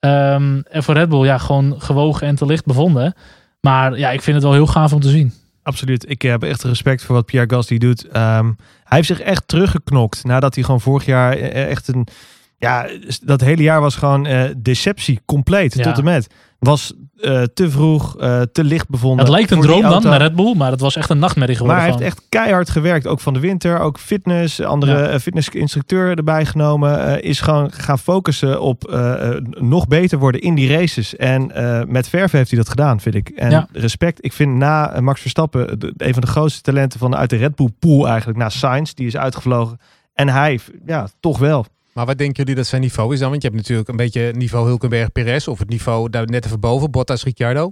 [SPEAKER 3] Ehm, en voor Red Bull, ja, gewoon gewogen en te licht bevonden. Maar ja, ik vind het wel heel gaaf om te zien.
[SPEAKER 5] Absoluut. Ik eh, heb echt respect voor wat Pierre Gasly doet. Ehm, hij heeft zich echt teruggeknokt nadat hij gewoon vorig jaar eh, echt een... Ja, dat hele jaar was gewoon eh, deceptie, compleet,
[SPEAKER 3] Ja.
[SPEAKER 5] tot en met. Was eh, te vroeg, eh, te licht bevonden.
[SPEAKER 3] het lijkt een
[SPEAKER 5] Voor die
[SPEAKER 3] droom dan
[SPEAKER 5] auto.
[SPEAKER 3] naar Red Bull, maar het was echt een nachtmerrie geworden.
[SPEAKER 5] Maar hij heeft
[SPEAKER 3] van-
[SPEAKER 5] echt keihard gewerkt. Ook van de winter, ook fitness. Andere
[SPEAKER 3] Ja.
[SPEAKER 5] eh, fitnessinstructeur erbij genomen. eh, is gewoon gaan focussen op eh, eh, nog beter worden in die races. En eh, met verf heeft hij dat gedaan, vind ik. En
[SPEAKER 3] Ja.
[SPEAKER 5] respect. Ik vind na eh, Max Verstappen de- een van de grootste talenten van uit de Red Bull pool eigenlijk. Na Sainz, die is uitgevlogen. En hij, ja, toch wel.
[SPEAKER 4] Maar wat denken jullie dat zijn niveau is dan? Want je hebt natuurlijk een beetje niveau Hulkenberg-Perez. Of het niveau daar net even boven, Bottas-Ricciardo.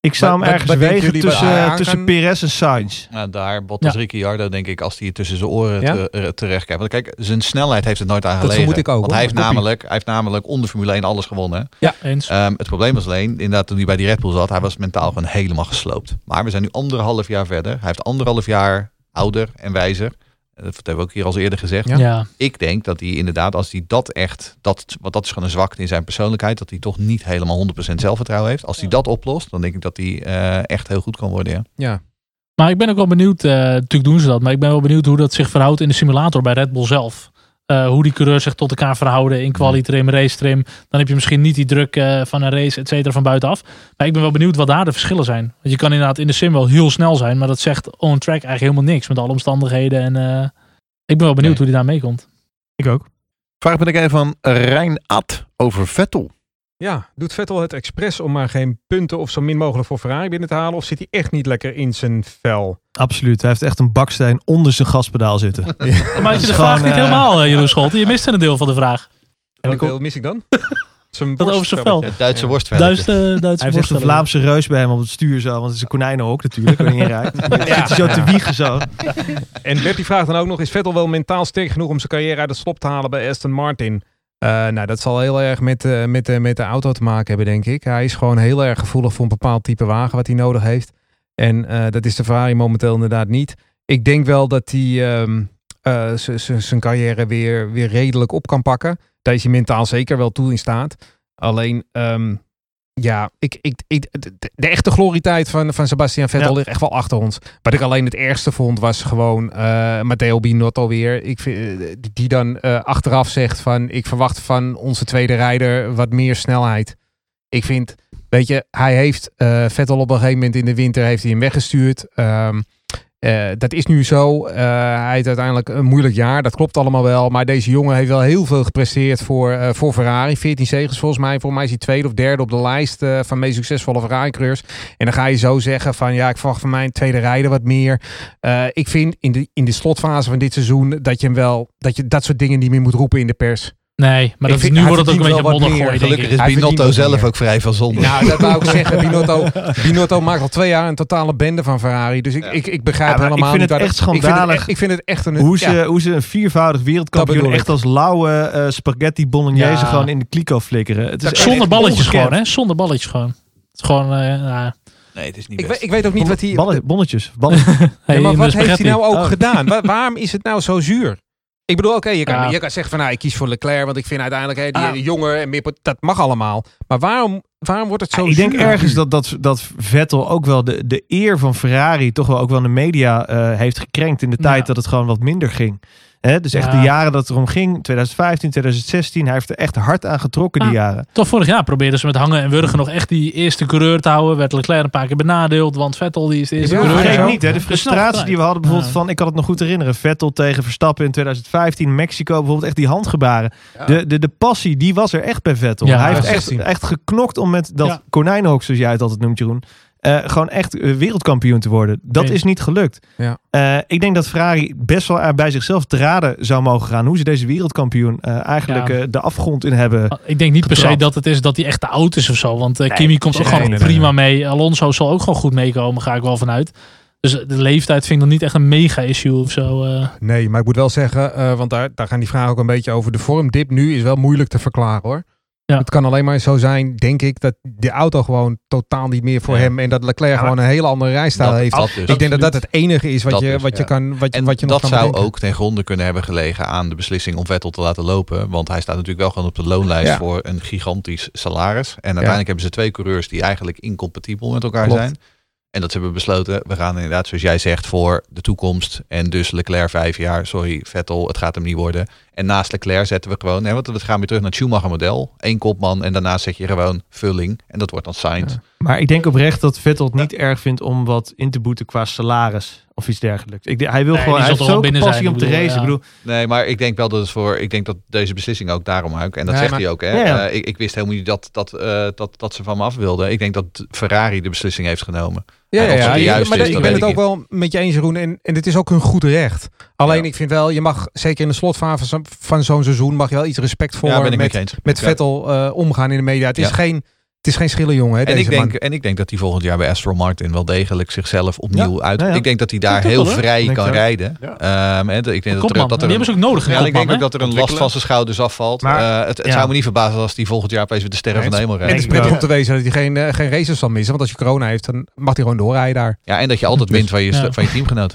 [SPEAKER 5] Ik zou hem
[SPEAKER 4] Wat- wat-
[SPEAKER 5] ergens
[SPEAKER 4] wat denken
[SPEAKER 5] wegen
[SPEAKER 4] jullie wat hij
[SPEAKER 5] tussen, eh,
[SPEAKER 4] aan
[SPEAKER 5] tussen
[SPEAKER 4] kan?
[SPEAKER 5] Perez en Sainz.
[SPEAKER 6] Nou, daar, Bottas
[SPEAKER 3] Ja.
[SPEAKER 6] Ricciardo, denk ik, als hij tussen zijn oren
[SPEAKER 4] Ja?
[SPEAKER 6] te- er- terecht kijkt. Want kijk, zijn snelheid heeft het nooit aan
[SPEAKER 4] Dat
[SPEAKER 6] gelegen.
[SPEAKER 4] vermoed ik ook,
[SPEAKER 6] Want
[SPEAKER 4] hoor.
[SPEAKER 6] hij heeft,
[SPEAKER 4] Koppie.
[SPEAKER 6] namelijk, hij heeft namelijk onder Formule 1 alles gewonnen.
[SPEAKER 3] Ja, eens.
[SPEAKER 6] Ehm, het probleem was alleen, inderdaad, toen hij bij die Red Bull zat, hij was mentaal gewoon helemaal gesloopt. Maar we zijn nu anderhalf jaar verder. Hij heeft anderhalf jaar ouder en wijzer. Eh, Dat hebben we ook hier al eens eerder gezegd.
[SPEAKER 3] Ja. Ja.
[SPEAKER 6] Ik denk dat hij inderdaad, als hij dat echt, dat, want dat is gewoon een zwakte in zijn persoonlijkheid, dat hij toch niet helemaal 100% zelfvertrouwen heeft. Als hij dat oplost, dan denk ik dat hij eh, echt heel goed kan worden. Ja.
[SPEAKER 4] Ja.
[SPEAKER 3] Maar ik ben ook wel benieuwd, eh, natuurlijk doen ze dat, maar ik ben wel benieuwd hoe dat zich verhoudt in de simulator bij Red Bull zelf. Eh, hoe die coureurs zich tot elkaar verhouden in qualitrim, racetrim. Dan heb je misschien niet die druk eh, van een race, et cetera, van buitenaf. Maar ik ben wel benieuwd wat daar de verschillen zijn. Want je kan inderdaad in de sim wel heel snel zijn, maar dat zegt on-track eigenlijk helemaal niks met alle omstandigheden. En eh, ik ben wel benieuwd hoe
[SPEAKER 6] Nee.
[SPEAKER 3] die daar meekomt.
[SPEAKER 5] Ik ook.
[SPEAKER 1] Vraag ben ik even van Rijn Ad over Vettel.
[SPEAKER 4] Ja, doet Vettel het expres om maar geen punten of zo min mogelijk voor Ferrari binnen te halen? Of zit hij echt niet lekker in zijn vel?
[SPEAKER 5] Absoluut. Hij heeft echt een baksteen onder zijn gaspedaal zitten.
[SPEAKER 3] Maar had je de
[SPEAKER 5] Gewoon,
[SPEAKER 3] vraag niet
[SPEAKER 5] eh,
[SPEAKER 3] helemaal, eh, Jeroen Scholte. Je miste een deel van de vraag.
[SPEAKER 4] En hoeveel mis ik dan? Zijn
[SPEAKER 3] Dat over zijn vel.
[SPEAKER 6] Het Duitse
[SPEAKER 4] Ja.
[SPEAKER 6] worstvelden.
[SPEAKER 3] eh, Duitse, Duitse
[SPEAKER 5] Hij heeft echt een
[SPEAKER 3] voorstelling.
[SPEAKER 5] Vlaamse reus bij hem op het stuur zo. Want het is een konijnenhok natuurlijk. Waarin je rijdt. Ja. Zit hij zo te wiegen zo.
[SPEAKER 4] En Web die vraagt dan ook nog: is Vettel wel mentaal sterk genoeg om zijn carrière uit de slop te halen bij Aston Martin? Eh, nou, dat zal heel erg met, eh, met, eh, met de auto te maken hebben, denk ik. Hij is gewoon heel erg gevoelig voor een bepaald type wagen wat hij nodig heeft. En eh, dat is de Ferrari momenteel inderdaad niet. Ik denk wel dat hij ehm, eh, z- z- zijn carrière weer, weer redelijk op kan pakken. Daar is hij mentaal zeker wel toe in staat. Alleen, ehm, ja, ik, ik, ik, de- de, de echte glorietijd van, van Sebastian Vettel
[SPEAKER 5] Ja.
[SPEAKER 4] ligt echt wel achter ons. Wat ik alleen het ergste vond was gewoon eh Matteo Binotto weer. Ik vind, eh, die- die dan eh, achteraf zegt van ik verwacht van onze tweede rijder wat meer snelheid. Ik vind, weet je, hij heeft eh, Vettel op een gegeven moment in de winter heeft hij hem weggestuurd. Ehm, eh, dat is nu zo. Eh, hij heeft uiteindelijk een moeilijk jaar. Dat klopt allemaal wel. Maar deze jongen heeft wel heel veel gepresteerd voor, eh, voor Ferrari. 14 zegens volgens mij. Volgens mij is hij tweede of derde op de lijst eh, van meest succesvolle Ferrari-coureurs. En dan ga je zo zeggen van ja, ik verwacht van mijn tweede rijder wat meer. Eh, ik vind in de, in de slotfase van dit seizoen dat je hem wel dat je dat soort dingen niet meer moet roepen in de pers.
[SPEAKER 3] Nee, maar
[SPEAKER 4] Ik
[SPEAKER 3] dat is,
[SPEAKER 4] vind-
[SPEAKER 3] nu
[SPEAKER 4] hij
[SPEAKER 3] wordt het ook een beetje
[SPEAKER 4] verdient wel wat
[SPEAKER 3] modder
[SPEAKER 4] meer.
[SPEAKER 3] gooien, denk ik.
[SPEAKER 6] Gelukkig is
[SPEAKER 4] Hij verdient
[SPEAKER 6] Binotto
[SPEAKER 4] wat
[SPEAKER 6] zelf
[SPEAKER 4] meer.
[SPEAKER 6] ook vrij van zonde.
[SPEAKER 4] Nou, dat wou ik zeggen. Binotto, Binotto maakt al twee jaar een totale bende van Ferrari. Dus ik, ik, ik begrijp
[SPEAKER 5] Ja, maar ik
[SPEAKER 4] helemaal
[SPEAKER 5] vind
[SPEAKER 4] niet
[SPEAKER 5] het
[SPEAKER 4] waar
[SPEAKER 5] echt
[SPEAKER 4] dat- ik vind het
[SPEAKER 5] schandalig
[SPEAKER 4] echt- Ik vind het echt een...
[SPEAKER 5] Hoe
[SPEAKER 4] ja.
[SPEAKER 5] ze, hoe ze een viervoudig
[SPEAKER 4] Dat
[SPEAKER 5] wereldkampioen
[SPEAKER 4] bedoel ik.
[SPEAKER 5] echt als lauwe eh, spaghetti bolognese
[SPEAKER 3] Ja.
[SPEAKER 5] gewoon in de kliko flikkeren. Het is echt
[SPEAKER 3] Zonder balletjes
[SPEAKER 5] ongekend.
[SPEAKER 3] gewoon, hè? Zonder balletjes gewoon. Het is gewoon, eh ja.
[SPEAKER 6] nee, het is niet
[SPEAKER 4] ik,
[SPEAKER 6] best.
[SPEAKER 4] weet, ik weet ook niet wat hij...
[SPEAKER 5] Ballen- bonnetjes. Ballen-
[SPEAKER 3] Hey,
[SPEAKER 4] Ja, maar
[SPEAKER 3] in de
[SPEAKER 4] wat heeft hij
[SPEAKER 3] spaghetti.
[SPEAKER 4] nou ook
[SPEAKER 5] Oh.
[SPEAKER 4] gedaan? Wa- waarom is het nou zo zuur? Ik bedoel, oké, je, kan,
[SPEAKER 3] Ja.
[SPEAKER 4] je kan zeggen van nou, ik kies voor Leclerc, want ik vind uiteindelijk hey, die
[SPEAKER 3] Ah.
[SPEAKER 4] die jonger en meer, pot- dat mag allemaal. Maar waarom, waarom wordt het zo
[SPEAKER 5] ik
[SPEAKER 4] zuur?
[SPEAKER 5] denk ergens dat, dat, dat Vettel ook wel de, de eer van Ferrari toch wel ook wel in de media eh, heeft gekrenkt in de
[SPEAKER 3] Ja.
[SPEAKER 5] tijd dat het gewoon wat minder ging. Hè, dus echt
[SPEAKER 3] Ja.
[SPEAKER 5] de jaren dat het erom ging, 2015, 2016, hij heeft er echt hard aan getrokken die
[SPEAKER 3] Ah.
[SPEAKER 5] jaren.
[SPEAKER 3] Toch vorig jaar probeerden ze met hangen en wurgen nog echt die eerste coureur te houden. Werd Leclerc een paar keer benadeeld, want Vettel die is de eerste
[SPEAKER 4] Ja,
[SPEAKER 3] coureur.
[SPEAKER 5] Vergeet
[SPEAKER 4] ja.
[SPEAKER 5] niet, hè, de
[SPEAKER 3] Dus
[SPEAKER 5] frustratie
[SPEAKER 3] nog
[SPEAKER 5] die we hadden bijvoorbeeld
[SPEAKER 3] Ja.
[SPEAKER 5] van, ik kan het nog goed herinneren, Vettel tegen Verstappen in 2015, Mexico bijvoorbeeld, echt die handgebaren. De, de, de passie, die was er echt bij Vettel.
[SPEAKER 3] Ja,
[SPEAKER 5] hij heeft echt,
[SPEAKER 4] 16.
[SPEAKER 5] echt geknokt om met dat
[SPEAKER 3] Ja.
[SPEAKER 5] konijnenhok, zoals jij het altijd noemt Jeroen, eh, gewoon echt eh, wereldkampioen te worden. Dat
[SPEAKER 3] Nee.
[SPEAKER 5] is niet gelukt.
[SPEAKER 4] Ja.
[SPEAKER 5] Eh, ik denk dat Ferrari best wel er bij zichzelf te raden zou mogen gaan hoe ze deze wereldkampioen eh, eigenlijk
[SPEAKER 3] Ja.
[SPEAKER 5] eh, de afgrond in hebben.
[SPEAKER 3] Ah, Ik denk niet per se
[SPEAKER 5] Getrapt.
[SPEAKER 3] dat het is dat hij echt te oud is of zo. Want eh, Kimi komt ook
[SPEAKER 5] nee,
[SPEAKER 3] gewoon
[SPEAKER 5] nee, nee,
[SPEAKER 3] prima mee. Alonso zal ook gewoon goed meekomen, ga ik wel vanuit. Dus eh, de leeftijd vind ik nog niet echt een mega issue of zo. eh.
[SPEAKER 4] Nee, maar ik moet wel zeggen, eh, want daar, daar gaan die vragen ook een beetje over. De vormdip nu is wel moeilijk te verklaren hoor.
[SPEAKER 3] Ja.
[SPEAKER 4] Het kan alleen maar zo zijn, denk ik, dat de auto gewoon totaal niet meer voor
[SPEAKER 6] Ja.
[SPEAKER 4] hem en dat Leclerc gewoon een hele andere rijstijl
[SPEAKER 6] Dat-
[SPEAKER 4] heeft.
[SPEAKER 6] dat dus.
[SPEAKER 4] ik denk dat dat het enige is wat,
[SPEAKER 6] Dat
[SPEAKER 4] je,
[SPEAKER 6] dus,
[SPEAKER 4] wat je
[SPEAKER 6] ja.
[SPEAKER 4] kan wat, je-
[SPEAKER 6] En
[SPEAKER 4] wat je nog
[SPEAKER 6] dat
[SPEAKER 4] kan
[SPEAKER 6] zou
[SPEAKER 4] bedenken.
[SPEAKER 6] ook ten gronde kunnen hebben gelegen aan de beslissing om Vettel te laten lopen. Want hij staat natuurlijk wel gewoon op de loonlijst
[SPEAKER 4] Ja.
[SPEAKER 6] voor een gigantisch salaris. En uiteindelijk hebben ze twee coureurs die eigenlijk incompatibel met elkaar
[SPEAKER 4] Klopt.
[SPEAKER 6] zijn. En dat ze hebben besloten, we gaan inderdaad, zoals jij zegt, voor de toekomst. En dus Leclerc vijf jaar, sorry Vettel, het gaat hem niet worden. En naast Leclerc zetten we gewoon, nee, want we gaan weer terug naar het Schumacher model. Eén kopman en daarna zet je gewoon vulling. En dat wordt dan Sainz.
[SPEAKER 5] Maar ik denk oprecht dat Vettel het niet erg vindt om wat in te boeten qua salaris of iets dergelijks. Ik, denk- hij wil
[SPEAKER 3] Nee,
[SPEAKER 5] gewoon,
[SPEAKER 3] die
[SPEAKER 5] hij
[SPEAKER 3] zal
[SPEAKER 5] heeft
[SPEAKER 3] toch wel binnen
[SPEAKER 5] zo'n passie
[SPEAKER 3] zijn,
[SPEAKER 5] om te
[SPEAKER 3] ik bedoel,
[SPEAKER 5] racen.
[SPEAKER 3] ja.
[SPEAKER 5] Ik bedoel,
[SPEAKER 6] Nee, maar ik denk wel dat het voor. Ik denk dat deze beslissing ook daarom ook. En dat
[SPEAKER 4] Nee,
[SPEAKER 6] zegt
[SPEAKER 4] maar-
[SPEAKER 6] hij ook. Hè?
[SPEAKER 5] Ja, ja.
[SPEAKER 6] Eh, ik, ik wist helemaal niet dat, dat, eh, dat, dat ze van me af wilden. Ik denk dat Ferrari de beslissing heeft genomen.
[SPEAKER 4] Ja,
[SPEAKER 6] En
[SPEAKER 4] ja,
[SPEAKER 6] of dat
[SPEAKER 4] ja,
[SPEAKER 6] de
[SPEAKER 4] ja,
[SPEAKER 6] juiste
[SPEAKER 4] maar
[SPEAKER 6] is,
[SPEAKER 4] ik
[SPEAKER 6] dat
[SPEAKER 4] ben
[SPEAKER 6] weet
[SPEAKER 4] het ook
[SPEAKER 6] ik
[SPEAKER 4] wel met je eens, Jeroen. En, en het is ook hun goed recht. Alleen
[SPEAKER 6] Ja.
[SPEAKER 4] ik vind wel, je mag zeker in de slotfase van- van zo'n seizoen, mag je wel iets respectvoller
[SPEAKER 6] ja, ben ik met
[SPEAKER 4] met,
[SPEAKER 6] je eens.
[SPEAKER 4] met
[SPEAKER 6] Ja.
[SPEAKER 4] Vettel eh, omgaan in de media. Het is
[SPEAKER 6] Ja.
[SPEAKER 4] geen Het is geen schillenjongen, hè,
[SPEAKER 6] En
[SPEAKER 4] deze
[SPEAKER 6] ik, denk,
[SPEAKER 4] man.
[SPEAKER 6] en ik denk dat hij volgend jaar bij Astro Martin wel degelijk zichzelf opnieuw uit...
[SPEAKER 5] ja, ja.
[SPEAKER 6] Ik denk dat hij daar
[SPEAKER 5] Ja, toch
[SPEAKER 6] heel
[SPEAKER 5] wel, hè?
[SPEAKER 6] vrij
[SPEAKER 5] Denk
[SPEAKER 6] kan
[SPEAKER 5] ik ook.
[SPEAKER 6] rijden. Ehm, hè, de- ik denk dat
[SPEAKER 3] Kopman,
[SPEAKER 6] er, dat
[SPEAKER 3] die
[SPEAKER 6] er
[SPEAKER 3] hebben ze ook nodig.
[SPEAKER 6] Ja,
[SPEAKER 3] een
[SPEAKER 6] ik denk
[SPEAKER 3] kopman,
[SPEAKER 6] ook dat er een last van zijn schouders afvalt.
[SPEAKER 5] Maar-
[SPEAKER 6] Eh, het het
[SPEAKER 5] ja.
[SPEAKER 6] zou me niet verbazen als hij volgend jaar opeens weer de sterren van de hemel
[SPEAKER 4] En het
[SPEAKER 6] rijdt.
[SPEAKER 4] is
[SPEAKER 5] Denk ik
[SPEAKER 4] prettig om
[SPEAKER 5] wel.
[SPEAKER 4] te wezen dat hij geen, eh, geen races zal missen. Want als je corona heeft, dan mag hij gewoon doorrijden daar.
[SPEAKER 6] Ja, en dat je
[SPEAKER 5] Dus-
[SPEAKER 6] altijd wint van je,
[SPEAKER 3] Ja.
[SPEAKER 6] van je teamgenoot.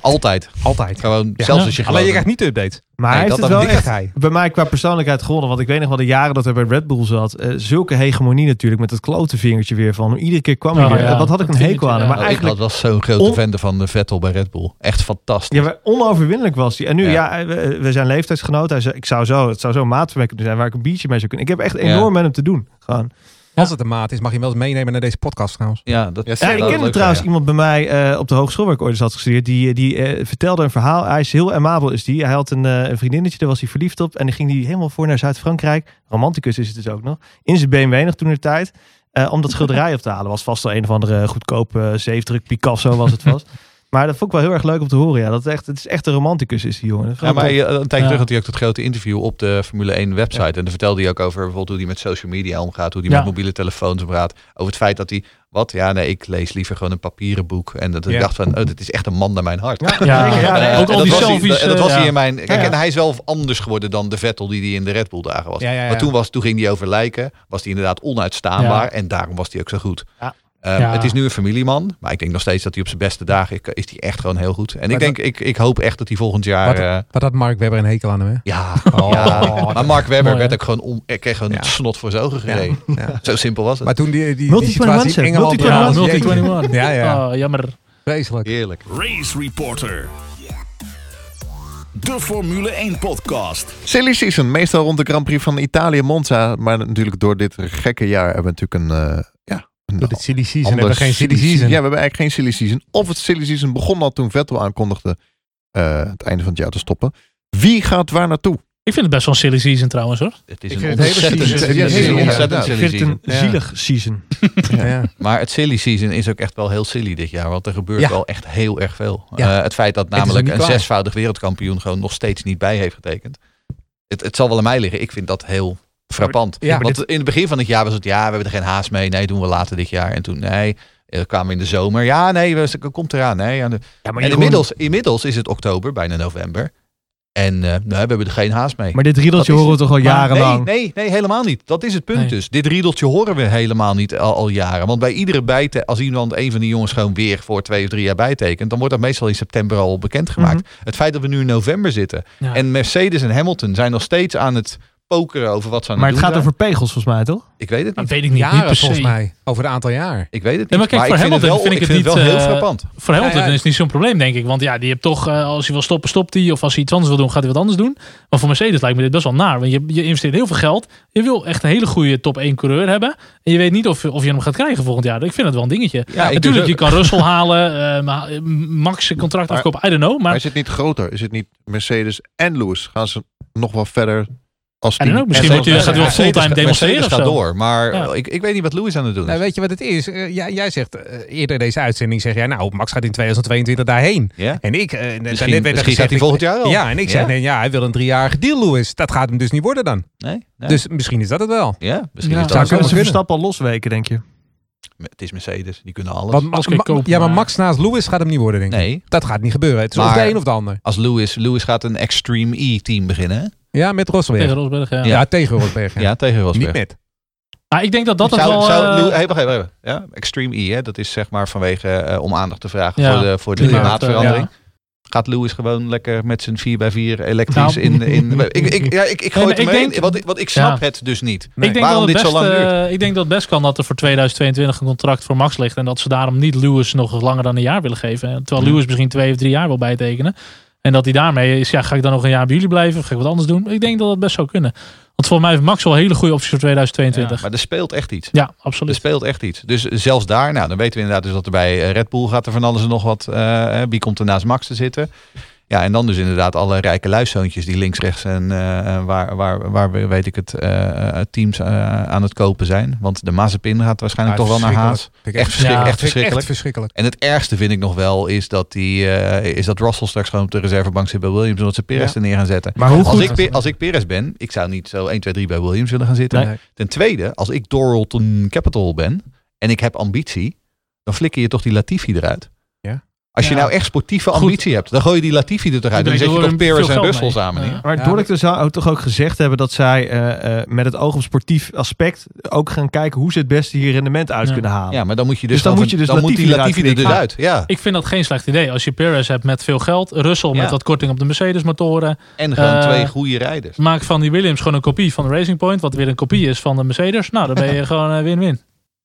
[SPEAKER 6] Altijd.
[SPEAKER 4] Altijd.
[SPEAKER 6] Gewoon,
[SPEAKER 4] Ja.
[SPEAKER 6] zelfs als je
[SPEAKER 4] Alleen je
[SPEAKER 6] gewoon-
[SPEAKER 4] krijgt niet de update.
[SPEAKER 5] Maar
[SPEAKER 6] Nee,
[SPEAKER 5] hij
[SPEAKER 6] dat
[SPEAKER 5] heeft het
[SPEAKER 6] dacht
[SPEAKER 5] wel
[SPEAKER 6] ik
[SPEAKER 4] Die
[SPEAKER 5] echt
[SPEAKER 4] krijgt hij.
[SPEAKER 5] bij mij qua persoonlijkheid gewonnen. Want ik weet nog wel de jaren dat hij bij Red Bull zat. eh, zulke hegemonie natuurlijk met dat klote vingertje weer van. hem. Iedere keer kwam hij
[SPEAKER 3] Oh,
[SPEAKER 5] weer.
[SPEAKER 3] ja.
[SPEAKER 5] Eh, Wat had ik
[SPEAKER 3] Dat
[SPEAKER 5] een hekel
[SPEAKER 3] vingertje,
[SPEAKER 5] aan hem.
[SPEAKER 3] ja. Oh,
[SPEAKER 5] Maar
[SPEAKER 6] Nou,
[SPEAKER 5] eigenlijk
[SPEAKER 6] Ik had- was zo'n grote
[SPEAKER 5] On-
[SPEAKER 6] vende van de Vettel bij Red Bull. Echt fantastisch.
[SPEAKER 5] Ja, maar onoverwinnelijk was hij. En nu,
[SPEAKER 6] Ja.
[SPEAKER 5] ja, we, we zijn leeftijdsgenoten. Hij zei, ik zou zo, het zou zo een maat voor mij kunnen zijn waar ik een biertje mee zou kunnen. Ik heb echt enorm
[SPEAKER 6] Ja.
[SPEAKER 5] met hem te doen. Gewoon.
[SPEAKER 4] Als het een maat is, mag je hem wel eens meenemen naar deze podcast trouwens.
[SPEAKER 6] Ja, dat,
[SPEAKER 1] Ja,
[SPEAKER 6] dat
[SPEAKER 5] Ja, ik
[SPEAKER 6] zou
[SPEAKER 5] kende
[SPEAKER 6] leuk
[SPEAKER 5] trouwens
[SPEAKER 6] zijn,
[SPEAKER 5] iemand bij mij eh, op de hogeschool waar ik ooit eens had gestudeerd. Die, eh, die eh, vertelde een verhaal. Hij is heel amabel, is die. Hij had een, eh, een vriendinnetje, daar was hij verliefd op. En die ging die helemaal voor naar Zuid-Frankrijk. Romanticus is het dus ook nog. In zijn BMW nog toen de tijd. eh, om dat schilderij op te halen. Was vast wel een of andere goedkope eh, zeefdruk. Picasso was het vast. Maar dat vond ik wel heel erg leuk om te horen. Ja, dat het echt, het is echt een romanticus is die jongen. Dat
[SPEAKER 6] ja.
[SPEAKER 5] vond
[SPEAKER 6] Ja,
[SPEAKER 5] ik
[SPEAKER 6] maar
[SPEAKER 5] wel-
[SPEAKER 6] je- een tijdje
[SPEAKER 3] Ja.
[SPEAKER 6] terug had hij ook dat grote interview op de Formule 1 website. En daar vertelde hij ook over bijvoorbeeld hoe hij met social media omgaat. Hoe hij
[SPEAKER 3] Ja.
[SPEAKER 6] met mobiele telefoons praat. Over het feit dat hij, wat? Ja, nee, ik lees liever gewoon een papieren boek. En dat
[SPEAKER 4] Ja.
[SPEAKER 6] ik dacht van, oh, dit is echt een man naar mijn hart.
[SPEAKER 3] Ja,
[SPEAKER 5] Zeker, ja,
[SPEAKER 6] Eh,
[SPEAKER 5] nee.
[SPEAKER 3] ook
[SPEAKER 6] en
[SPEAKER 3] al
[SPEAKER 6] dat
[SPEAKER 3] die
[SPEAKER 6] was hij-
[SPEAKER 3] selfies.
[SPEAKER 6] dat, dat
[SPEAKER 3] eh,
[SPEAKER 6] was
[SPEAKER 3] ja.
[SPEAKER 6] hij in mijn. Kijk,
[SPEAKER 5] Ja.
[SPEAKER 6] en hij is wel anders geworden dan de Vettel die hij in de Red Bull dagen was.
[SPEAKER 4] Ja, ja, ja.
[SPEAKER 6] Maar toen, was, toen ging hij over lijken, was hij inderdaad onuitstaanbaar
[SPEAKER 3] Ja.
[SPEAKER 6] en daarom was hij ook zo goed.
[SPEAKER 5] Ja.
[SPEAKER 6] Eh,
[SPEAKER 3] Ja.
[SPEAKER 6] Het is nu een familieman, maar ik denk nog steeds dat hij op zijn beste dagen ik- is hij echt gewoon heel goed. En ik
[SPEAKER 4] Maar
[SPEAKER 6] denk, ik, ik hoop echt dat hij volgend jaar.
[SPEAKER 4] Wat-
[SPEAKER 6] eh,
[SPEAKER 4] Maar dat Mark Webber een hekel aan hem, hè?
[SPEAKER 6] ja,
[SPEAKER 4] Oh.
[SPEAKER 6] ja. maar Mark Webber
[SPEAKER 3] Mooi,
[SPEAKER 6] werd
[SPEAKER 3] hè?
[SPEAKER 6] ook gewoon om, ik kreeg gewoon
[SPEAKER 4] Ja.
[SPEAKER 6] het snot voor zijn ogen gereden.
[SPEAKER 4] Ja.
[SPEAKER 6] Zo simpel was
[SPEAKER 4] Maar
[SPEAKER 6] het.
[SPEAKER 4] toen die, die, die
[SPEAKER 5] 2021
[SPEAKER 4] situatie in
[SPEAKER 5] set,
[SPEAKER 4] Engeland...
[SPEAKER 5] 2021.
[SPEAKER 4] Ja, jeetje.
[SPEAKER 3] 21.
[SPEAKER 4] Ja, ja.
[SPEAKER 3] Oh, jammer.
[SPEAKER 4] Vreselijk.
[SPEAKER 6] Heerlijk.
[SPEAKER 2] Race Reporter. De Formule 1 podcast.
[SPEAKER 1] Silly season, meestal rond de Grand Prix van Italië, Monza. Maar natuurlijk door dit gekke jaar hebben we natuurlijk een... eh, ja, een
[SPEAKER 4] Door de silly season
[SPEAKER 1] ander
[SPEAKER 4] hebben we geen silly season.
[SPEAKER 1] Ja, we hebben eigenlijk geen silly season. Of het silly season begon al toen Vettel aankondigde eh, het einde van het jaar te stoppen. Wie gaat waar naartoe?
[SPEAKER 3] Ik vind het best wel een silly season trouwens hoor.
[SPEAKER 6] Het is
[SPEAKER 4] Ik
[SPEAKER 6] een
[SPEAKER 4] vind het hele
[SPEAKER 6] ontzettend,
[SPEAKER 4] season.
[SPEAKER 6] het is een
[SPEAKER 1] Ja,
[SPEAKER 6] ontzettend
[SPEAKER 1] inderdaad.
[SPEAKER 5] Ik
[SPEAKER 6] silly
[SPEAKER 5] vind het
[SPEAKER 6] season.
[SPEAKER 5] een
[SPEAKER 4] season.
[SPEAKER 5] zielig season.
[SPEAKER 4] Ja. Ja.
[SPEAKER 6] Maar het silly season is ook echt wel heel silly dit jaar. Want er gebeurt
[SPEAKER 4] Ja.
[SPEAKER 6] wel echt heel erg veel.
[SPEAKER 4] Ja.
[SPEAKER 6] Eh, het feit dat
[SPEAKER 4] is
[SPEAKER 6] namelijk
[SPEAKER 4] nog
[SPEAKER 6] een
[SPEAKER 4] niet klaar.
[SPEAKER 6] zesvoudig wereldkampioen gewoon nog steeds niet bij heeft getekend. Het, het zal wel aan mij liggen. Ik vind dat heel frappant.
[SPEAKER 4] Ja, maar
[SPEAKER 6] want in het begin van het jaar was het ja, we hebben er geen haast mee. Nee, doen we later dit jaar. En toen nee, eh, kwamen we in de zomer. Ja, nee, we, komt eraan. Nee, ja, de-
[SPEAKER 5] Ja, maar
[SPEAKER 6] en inmiddels, inmiddels is het oktober, bijna november. En eh, nee, we hebben er geen haast mee.
[SPEAKER 5] Maar dit riedeltje
[SPEAKER 6] Dat is
[SPEAKER 5] horen we toch al jarenlang.
[SPEAKER 6] Nee, nee, nee, helemaal niet. Dat is het punt
[SPEAKER 3] Nee.
[SPEAKER 6] dus. Dit riedeltje horen we helemaal niet al, al jaren. Want bij iedere bijte, als iemand een van die jongens gewoon weer voor twee of drie jaar bijtekent, dan wordt dat meestal in september al bekendgemaakt. Het feit dat we nu in november zitten
[SPEAKER 3] Mhm. Ja.
[SPEAKER 6] en Mercedes en Hamilton zijn nog steeds aan het pokeren over wat ze aan
[SPEAKER 5] Maar het
[SPEAKER 6] het
[SPEAKER 5] gaat
[SPEAKER 6] doen
[SPEAKER 5] over pegels volgens mij, toch?
[SPEAKER 6] zijn. Ik weet het
[SPEAKER 3] Dat
[SPEAKER 6] niet.
[SPEAKER 3] weet ik niet. niet
[SPEAKER 4] Jaren
[SPEAKER 3] per
[SPEAKER 4] volgens
[SPEAKER 3] se.
[SPEAKER 4] mij. Over een aantal jaar.
[SPEAKER 6] Ik weet het niet.
[SPEAKER 3] Nee, maar kijk, voor
[SPEAKER 6] ik vind
[SPEAKER 3] Hamilton
[SPEAKER 6] het wel,
[SPEAKER 3] vind ik
[SPEAKER 6] ik
[SPEAKER 3] het
[SPEAKER 6] vind het
[SPEAKER 3] niet,
[SPEAKER 6] wel heel
[SPEAKER 3] eh,
[SPEAKER 6] frappant.
[SPEAKER 3] Voor Hamilton
[SPEAKER 4] Ja, ja.
[SPEAKER 3] is het niet zo'n probleem, denk ik. Want ja, die hebt toch, eh, als hij wil stoppen, stopt hij. Of als hij iets anders wil doen, gaat hij wat anders doen. Maar voor Mercedes lijkt me dit best wel naar. Want je, je investeert heel veel geld. Je wil echt een hele goede top 1 coureur hebben. En je weet niet of, of je hem gaat krijgen volgend jaar. Ik vind het wel een dingetje.
[SPEAKER 6] Ja, ik
[SPEAKER 3] Natuurlijk,
[SPEAKER 6] dus
[SPEAKER 3] je
[SPEAKER 6] ook.
[SPEAKER 3] kan Russell halen. eh, maar Max zijn contract
[SPEAKER 1] Maar-
[SPEAKER 3] afkopen. I don't know.
[SPEAKER 1] Maar
[SPEAKER 3] Maar
[SPEAKER 1] is het niet groter? Is het niet Mercedes en Lewis? Gaan ze nog wel verder als
[SPEAKER 3] I don't
[SPEAKER 1] team?
[SPEAKER 3] know, misschien wordt hij, gaat hij wel
[SPEAKER 6] Mercedes-
[SPEAKER 3] fulltime demonstreren of
[SPEAKER 6] Mercedes gaat
[SPEAKER 3] zo.
[SPEAKER 6] door, maar
[SPEAKER 3] Ja.
[SPEAKER 6] ik, ik weet niet wat Lewis aan het doen is.
[SPEAKER 4] Nou, weet je wat het is? Eh, jij, jij zegt eh, eerder in deze uitzending, zeg jij, nou, Max gaat in 2022 daarheen.
[SPEAKER 6] ja?
[SPEAKER 4] En ik, eh, daarnet werd er
[SPEAKER 6] Misschien, misschien
[SPEAKER 4] gezegd,
[SPEAKER 6] gaat hij
[SPEAKER 4] ik-
[SPEAKER 6] volgend jaar al.
[SPEAKER 4] Ja, en ik zeg,
[SPEAKER 6] Ja?
[SPEAKER 4] nee, ja, hij wil een driejarig deal, Louis. Dat gaat hem dus niet worden dan.
[SPEAKER 6] Nee? Nee?
[SPEAKER 4] Dus misschien is dat het wel.
[SPEAKER 6] ja,
[SPEAKER 3] Ja.
[SPEAKER 6] misschien is
[SPEAKER 4] Zou
[SPEAKER 6] dat
[SPEAKER 5] Dan
[SPEAKER 4] ik
[SPEAKER 6] zo.
[SPEAKER 5] kunnen ze
[SPEAKER 4] kunnen.
[SPEAKER 5] Verstappen al losweken, denk je.
[SPEAKER 6] Het is Mercedes, die kunnen alles.
[SPEAKER 4] Want Ma-
[SPEAKER 3] Als ik
[SPEAKER 4] Ma-
[SPEAKER 3] koop,
[SPEAKER 4] ja, maar
[SPEAKER 3] maar-
[SPEAKER 4] Max naast Louis gaat hem niet worden, denk ik.
[SPEAKER 6] Nee,
[SPEAKER 4] Dat gaat niet gebeuren. Het is of
[SPEAKER 6] Maar-
[SPEAKER 4] de een of de ander.
[SPEAKER 6] als Lewis, Lewis gaat een Extreme E-team beginnen. hè?
[SPEAKER 4] Ja, met Rosberg.
[SPEAKER 3] tegen Rosberg, ja.
[SPEAKER 4] ja. tegen Rosberg. ja.
[SPEAKER 6] Ja, tegen Rosberg.
[SPEAKER 4] Niet met.
[SPEAKER 3] Maar ik denk dat dat het
[SPEAKER 6] zou,
[SPEAKER 3] wel...
[SPEAKER 6] zou
[SPEAKER 3] eh,
[SPEAKER 6] Lew- hey, wacht even, wacht even. Ja, Extreme E, hè? dat is zeg maar vanwege eh, om aandacht te vragen
[SPEAKER 3] Ja,
[SPEAKER 6] voor de, voor de
[SPEAKER 3] klimaat,
[SPEAKER 6] klimaatverandering.
[SPEAKER 3] eh,
[SPEAKER 6] Gaat Lewis gewoon lekker met zijn 4x4 elektrisch
[SPEAKER 3] Nou.
[SPEAKER 6] in... in ik, ik, ja, ik, ik gooi
[SPEAKER 3] maar
[SPEAKER 6] het
[SPEAKER 3] ik
[SPEAKER 6] ermee,
[SPEAKER 3] denk-
[SPEAKER 6] want, ik- want ik snap
[SPEAKER 3] Ja.
[SPEAKER 6] het dus niet.
[SPEAKER 4] Nee.
[SPEAKER 3] ik, denk
[SPEAKER 6] Waarom
[SPEAKER 3] dat het
[SPEAKER 6] dit zo
[SPEAKER 3] best,
[SPEAKER 6] lang
[SPEAKER 3] eh, ik denk dat het best kan dat er voor 2022 een contract voor Max ligt. En dat ze daarom niet Lewis nog langer dan een jaar willen geven. En Terwijl
[SPEAKER 6] Hmm.
[SPEAKER 3] Lewis misschien twee of drie jaar wil bijtekenen. En dat hij daarmee is, ja, ga ik dan nog een jaar bij jullie blijven? Of ga ik wat anders doen? Ik denk dat dat best zou kunnen. Want volgens mij heeft Max wel hele goede opties voor 2022. Ja,
[SPEAKER 6] Maar er speelt echt iets. Er
[SPEAKER 3] absoluut.
[SPEAKER 6] speelt echt iets. Dus zelfs daar, nou, dan weten we inderdaad dus dat er bij eh, Red Bull gaat er van alles en nog wat. eh, hè, wie komt er naast Max te zitten? Ja, en dan dus inderdaad alle rijke luiszoontjes die links, rechts en eh, waar, waar, waar we, weet ik het, eh, teams eh, aan het kopen zijn. Want de Mazepin gaat waarschijnlijk toch wel naar Haas.
[SPEAKER 4] Vind ik
[SPEAKER 6] Echt, verschrik-
[SPEAKER 3] Ja,
[SPEAKER 6] echt
[SPEAKER 4] vind ik
[SPEAKER 6] verschrikkelijk.
[SPEAKER 4] Echt verschrikkelijk.
[SPEAKER 6] En het ergste vind ik nog wel is dat, die, eh, is dat Russell straks gewoon op de reservebank zit bij Williams. Omdat ze Perez er neer gaan zetten.
[SPEAKER 5] Maar hoe
[SPEAKER 6] Als
[SPEAKER 5] goed...
[SPEAKER 6] ik, Pe- als ik Perez ben, ik zou niet zo 1, 2, 3 bij Williams willen gaan zitten.
[SPEAKER 4] Nee.
[SPEAKER 6] Ten tweede, als ik Doralton Capital ben en ik heb ambitie, dan flikker je toch die Latifi eruit.
[SPEAKER 4] Ja.
[SPEAKER 6] Als je
[SPEAKER 3] Ja.
[SPEAKER 6] nou echt sportieve
[SPEAKER 3] Goed.
[SPEAKER 6] ambitie hebt, dan gooi je die Latifi er toch uit.
[SPEAKER 3] Ik
[SPEAKER 6] Dan
[SPEAKER 3] denk,
[SPEAKER 6] zet je
[SPEAKER 3] er
[SPEAKER 6] toch
[SPEAKER 3] wordt
[SPEAKER 6] Perez
[SPEAKER 3] veel
[SPEAKER 6] en
[SPEAKER 3] geld
[SPEAKER 6] Russell
[SPEAKER 3] mee.
[SPEAKER 6] samen neer.
[SPEAKER 3] Ja.
[SPEAKER 5] Maar
[SPEAKER 4] Ja,
[SPEAKER 5] Dorlek zou ook toch ook gezegd hebben dat zij eh, eh, met het oog op sportief aspect ook gaan kijken hoe ze het beste hier rendement uit
[SPEAKER 3] Ja.
[SPEAKER 5] kunnen halen.
[SPEAKER 6] Ja, maar dan moet je dus,
[SPEAKER 5] Dus dan
[SPEAKER 6] nog
[SPEAKER 5] moet je
[SPEAKER 6] een-
[SPEAKER 5] dus
[SPEAKER 6] dan moet die
[SPEAKER 5] Latifi
[SPEAKER 6] Latifi er dus uit.
[SPEAKER 5] eruit
[SPEAKER 6] Ja.
[SPEAKER 3] Ik vind dat geen slecht idee. Als je Perez hebt met veel geld, Russell
[SPEAKER 6] Ja.
[SPEAKER 3] met wat korting op de Mercedes-motoren,
[SPEAKER 6] En gewoon
[SPEAKER 3] Eh,
[SPEAKER 6] twee goede rijders.
[SPEAKER 3] maak van die Williams gewoon een kopie van de Racing Point, wat weer een kopie is van de Mercedes. Nou, dan ben je gewoon eh, win-win.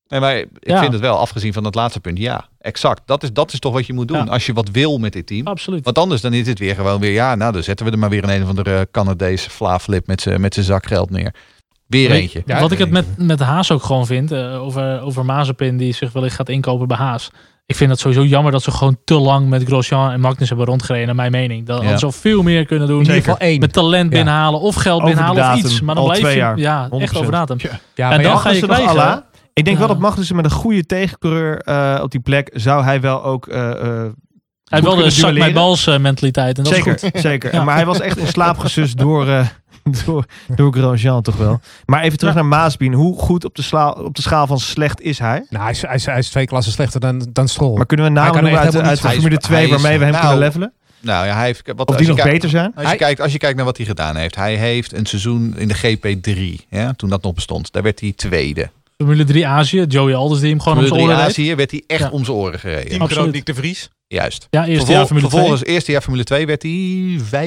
[SPEAKER 6] Nee, maar ik
[SPEAKER 3] Ja.
[SPEAKER 6] vind het wel, afgezien van dat laatste punt, ja, exact. Dat is, dat is toch wat je moet doen
[SPEAKER 3] Ja.
[SPEAKER 6] als je wat wil met dit team.
[SPEAKER 3] Absoluut.
[SPEAKER 6] Want anders dan is het weer gewoon weer, ja, nou dan zetten we er maar weer een een of andere Canadese flaaflip met zijn met z'n zak geld neer. Weer
[SPEAKER 3] Weet-
[SPEAKER 6] eentje.
[SPEAKER 3] Wat ik het met, met Haas ook gewoon vind, eh, over, over Mazepin die zich wellicht gaat inkopen bij Haas. Ik vind het sowieso jammer dat ze gewoon te lang met Grosjean en Magnus hebben rondgereden, naar mijn mening. Dat
[SPEAKER 6] Ja.
[SPEAKER 3] hadden ze al veel meer kunnen doen.
[SPEAKER 4] In ieder geval één.
[SPEAKER 3] Met talent
[SPEAKER 4] Ja.
[SPEAKER 3] binnenhalen of geld
[SPEAKER 5] Over de
[SPEAKER 3] binnenhalen of
[SPEAKER 5] datum.
[SPEAKER 3] iets. Maar dan
[SPEAKER 5] Al
[SPEAKER 3] blijf
[SPEAKER 5] twee
[SPEAKER 3] je
[SPEAKER 5] jaar.
[SPEAKER 3] ja, echt
[SPEAKER 5] 100%.
[SPEAKER 3] over datum.
[SPEAKER 4] Ja,
[SPEAKER 3] En
[SPEAKER 4] maar
[SPEAKER 3] dan
[SPEAKER 4] ja,
[SPEAKER 3] ga je
[SPEAKER 5] Magnussen nog
[SPEAKER 3] krijgen.
[SPEAKER 5] Alla. Ik denk
[SPEAKER 3] Ja.
[SPEAKER 5] wel dat Magnussen met een goede tegencoureur eh, op die plek zou hij wel ook. eh, eh,
[SPEAKER 3] Hij
[SPEAKER 5] Goed
[SPEAKER 3] wilde een
[SPEAKER 5] kunnen
[SPEAKER 3] zak mijn
[SPEAKER 5] duelleren.
[SPEAKER 3] bals eh, mentaliteit en dat
[SPEAKER 5] zeker,
[SPEAKER 3] is goed.
[SPEAKER 5] zeker.
[SPEAKER 3] Ja.
[SPEAKER 5] Maar hij was echt in slaap gesust door, eh, door, door Grosjean toch wel. Maar even terug naar Maasbien. Hoe goed op de, sla- op de schaal van slecht is hij?
[SPEAKER 4] nou, hij, is, hij, is, hij is twee klassen slechter dan, dan Stroll.
[SPEAKER 5] Maar kunnen we namen
[SPEAKER 4] Hij kan
[SPEAKER 5] noemen
[SPEAKER 4] echt
[SPEAKER 5] uit,
[SPEAKER 4] helemaal
[SPEAKER 5] uit
[SPEAKER 4] niet-
[SPEAKER 5] de
[SPEAKER 6] hij is-
[SPEAKER 5] Formule 2
[SPEAKER 6] hij is-
[SPEAKER 5] waarmee we hem
[SPEAKER 6] nou,
[SPEAKER 5] kunnen levelen?
[SPEAKER 6] Nou ja, hij heeft wat
[SPEAKER 5] Of
[SPEAKER 6] als
[SPEAKER 5] die
[SPEAKER 6] je
[SPEAKER 5] nog
[SPEAKER 6] kijkt-
[SPEAKER 5] beter zijn?
[SPEAKER 6] Als je,
[SPEAKER 4] Hij-
[SPEAKER 6] kijkt, als je kijkt naar wat hij gedaan heeft. Hij heeft een seizoen in de GP3, ja, toen dat nog bestond. Daar werd hij tweede.
[SPEAKER 3] Formule 3 Azië, Joey Alders die hem gewoon om
[SPEAKER 6] Formule
[SPEAKER 3] zijn
[SPEAKER 6] 3
[SPEAKER 3] oren rijdt.
[SPEAKER 6] Azië werd hij echt
[SPEAKER 3] Ja.
[SPEAKER 6] om zijn oren gereden.
[SPEAKER 3] Absoluut.
[SPEAKER 7] Teamgenoot Nick de Vries.
[SPEAKER 6] Juist.
[SPEAKER 3] Ja, eerste
[SPEAKER 6] Vervol-
[SPEAKER 3] jaar Formule 2.
[SPEAKER 6] vervolgens eerste jaar Formule 2 werd hij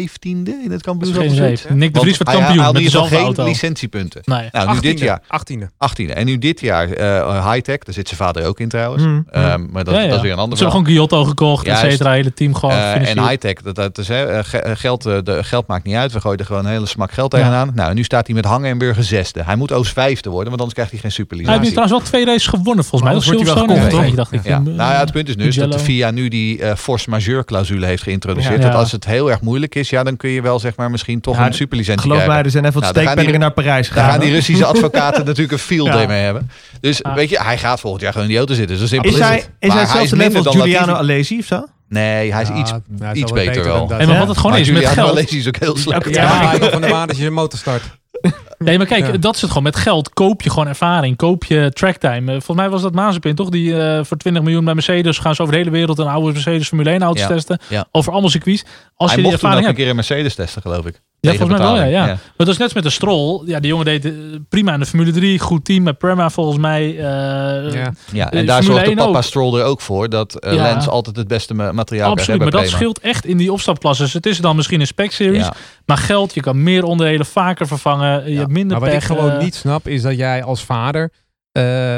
[SPEAKER 6] vijftiende in het
[SPEAKER 3] Dat is geen
[SPEAKER 6] kampioenschap.
[SPEAKER 3] zeef. Nick de Vries
[SPEAKER 6] Want
[SPEAKER 3] wordt
[SPEAKER 6] hij
[SPEAKER 3] kampioen
[SPEAKER 6] haalde
[SPEAKER 3] met
[SPEAKER 6] in ieder
[SPEAKER 3] dezelfde
[SPEAKER 6] geval
[SPEAKER 3] auto.
[SPEAKER 6] geen licentiepunten.
[SPEAKER 3] Nee.
[SPEAKER 6] Nou, nu dit jaar
[SPEAKER 4] 18e.
[SPEAKER 6] 18e. En nu dit jaar eh high-tech. Daar zit zijn vader ook in trouwens.
[SPEAKER 5] Hmm.
[SPEAKER 6] Ehm, maar dat,
[SPEAKER 3] Mm. Ja, ja.
[SPEAKER 6] dat is weer een ander
[SPEAKER 3] Ze hebben
[SPEAKER 6] verhaal.
[SPEAKER 3] gewoon Giotto gekocht, et
[SPEAKER 6] Juist.
[SPEAKER 3] cetera. Hele team gewoon
[SPEAKER 6] Eh,
[SPEAKER 3] Oh, gefinancierd.
[SPEAKER 6] en high-tech, dat, dat is, hè, eh, ge- eh, geld, eh, de, geld maakt niet uit. We gooien er gewoon een hele smak geld
[SPEAKER 3] Ja.
[SPEAKER 6] tegenaan. Nou, en nu staat hij met hangen en burger zesde. Hij moet Oost vijfde worden, want anders krijgt hij geen
[SPEAKER 3] Hij heeft nu
[SPEAKER 6] superlicentie.
[SPEAKER 3] trouwens wel twee races gewonnen volgens mij.
[SPEAKER 4] Maar
[SPEAKER 3] Dat
[SPEAKER 4] anders wordt
[SPEAKER 3] Silverstone
[SPEAKER 4] hij
[SPEAKER 3] of
[SPEAKER 6] wel
[SPEAKER 3] Trentje,
[SPEAKER 4] gecontroleerd.
[SPEAKER 3] dacht ik.
[SPEAKER 6] Ja. Nou ja, het punt is nu is dat de
[SPEAKER 3] Mugello.
[SPEAKER 6] FIA nu die eh, force majeure clausule heeft geïntroduceerd.
[SPEAKER 3] Ja.
[SPEAKER 6] Dat
[SPEAKER 3] Ja.
[SPEAKER 6] als het heel erg moeilijk is, ja, dan kun je wel zeg maar misschien toch
[SPEAKER 5] Ja,
[SPEAKER 6] een superlicentie
[SPEAKER 5] Geloof mij,
[SPEAKER 6] krijgen.
[SPEAKER 5] er zijn even wat
[SPEAKER 6] Nou, daar gaan die-
[SPEAKER 5] steekpenningen naar Parijs
[SPEAKER 6] Daar
[SPEAKER 5] gegaan.
[SPEAKER 6] gaan die
[SPEAKER 5] hoor.
[SPEAKER 6] Russische advocaten natuurlijk een field day mee hebben. Dus
[SPEAKER 3] Ja.
[SPEAKER 6] weet je, hij gaat volgend jaar gewoon in die auto zitten. Zo simpel is,
[SPEAKER 5] is hij,
[SPEAKER 6] het.
[SPEAKER 5] is
[SPEAKER 6] Maar
[SPEAKER 5] hij hetzelfde
[SPEAKER 6] minder
[SPEAKER 5] level als
[SPEAKER 6] dan Latifi.
[SPEAKER 5] Juliano Alesi of zo?
[SPEAKER 6] Nee, hij is iets,
[SPEAKER 4] Ja, hij is
[SPEAKER 6] iets
[SPEAKER 4] wel wat
[SPEAKER 6] beter, wel.
[SPEAKER 4] dan dat.
[SPEAKER 3] En maar
[SPEAKER 5] Ja.
[SPEAKER 3] wat het gewoon
[SPEAKER 6] Maar
[SPEAKER 3] is met
[SPEAKER 6] Giuliano
[SPEAKER 3] geld.
[SPEAKER 6] Alesi is ook heel slecht.
[SPEAKER 4] Ja,
[SPEAKER 3] Ja.
[SPEAKER 4] maar hij komt van de baan dat je zijn motor
[SPEAKER 3] Eh,
[SPEAKER 4] start.
[SPEAKER 3] Nee, maar kijk,
[SPEAKER 4] Ja.
[SPEAKER 3] dat is het gewoon. Met geld koop je gewoon ervaring. Koop je tracktime. Eh, volgens mij was dat Mazepin, toch? Die eh, voor 20 miljoen bij Mercedes gaan ze over de hele wereld een oude Mercedes Formule 1 auto's
[SPEAKER 6] Ja.
[SPEAKER 3] testen.
[SPEAKER 6] Ja.
[SPEAKER 3] Over allemaal circuits. Als
[SPEAKER 6] hij
[SPEAKER 3] je die
[SPEAKER 6] mocht toen ook
[SPEAKER 3] ervaring
[SPEAKER 6] een
[SPEAKER 3] hebt.
[SPEAKER 6] keer een Mercedes testen, geloof ik.
[SPEAKER 3] Ja,
[SPEAKER 6] Tegen
[SPEAKER 3] volgens mij wel, ja,
[SPEAKER 6] betaling.
[SPEAKER 3] ja. Maar dat is net als met de Stroll. Ja, die jongen deed eh, prima in de Formule 3. Goed team met Prema volgens mij. eh,
[SPEAKER 4] Ja.
[SPEAKER 6] Ja,
[SPEAKER 3] Eh,
[SPEAKER 6] en daar
[SPEAKER 3] Formule
[SPEAKER 6] zorgt de
[SPEAKER 3] 1 ook.
[SPEAKER 6] papa Stroll er ook voor dat eh,
[SPEAKER 3] Ja.
[SPEAKER 6] Lens altijd het beste ma- materiaal
[SPEAKER 3] Absoluut, maar
[SPEAKER 6] krijgt.
[SPEAKER 3] dat dus
[SPEAKER 6] hebben bij
[SPEAKER 3] scheelt echt in die opstapklasses. Het is dan misschien een spec-series,
[SPEAKER 6] Prema.
[SPEAKER 3] maar geld, je kan meer onderdelen vaker vervangen. Je
[SPEAKER 6] Ja.
[SPEAKER 3] hebt minder
[SPEAKER 4] Maar wat ik
[SPEAKER 3] pech.
[SPEAKER 4] gewoon
[SPEAKER 3] eh,
[SPEAKER 4] niet snap is dat jij als vader eh,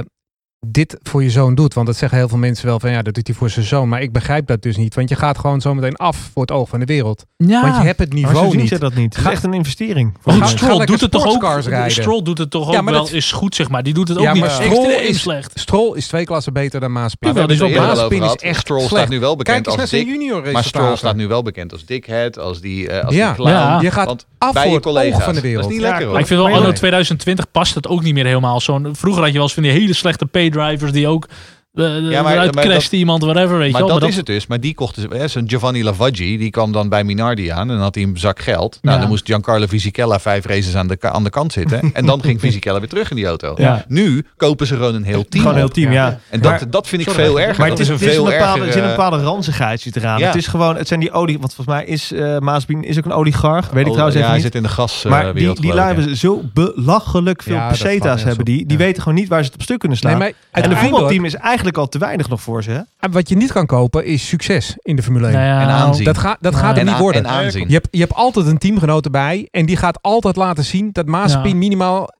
[SPEAKER 4] dit voor je zoon doet. Want dat zeggen heel veel mensen wel van ja, dat doet hij voor zijn zoon. Maar ik begrijp dat dus niet. Want je gaat gewoon zometeen af voor het oog van de wereld.
[SPEAKER 3] Ja.
[SPEAKER 4] Want je hebt het
[SPEAKER 5] Maar zo
[SPEAKER 4] niveau
[SPEAKER 5] zien
[SPEAKER 4] niet.
[SPEAKER 5] ze dat niet. Het is
[SPEAKER 4] Ga-
[SPEAKER 5] echt een investering.
[SPEAKER 3] Maar goed,
[SPEAKER 4] Ga- ga
[SPEAKER 3] Stroll
[SPEAKER 4] lekker
[SPEAKER 3] doet het toch ook.
[SPEAKER 4] sportscars rijden.
[SPEAKER 3] Stroll doet het toch ook
[SPEAKER 4] Ja, maar
[SPEAKER 3] wel
[SPEAKER 4] dat-
[SPEAKER 3] is goed zeg maar. Die doet het ook
[SPEAKER 4] Ja,
[SPEAKER 3] niet
[SPEAKER 4] maar
[SPEAKER 3] extreem
[SPEAKER 4] Stroll is-
[SPEAKER 3] slecht.
[SPEAKER 4] Stroll is twee klassen beter dan Maaspin.
[SPEAKER 3] Jawel, die is wel
[SPEAKER 4] Maaspin
[SPEAKER 3] beter.
[SPEAKER 4] is echt
[SPEAKER 6] Stroll staat
[SPEAKER 4] slecht.
[SPEAKER 6] nu wel
[SPEAKER 4] Kijk
[SPEAKER 6] bekend
[SPEAKER 4] eens naar
[SPEAKER 6] als
[SPEAKER 4] zijn
[SPEAKER 6] dik.
[SPEAKER 4] junior
[SPEAKER 6] Maar Stroll
[SPEAKER 4] resultaten.
[SPEAKER 6] staat nu wel bekend als dickhead, als die, eh als
[SPEAKER 4] Ja.
[SPEAKER 6] die clown.
[SPEAKER 3] Ja.
[SPEAKER 4] Je gaat
[SPEAKER 6] Want
[SPEAKER 4] af
[SPEAKER 6] bij
[SPEAKER 4] voor
[SPEAKER 6] je
[SPEAKER 4] het oog
[SPEAKER 6] collega's.
[SPEAKER 4] van de
[SPEAKER 6] Dat
[SPEAKER 4] wereld.
[SPEAKER 6] is niet
[SPEAKER 5] Ja,
[SPEAKER 6] lekker
[SPEAKER 3] Maar
[SPEAKER 6] hoor.
[SPEAKER 3] ik vind wel,
[SPEAKER 5] Maar
[SPEAKER 3] anno
[SPEAKER 5] ja.
[SPEAKER 3] 2020 past het ook niet meer helemaal. Zo'n, vroeger had je wel eens van die hele slechte paydrivers die ook eh
[SPEAKER 6] Ja, maar-
[SPEAKER 3] eruit
[SPEAKER 6] maar
[SPEAKER 3] crashte iemand, whatever, weet
[SPEAKER 6] Maar
[SPEAKER 3] je wel.
[SPEAKER 6] dat, is het dus. Maar die kocht dus, hè, zo'n Giovanni Lavaggi, die kwam dan bij Minardi aan en dan had hij een zak geld. Nou,
[SPEAKER 3] Ja.
[SPEAKER 6] dan moest Giancarlo Fisichella vijf races aan de, ka- aan de kant zitten. en dan ging Fisichella weer terug in die auto.
[SPEAKER 5] Ja.
[SPEAKER 6] Nu kopen ze gewoon een heel team.
[SPEAKER 5] Gewoon een heel
[SPEAKER 6] op.
[SPEAKER 5] team, ja.
[SPEAKER 6] En dat,
[SPEAKER 5] Maar-
[SPEAKER 6] dat vind ik
[SPEAKER 5] Sorry,
[SPEAKER 6] veel erger.
[SPEAKER 5] Maar
[SPEAKER 6] Dat
[SPEAKER 5] het is,
[SPEAKER 6] een
[SPEAKER 5] het is
[SPEAKER 6] veel
[SPEAKER 5] een bepaalde, er
[SPEAKER 6] erger,
[SPEAKER 5] zit een
[SPEAKER 6] eh,
[SPEAKER 5] bepaalde ranzigheid zit eraan.
[SPEAKER 6] ja.
[SPEAKER 5] Het is gewoon, het zijn die olie, want volgens mij is eh Maasbien is ook een oligarch, weet ik
[SPEAKER 6] Oh,
[SPEAKER 5] trouwens
[SPEAKER 6] ja,
[SPEAKER 5] even
[SPEAKER 6] hij
[SPEAKER 5] niet.
[SPEAKER 6] zit in de gas. eh,
[SPEAKER 5] maar die,
[SPEAKER 6] wereld,
[SPEAKER 5] die
[SPEAKER 6] geloof ik,
[SPEAKER 5] lui
[SPEAKER 6] hè.
[SPEAKER 5] hebben zo belachelijk veel
[SPEAKER 4] Ja, dat slaat
[SPEAKER 5] pesetas
[SPEAKER 4] nergens
[SPEAKER 5] hebben
[SPEAKER 4] op.
[SPEAKER 5] die. Die
[SPEAKER 4] Ja.
[SPEAKER 5] weten gewoon niet waar ze het op stuk kunnen slaan.
[SPEAKER 4] Nee, maar
[SPEAKER 5] en de
[SPEAKER 4] uiteindelijk-
[SPEAKER 5] voetbalteam is eigenlijk al te weinig nog voor ze. Hè?
[SPEAKER 4] Wat je niet kan kopen is succes in de Formule 1.
[SPEAKER 3] Nou ja,
[SPEAKER 6] En aanzien.
[SPEAKER 4] Dat, ga, dat gaat
[SPEAKER 3] Nee.
[SPEAKER 4] hem
[SPEAKER 6] En
[SPEAKER 4] niet
[SPEAKER 6] aan-
[SPEAKER 4] worden.
[SPEAKER 6] en aanzien.
[SPEAKER 4] Je hebt, je hebt altijd een teamgenoot erbij. En die gaat altijd laten zien dat Maaspin
[SPEAKER 3] Ja.
[SPEAKER 4] minimaal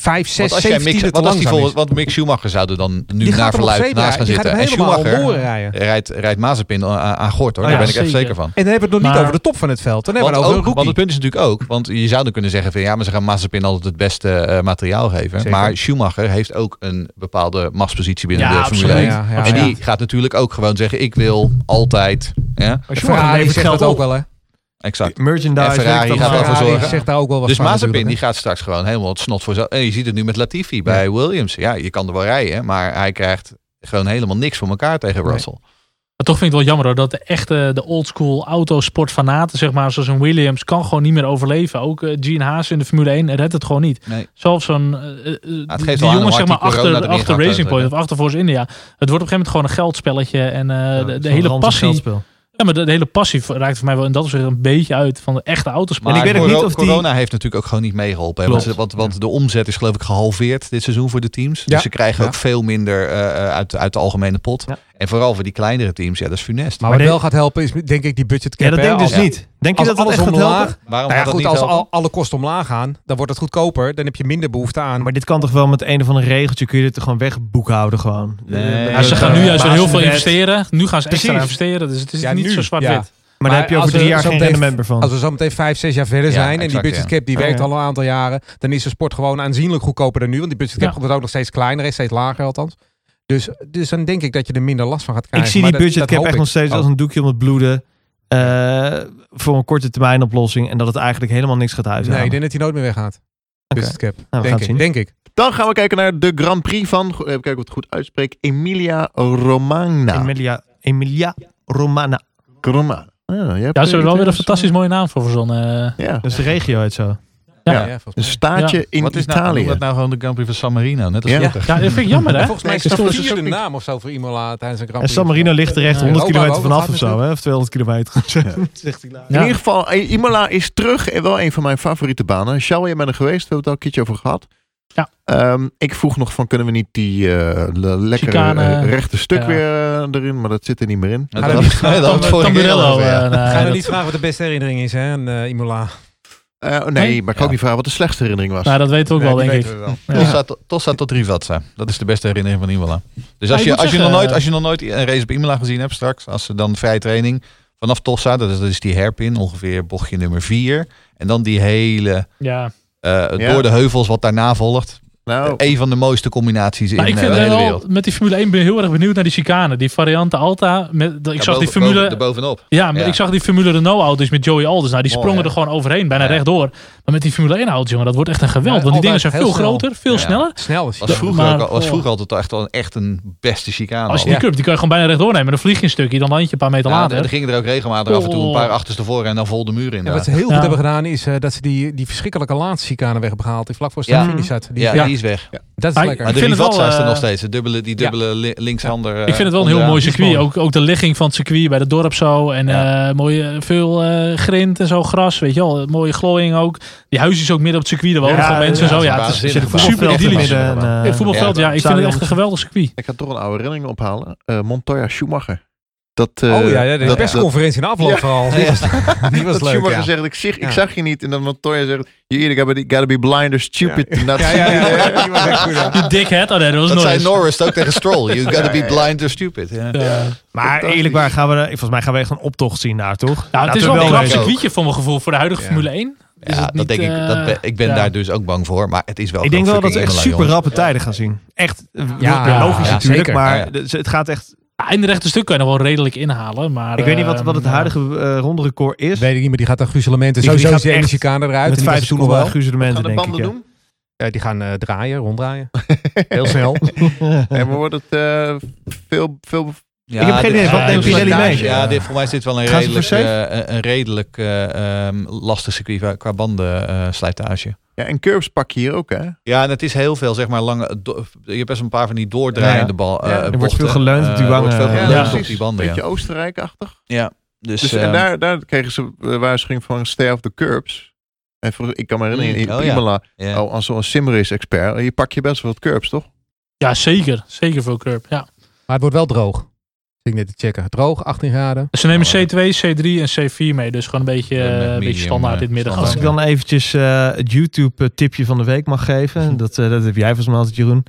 [SPEAKER 4] 5, 6,
[SPEAKER 6] Want als jij
[SPEAKER 4] 7
[SPEAKER 6] Mick,
[SPEAKER 4] te
[SPEAKER 6] want, als die
[SPEAKER 4] langzaam
[SPEAKER 6] volgens-
[SPEAKER 4] is.
[SPEAKER 6] want Mick Schumacher zou er dan nu
[SPEAKER 4] Die
[SPEAKER 6] naar
[SPEAKER 4] gaat er nog
[SPEAKER 6] verluid
[SPEAKER 4] zeker
[SPEAKER 6] naast gaan
[SPEAKER 4] Die gaat
[SPEAKER 6] zitten.
[SPEAKER 4] hem
[SPEAKER 6] En
[SPEAKER 4] helemaal
[SPEAKER 6] Schumacher
[SPEAKER 4] horen rijden.
[SPEAKER 6] rijdt, rijdt Mazepin eh, aan, aan Gort hoor.
[SPEAKER 5] Oh,
[SPEAKER 6] Daar
[SPEAKER 5] ja,
[SPEAKER 6] ben ik echt
[SPEAKER 3] zeker.
[SPEAKER 6] zeker van.
[SPEAKER 4] En dan hebben we het nog
[SPEAKER 3] Maar-
[SPEAKER 4] niet over de top van het veld. Dan hebben
[SPEAKER 6] Want,
[SPEAKER 4] we het over
[SPEAKER 6] ook,
[SPEAKER 4] een
[SPEAKER 6] want het
[SPEAKER 4] rookie.
[SPEAKER 6] punt is natuurlijk ook, want je zou dan kunnen zeggen van ja, maar ze gaan Mazepin altijd het beste eh, materiaal geven.
[SPEAKER 4] Zeker.
[SPEAKER 6] Maar Schumacher heeft ook een bepaalde machtspositie binnen
[SPEAKER 3] Ja,
[SPEAKER 6] de Formule
[SPEAKER 3] absoluut.
[SPEAKER 6] 1.
[SPEAKER 4] Ja, ja,
[SPEAKER 6] En
[SPEAKER 4] ja.
[SPEAKER 6] die gaat natuurlijk ook gewoon zeggen ik wil altijd. Ja?
[SPEAKER 4] Ferrari
[SPEAKER 5] heeft
[SPEAKER 4] zegt dat ook wel hè.
[SPEAKER 6] Exact.
[SPEAKER 5] Merchandise.
[SPEAKER 6] En Ferrari
[SPEAKER 5] weet ik dat
[SPEAKER 6] gaat
[SPEAKER 5] allemaal.
[SPEAKER 6] wel voor
[SPEAKER 4] Ferrari
[SPEAKER 6] zorgen.
[SPEAKER 4] zegt daar ook wel wat
[SPEAKER 6] Dus
[SPEAKER 4] van
[SPEAKER 6] Mazepin
[SPEAKER 4] natuurlijk,
[SPEAKER 6] die gaat straks gewoon helemaal het snot voor zijn. En je ziet het nu met Latifi bij Williams. Ja, je kan er wel rijden, maar hij krijgt gewoon helemaal niks voor elkaar tegen
[SPEAKER 4] Nee.
[SPEAKER 6] Russell.
[SPEAKER 3] Maar toch vind ik het wel jammer hoor, dat de echte, de oldschool autosportfanaten, zeg maar, zoals een Williams, kan gewoon niet meer overleven. Ook eh, Gene Haas in de Formule 1 redt het gewoon niet.
[SPEAKER 6] Nee.
[SPEAKER 3] Zelfs zo'n, eh, eh,
[SPEAKER 6] geeft
[SPEAKER 3] die
[SPEAKER 6] wel aan hoe
[SPEAKER 3] jongens
[SPEAKER 6] hard
[SPEAKER 3] zeg
[SPEAKER 6] die
[SPEAKER 3] maar
[SPEAKER 6] corona erin
[SPEAKER 3] achter,
[SPEAKER 6] gaat
[SPEAKER 3] achter Racing Point
[SPEAKER 6] uiteindelijk.
[SPEAKER 3] of achter Force India. Het wordt op een gegeven moment gewoon een geldspelletje en eh,
[SPEAKER 5] Ja,
[SPEAKER 3] de,
[SPEAKER 5] zo'n
[SPEAKER 3] de hele
[SPEAKER 5] ranzig
[SPEAKER 3] passie.
[SPEAKER 5] geldspel.
[SPEAKER 3] Ja, maar de, de hele passie raakt voor mij wel in dat opzicht een beetje uit van de echte autosport.
[SPEAKER 6] Maar
[SPEAKER 5] ik weet ook
[SPEAKER 6] coro-
[SPEAKER 5] niet of die-
[SPEAKER 6] corona heeft natuurlijk ook gewoon niet meegeholpen. hè. Want,
[SPEAKER 5] Klopt.
[SPEAKER 6] ze- want, want de omzet is geloof ik gehalveerd dit seizoen voor de teams.
[SPEAKER 4] Ja.
[SPEAKER 6] Dus ze krijgen
[SPEAKER 4] Ja.
[SPEAKER 6] ook veel minder eh, uit, uit de algemene pot.
[SPEAKER 5] Ja.
[SPEAKER 6] En vooral voor die kleinere teams, ja, dat is
[SPEAKER 4] Maar
[SPEAKER 6] funest.
[SPEAKER 5] Maar
[SPEAKER 4] wat
[SPEAKER 5] dit-
[SPEAKER 4] wel gaat helpen is denk ik die budget cap.
[SPEAKER 5] Ja, dat
[SPEAKER 4] hè.
[SPEAKER 5] denk ik dus
[SPEAKER 4] Als-
[SPEAKER 5] niet. Denk je
[SPEAKER 4] Als
[SPEAKER 5] dat dat
[SPEAKER 4] alles
[SPEAKER 5] echt gaat helpen?
[SPEAKER 4] omlaag,
[SPEAKER 6] Waarom
[SPEAKER 4] nou ja,
[SPEAKER 6] gaat dat
[SPEAKER 4] goed,
[SPEAKER 6] niet
[SPEAKER 4] als
[SPEAKER 6] helpen?
[SPEAKER 4] al- alle kosten omlaag gaan, dan wordt het goedkoper. Dan heb je minder behoefte aan.
[SPEAKER 5] Maar dit kan toch wel met een of ander regeltje kun je dit gewoon wegboekhouden gewoon.
[SPEAKER 6] Nee.
[SPEAKER 5] Eh,
[SPEAKER 6] Ja,
[SPEAKER 3] Ja, ze gaan nu
[SPEAKER 5] eh,
[SPEAKER 3] juist weer heel
[SPEAKER 5] baas
[SPEAKER 3] veel
[SPEAKER 5] in de red.
[SPEAKER 3] investeren. Nu gaan ze extra
[SPEAKER 5] Precies.
[SPEAKER 3] investeren, dus het is
[SPEAKER 4] Ja,
[SPEAKER 3] niet
[SPEAKER 4] nu,
[SPEAKER 3] zo zwart-wit.
[SPEAKER 5] Maar daar heb je
[SPEAKER 4] als
[SPEAKER 5] over drie
[SPEAKER 4] we
[SPEAKER 5] jaar
[SPEAKER 4] zo
[SPEAKER 5] geen
[SPEAKER 4] meteen-
[SPEAKER 5] rendement meer van.
[SPEAKER 4] Als we zo meteen vijf, zes jaar verder
[SPEAKER 6] Ja,
[SPEAKER 4] zijn en die
[SPEAKER 6] exact,
[SPEAKER 4] budgetcap die
[SPEAKER 5] ja.
[SPEAKER 4] werkt
[SPEAKER 5] Ja.
[SPEAKER 4] al een aantal jaren, dan is de sport gewoon aanzienlijk goedkoper dan nu. Want die budgetcap
[SPEAKER 3] Ja.
[SPEAKER 4] wordt ook nog steeds kleiner, is steeds lager althans. Dus, dus dan denk ik dat je er minder last van gaat krijgen.
[SPEAKER 5] ik zie
[SPEAKER 4] Maar
[SPEAKER 5] die
[SPEAKER 4] dat-
[SPEAKER 5] budget
[SPEAKER 4] dat
[SPEAKER 5] cap
[SPEAKER 4] hoop
[SPEAKER 5] echt
[SPEAKER 4] ik.
[SPEAKER 5] nog steeds
[SPEAKER 4] Oh.
[SPEAKER 5] als een doekje om het bloeden. eh, voor een korte termijn oplossing. En dat het eigenlijk helemaal niks gaat
[SPEAKER 4] Nee,
[SPEAKER 5] uithalen.
[SPEAKER 4] ik denk dat hij nooit meer weggaat.
[SPEAKER 5] Oké. Nou,
[SPEAKER 4] Budgetcap,
[SPEAKER 5] gaan
[SPEAKER 4] denk,
[SPEAKER 5] het zien.
[SPEAKER 4] ik, denk ik.
[SPEAKER 1] Dan gaan we kijken naar de Grand Prix van, even kijken of ik het goed uitspreek, Emilia Romagna.
[SPEAKER 5] Emilia, Emilia Romana.
[SPEAKER 1] Romagna. Ah, jij hebt,
[SPEAKER 3] Ja, ze hebben
[SPEAKER 1] eh,
[SPEAKER 3] wel weer een
[SPEAKER 1] iets
[SPEAKER 3] fantastisch mooie naam voor verzonnen. eh.
[SPEAKER 1] Ja,
[SPEAKER 5] Dat is de regio uit zo.
[SPEAKER 3] Ja.
[SPEAKER 4] volgens
[SPEAKER 5] Dus-
[SPEAKER 1] een
[SPEAKER 4] mij.
[SPEAKER 1] staatje in
[SPEAKER 6] Wat is nou,
[SPEAKER 1] Italië.
[SPEAKER 6] noem nou- dat nou gewoon de Grand Prix van San Marino? Net als
[SPEAKER 1] Ja.
[SPEAKER 6] vroeger.
[SPEAKER 3] Ja, dat vind ik jammer hè.
[SPEAKER 4] En volgens mij is
[SPEAKER 3] Nee,
[SPEAKER 4] dat
[SPEAKER 3] ik
[SPEAKER 4] de
[SPEAKER 3] vind het
[SPEAKER 4] vierde
[SPEAKER 3] ook niet-
[SPEAKER 4] naam of zo voor Imola tijdens een Grand
[SPEAKER 5] En
[SPEAKER 4] Prix.
[SPEAKER 5] San Marino ligt er echt
[SPEAKER 3] Ja,
[SPEAKER 5] 100
[SPEAKER 4] Europa
[SPEAKER 5] kilometer
[SPEAKER 4] ook, dat
[SPEAKER 5] vanaf
[SPEAKER 4] gaat
[SPEAKER 5] of zo. Hè? Of 200 kilometer. Zegt hij nou.
[SPEAKER 1] In
[SPEAKER 3] Ja.
[SPEAKER 1] ieder geval, eh, Imola is terug. en Wel een van mijn favoriete banen. Charles, jij bent er geweest. We hebben het al een keertje over gehad.
[SPEAKER 3] Ja.
[SPEAKER 1] Ehm, ik vroeg nog van, kunnen we niet die eh, le- lekkere
[SPEAKER 3] Chicane.
[SPEAKER 1] eh, rechte stuk
[SPEAKER 3] Ja.
[SPEAKER 1] weer eh, erin? Maar dat zit er niet meer in.
[SPEAKER 6] Dat
[SPEAKER 4] Gaan we
[SPEAKER 6] was-
[SPEAKER 4] niet-
[SPEAKER 6] dat was
[SPEAKER 3] Tam-
[SPEAKER 6] vorige keer
[SPEAKER 3] Tamburello,
[SPEAKER 6] al, ja.
[SPEAKER 3] eh, nee,
[SPEAKER 4] Gaan we
[SPEAKER 3] dat-
[SPEAKER 4] nou niet vragen wat de beste herinnering is hè, aan eh, Imola.
[SPEAKER 1] Eh, nee, maar ik kan ook
[SPEAKER 6] Ja.
[SPEAKER 1] niet vragen wat de slechtste herinnering was.
[SPEAKER 3] Nou, dat weten we ook
[SPEAKER 6] Nee,
[SPEAKER 3] wel,
[SPEAKER 6] die
[SPEAKER 3] denk ik.
[SPEAKER 6] weten we wel.
[SPEAKER 3] Ja.
[SPEAKER 6] Tossa tot- Tossa tot Rivazza. Dat is de beste herinnering van Imola. Dus
[SPEAKER 3] Maar
[SPEAKER 6] als
[SPEAKER 3] ik
[SPEAKER 6] je,
[SPEAKER 3] moet
[SPEAKER 6] als, je nog
[SPEAKER 3] zeggen,
[SPEAKER 6] nooit, als je nog nooit een race op Imola gezien hebt straks, als ze dan vrije training vanaf Tossa, dat is, dat is die herpin, ongeveer bochtje nummer 4. En dan die hele
[SPEAKER 3] Ja.
[SPEAKER 6] eh,
[SPEAKER 1] Ja.
[SPEAKER 6] door de heuvels wat daarna volgt.
[SPEAKER 4] Oh.
[SPEAKER 1] Nou,
[SPEAKER 4] Eh,
[SPEAKER 6] Een van de mooiste combinaties
[SPEAKER 3] Maar
[SPEAKER 6] in
[SPEAKER 3] ik
[SPEAKER 6] eh,
[SPEAKER 3] vind
[SPEAKER 6] de
[SPEAKER 3] er
[SPEAKER 6] hele
[SPEAKER 3] wel,
[SPEAKER 6] wereld.
[SPEAKER 3] met die Formule 1 ben ik heel erg benieuwd naar die chicane. Die variante Alta. Met, dat- ik
[SPEAKER 6] Ja,
[SPEAKER 3] zag die
[SPEAKER 6] boven-
[SPEAKER 3] Formule...
[SPEAKER 6] boven- Erbovenop.
[SPEAKER 3] ja, maar
[SPEAKER 6] ja.
[SPEAKER 3] ik zag die Formule Renault-auto's met Joey Alders. Nou, die
[SPEAKER 6] Mooi,
[SPEAKER 3] sprongen
[SPEAKER 6] hè?
[SPEAKER 3] er gewoon overheen, bijna
[SPEAKER 6] Ja.
[SPEAKER 3] rechtdoor. Maar met die Formule 1-auto's, jongen, dat wordt echt een geweld.
[SPEAKER 4] Ja,
[SPEAKER 3] want die dingen
[SPEAKER 4] altijd
[SPEAKER 3] zijn
[SPEAKER 4] heel
[SPEAKER 3] veel
[SPEAKER 4] snel.
[SPEAKER 3] groter, veel
[SPEAKER 6] Ja.
[SPEAKER 3] sneller.
[SPEAKER 4] Snel is hij.
[SPEAKER 6] Was vroeger,
[SPEAKER 3] maar-
[SPEAKER 6] ook, al- was
[SPEAKER 3] oh.
[SPEAKER 6] vroeger altijd al echt, wel een- echt een beste chicane.
[SPEAKER 3] Als je
[SPEAKER 6] al.
[SPEAKER 3] die cup, die kan je gewoon bijna rechtdoor nemen. Dan vlieg je een stukje, dan land je een paar meter
[SPEAKER 6] ja,
[SPEAKER 3] later.
[SPEAKER 6] er gingen er ook regelmatig af en
[SPEAKER 3] Oh.
[SPEAKER 6] toe een paar achterstevoren en dan vol de muur in.
[SPEAKER 4] Ja,
[SPEAKER 6] daar.
[SPEAKER 4] wat ze heel
[SPEAKER 3] Ja.
[SPEAKER 4] goed hebben gedaan is eh, dat ze die, die verschrikkelijke laatste chicane weg hebben gehaald. Die vlak voor
[SPEAKER 6] Ja.
[SPEAKER 4] start finish zat. Die,
[SPEAKER 6] Ja,
[SPEAKER 4] ja,
[SPEAKER 6] die is weg.
[SPEAKER 4] Dat is
[SPEAKER 3] Maar-
[SPEAKER 4] lekker.
[SPEAKER 6] Maar
[SPEAKER 3] Ik
[SPEAKER 6] de
[SPEAKER 3] vind het wel,
[SPEAKER 6] Rivazza is er
[SPEAKER 3] eh,
[SPEAKER 6] nog steeds. De dubbele, die dubbele li- linkshander. eh,
[SPEAKER 3] Ik vind het wel een heel
[SPEAKER 6] onderaan.
[SPEAKER 3] mooi
[SPEAKER 4] die is
[SPEAKER 3] circuit.
[SPEAKER 4] mooi.
[SPEAKER 3] Ook, ook de ligging van het circuit bij het dorp zo. En
[SPEAKER 6] Ja.
[SPEAKER 3] eh, mooie, veel eh grind en zo, gras, weet je wel. Eh, Mooie glooiing ook. die huisjes ook midden op het circuit. Er wonen
[SPEAKER 5] Ja,
[SPEAKER 3] gewoon mensen
[SPEAKER 5] ja,
[SPEAKER 3] en zo.
[SPEAKER 6] dat
[SPEAKER 3] Ja,
[SPEAKER 6] is
[SPEAKER 3] het is
[SPEAKER 6] waanzinnig.
[SPEAKER 3] super
[SPEAKER 5] Voetbalveld in
[SPEAKER 3] idyllisch.
[SPEAKER 5] midden en, eh,
[SPEAKER 3] Het voetbalveld, ja, ik vind het
[SPEAKER 5] Stadion.
[SPEAKER 3] echt een geweldig circuit.
[SPEAKER 1] ik had toch een oude herinnering ophalen. Eh, Montoya Schumacher. Dat, eh,
[SPEAKER 4] oh ja, ja, de
[SPEAKER 1] dat, dat,
[SPEAKER 4] persconferentie in de afloop
[SPEAKER 1] Ja.
[SPEAKER 4] vooral. Die was, die was
[SPEAKER 1] dat
[SPEAKER 4] leuk,
[SPEAKER 1] Schumacher
[SPEAKER 4] ja.
[SPEAKER 1] zegt, ik, zie, ik
[SPEAKER 4] Ja.
[SPEAKER 1] zag je niet. En dan Montoya zegt, you either gotta be, gotta be blind or stupid. to not
[SPEAKER 4] Ja,
[SPEAKER 1] see
[SPEAKER 4] ja,
[SPEAKER 1] you
[SPEAKER 4] ja,
[SPEAKER 1] there."
[SPEAKER 4] ja, die was echt goed. ja.
[SPEAKER 3] Die dickhead, oh nee, dat was
[SPEAKER 6] Dat
[SPEAKER 3] nooit.
[SPEAKER 6] zei Norris ook tegen Stroll. You gotta be blind or stupid. Ja.
[SPEAKER 3] Ja. Nou,
[SPEAKER 5] Maar eerlijk waar, gaan we, er- volgens mij gaan we echt een optocht zien daar, toch?
[SPEAKER 3] Nou, het
[SPEAKER 5] Laten
[SPEAKER 3] is
[SPEAKER 5] we
[SPEAKER 3] wel een
[SPEAKER 5] wel
[SPEAKER 3] knap
[SPEAKER 5] weten.
[SPEAKER 3] circuitje voor mijn gevoel voor de huidige Formule 1. Is
[SPEAKER 6] Ja,
[SPEAKER 3] het niet,
[SPEAKER 6] dat denk ik. Dat
[SPEAKER 3] eh,
[SPEAKER 6] ben, ik ben
[SPEAKER 3] ja.
[SPEAKER 6] daar dus ook bang voor. Maar het is wel.
[SPEAKER 5] Ik denk wel
[SPEAKER 6] gewoon
[SPEAKER 5] dat we echt
[SPEAKER 6] fucking
[SPEAKER 5] super
[SPEAKER 6] Imola,
[SPEAKER 5] rappe tijden gaan zien. Echt, eh,
[SPEAKER 4] Ja,
[SPEAKER 5] ja, logisch
[SPEAKER 6] ja,
[SPEAKER 5] natuurlijk,
[SPEAKER 4] zeker.
[SPEAKER 5] maar
[SPEAKER 6] Ja, ja.
[SPEAKER 5] dus het gaat echt...
[SPEAKER 3] Ja, In de rechte stuk kan je nog wel redelijk inhalen. Maar,
[SPEAKER 5] Ik weet niet wat, wat het
[SPEAKER 3] eh,
[SPEAKER 5] huidige eh, ronderecord is.
[SPEAKER 4] Weet ik niet, maar die gaat aan gruzelementen.
[SPEAKER 5] Die-
[SPEAKER 4] Sowieso
[SPEAKER 5] die
[SPEAKER 4] is die
[SPEAKER 5] gaat
[SPEAKER 4] ene
[SPEAKER 5] echt
[SPEAKER 4] chicane eruit. en
[SPEAKER 5] Met
[SPEAKER 4] die was
[SPEAKER 5] vijf
[SPEAKER 4] toen nog
[SPEAKER 5] seconden
[SPEAKER 4] wel.
[SPEAKER 5] gruzelementen,
[SPEAKER 1] Gaan de
[SPEAKER 5] denk ik.
[SPEAKER 1] banden
[SPEAKER 5] ja.
[SPEAKER 1] doen?
[SPEAKER 4] Eh, die gaan eh, draaien, ronddraaien. Heel snel.
[SPEAKER 1] En we worden het eh, veel, veel
[SPEAKER 6] joh. Ja,
[SPEAKER 5] Ik heb geen
[SPEAKER 6] dit-
[SPEAKER 5] idee,
[SPEAKER 3] wat
[SPEAKER 6] ja,
[SPEAKER 3] neemt
[SPEAKER 6] dit-
[SPEAKER 3] Pirelli mee?
[SPEAKER 6] Ja, dit, voor mij is dit wel een
[SPEAKER 5] Gaan ze
[SPEAKER 6] redelijk,
[SPEAKER 5] voor
[SPEAKER 6] eh, een- een redelijk eh, ehm, lastig circuit qua- qua bandenslijtage.
[SPEAKER 1] Ja, en curbs pak je hier ook, hè?
[SPEAKER 6] ja, en het is heel veel, zeg maar, lange. do- je hebt best een paar van die doordraaiende
[SPEAKER 5] Ja.
[SPEAKER 6] bal. eh,
[SPEAKER 1] Ja, er
[SPEAKER 5] wordt
[SPEAKER 6] bochten.
[SPEAKER 5] veel geleund op die
[SPEAKER 6] Eh, er wordt
[SPEAKER 5] wangen.
[SPEAKER 6] veel
[SPEAKER 5] Ja,
[SPEAKER 6] geleund op
[SPEAKER 1] precies.
[SPEAKER 6] die banden.
[SPEAKER 1] Beetje
[SPEAKER 6] Ja.
[SPEAKER 1] Oostenrijk-achtig.
[SPEAKER 6] Dus,
[SPEAKER 1] Dus,
[SPEAKER 6] eh,
[SPEAKER 1] en daar, daar kregen ze eh, waarschuwing van stay off the curbs. En volgens- ik kan me herinneren, in
[SPEAKER 6] Mm, oh ja.
[SPEAKER 1] Imola,
[SPEAKER 6] ja.
[SPEAKER 1] oh, als zo'n simrace-expert, je oh, pak je best wel wat curbs, toch?
[SPEAKER 3] Ja, zeker. Zeker voor Curb. Ja.
[SPEAKER 4] Maar het wordt wel droog. Zit ik net te checken. Droog, 18 graden.
[SPEAKER 3] Ze nemen
[SPEAKER 6] Oh, ja.
[SPEAKER 3] C2, C3 en C4 mee. Dus gewoon een beetje,
[SPEAKER 6] Ja, met
[SPEAKER 3] eh, een
[SPEAKER 6] medium,
[SPEAKER 3] beetje standaard
[SPEAKER 6] eh,
[SPEAKER 3] dit middag.
[SPEAKER 5] Als ik
[SPEAKER 6] Ja.
[SPEAKER 5] dan eventjes eh, het YouTube-tipje van de week mag geven. Dat, eh, dat heb jij volgens mij altijd, Jeroen.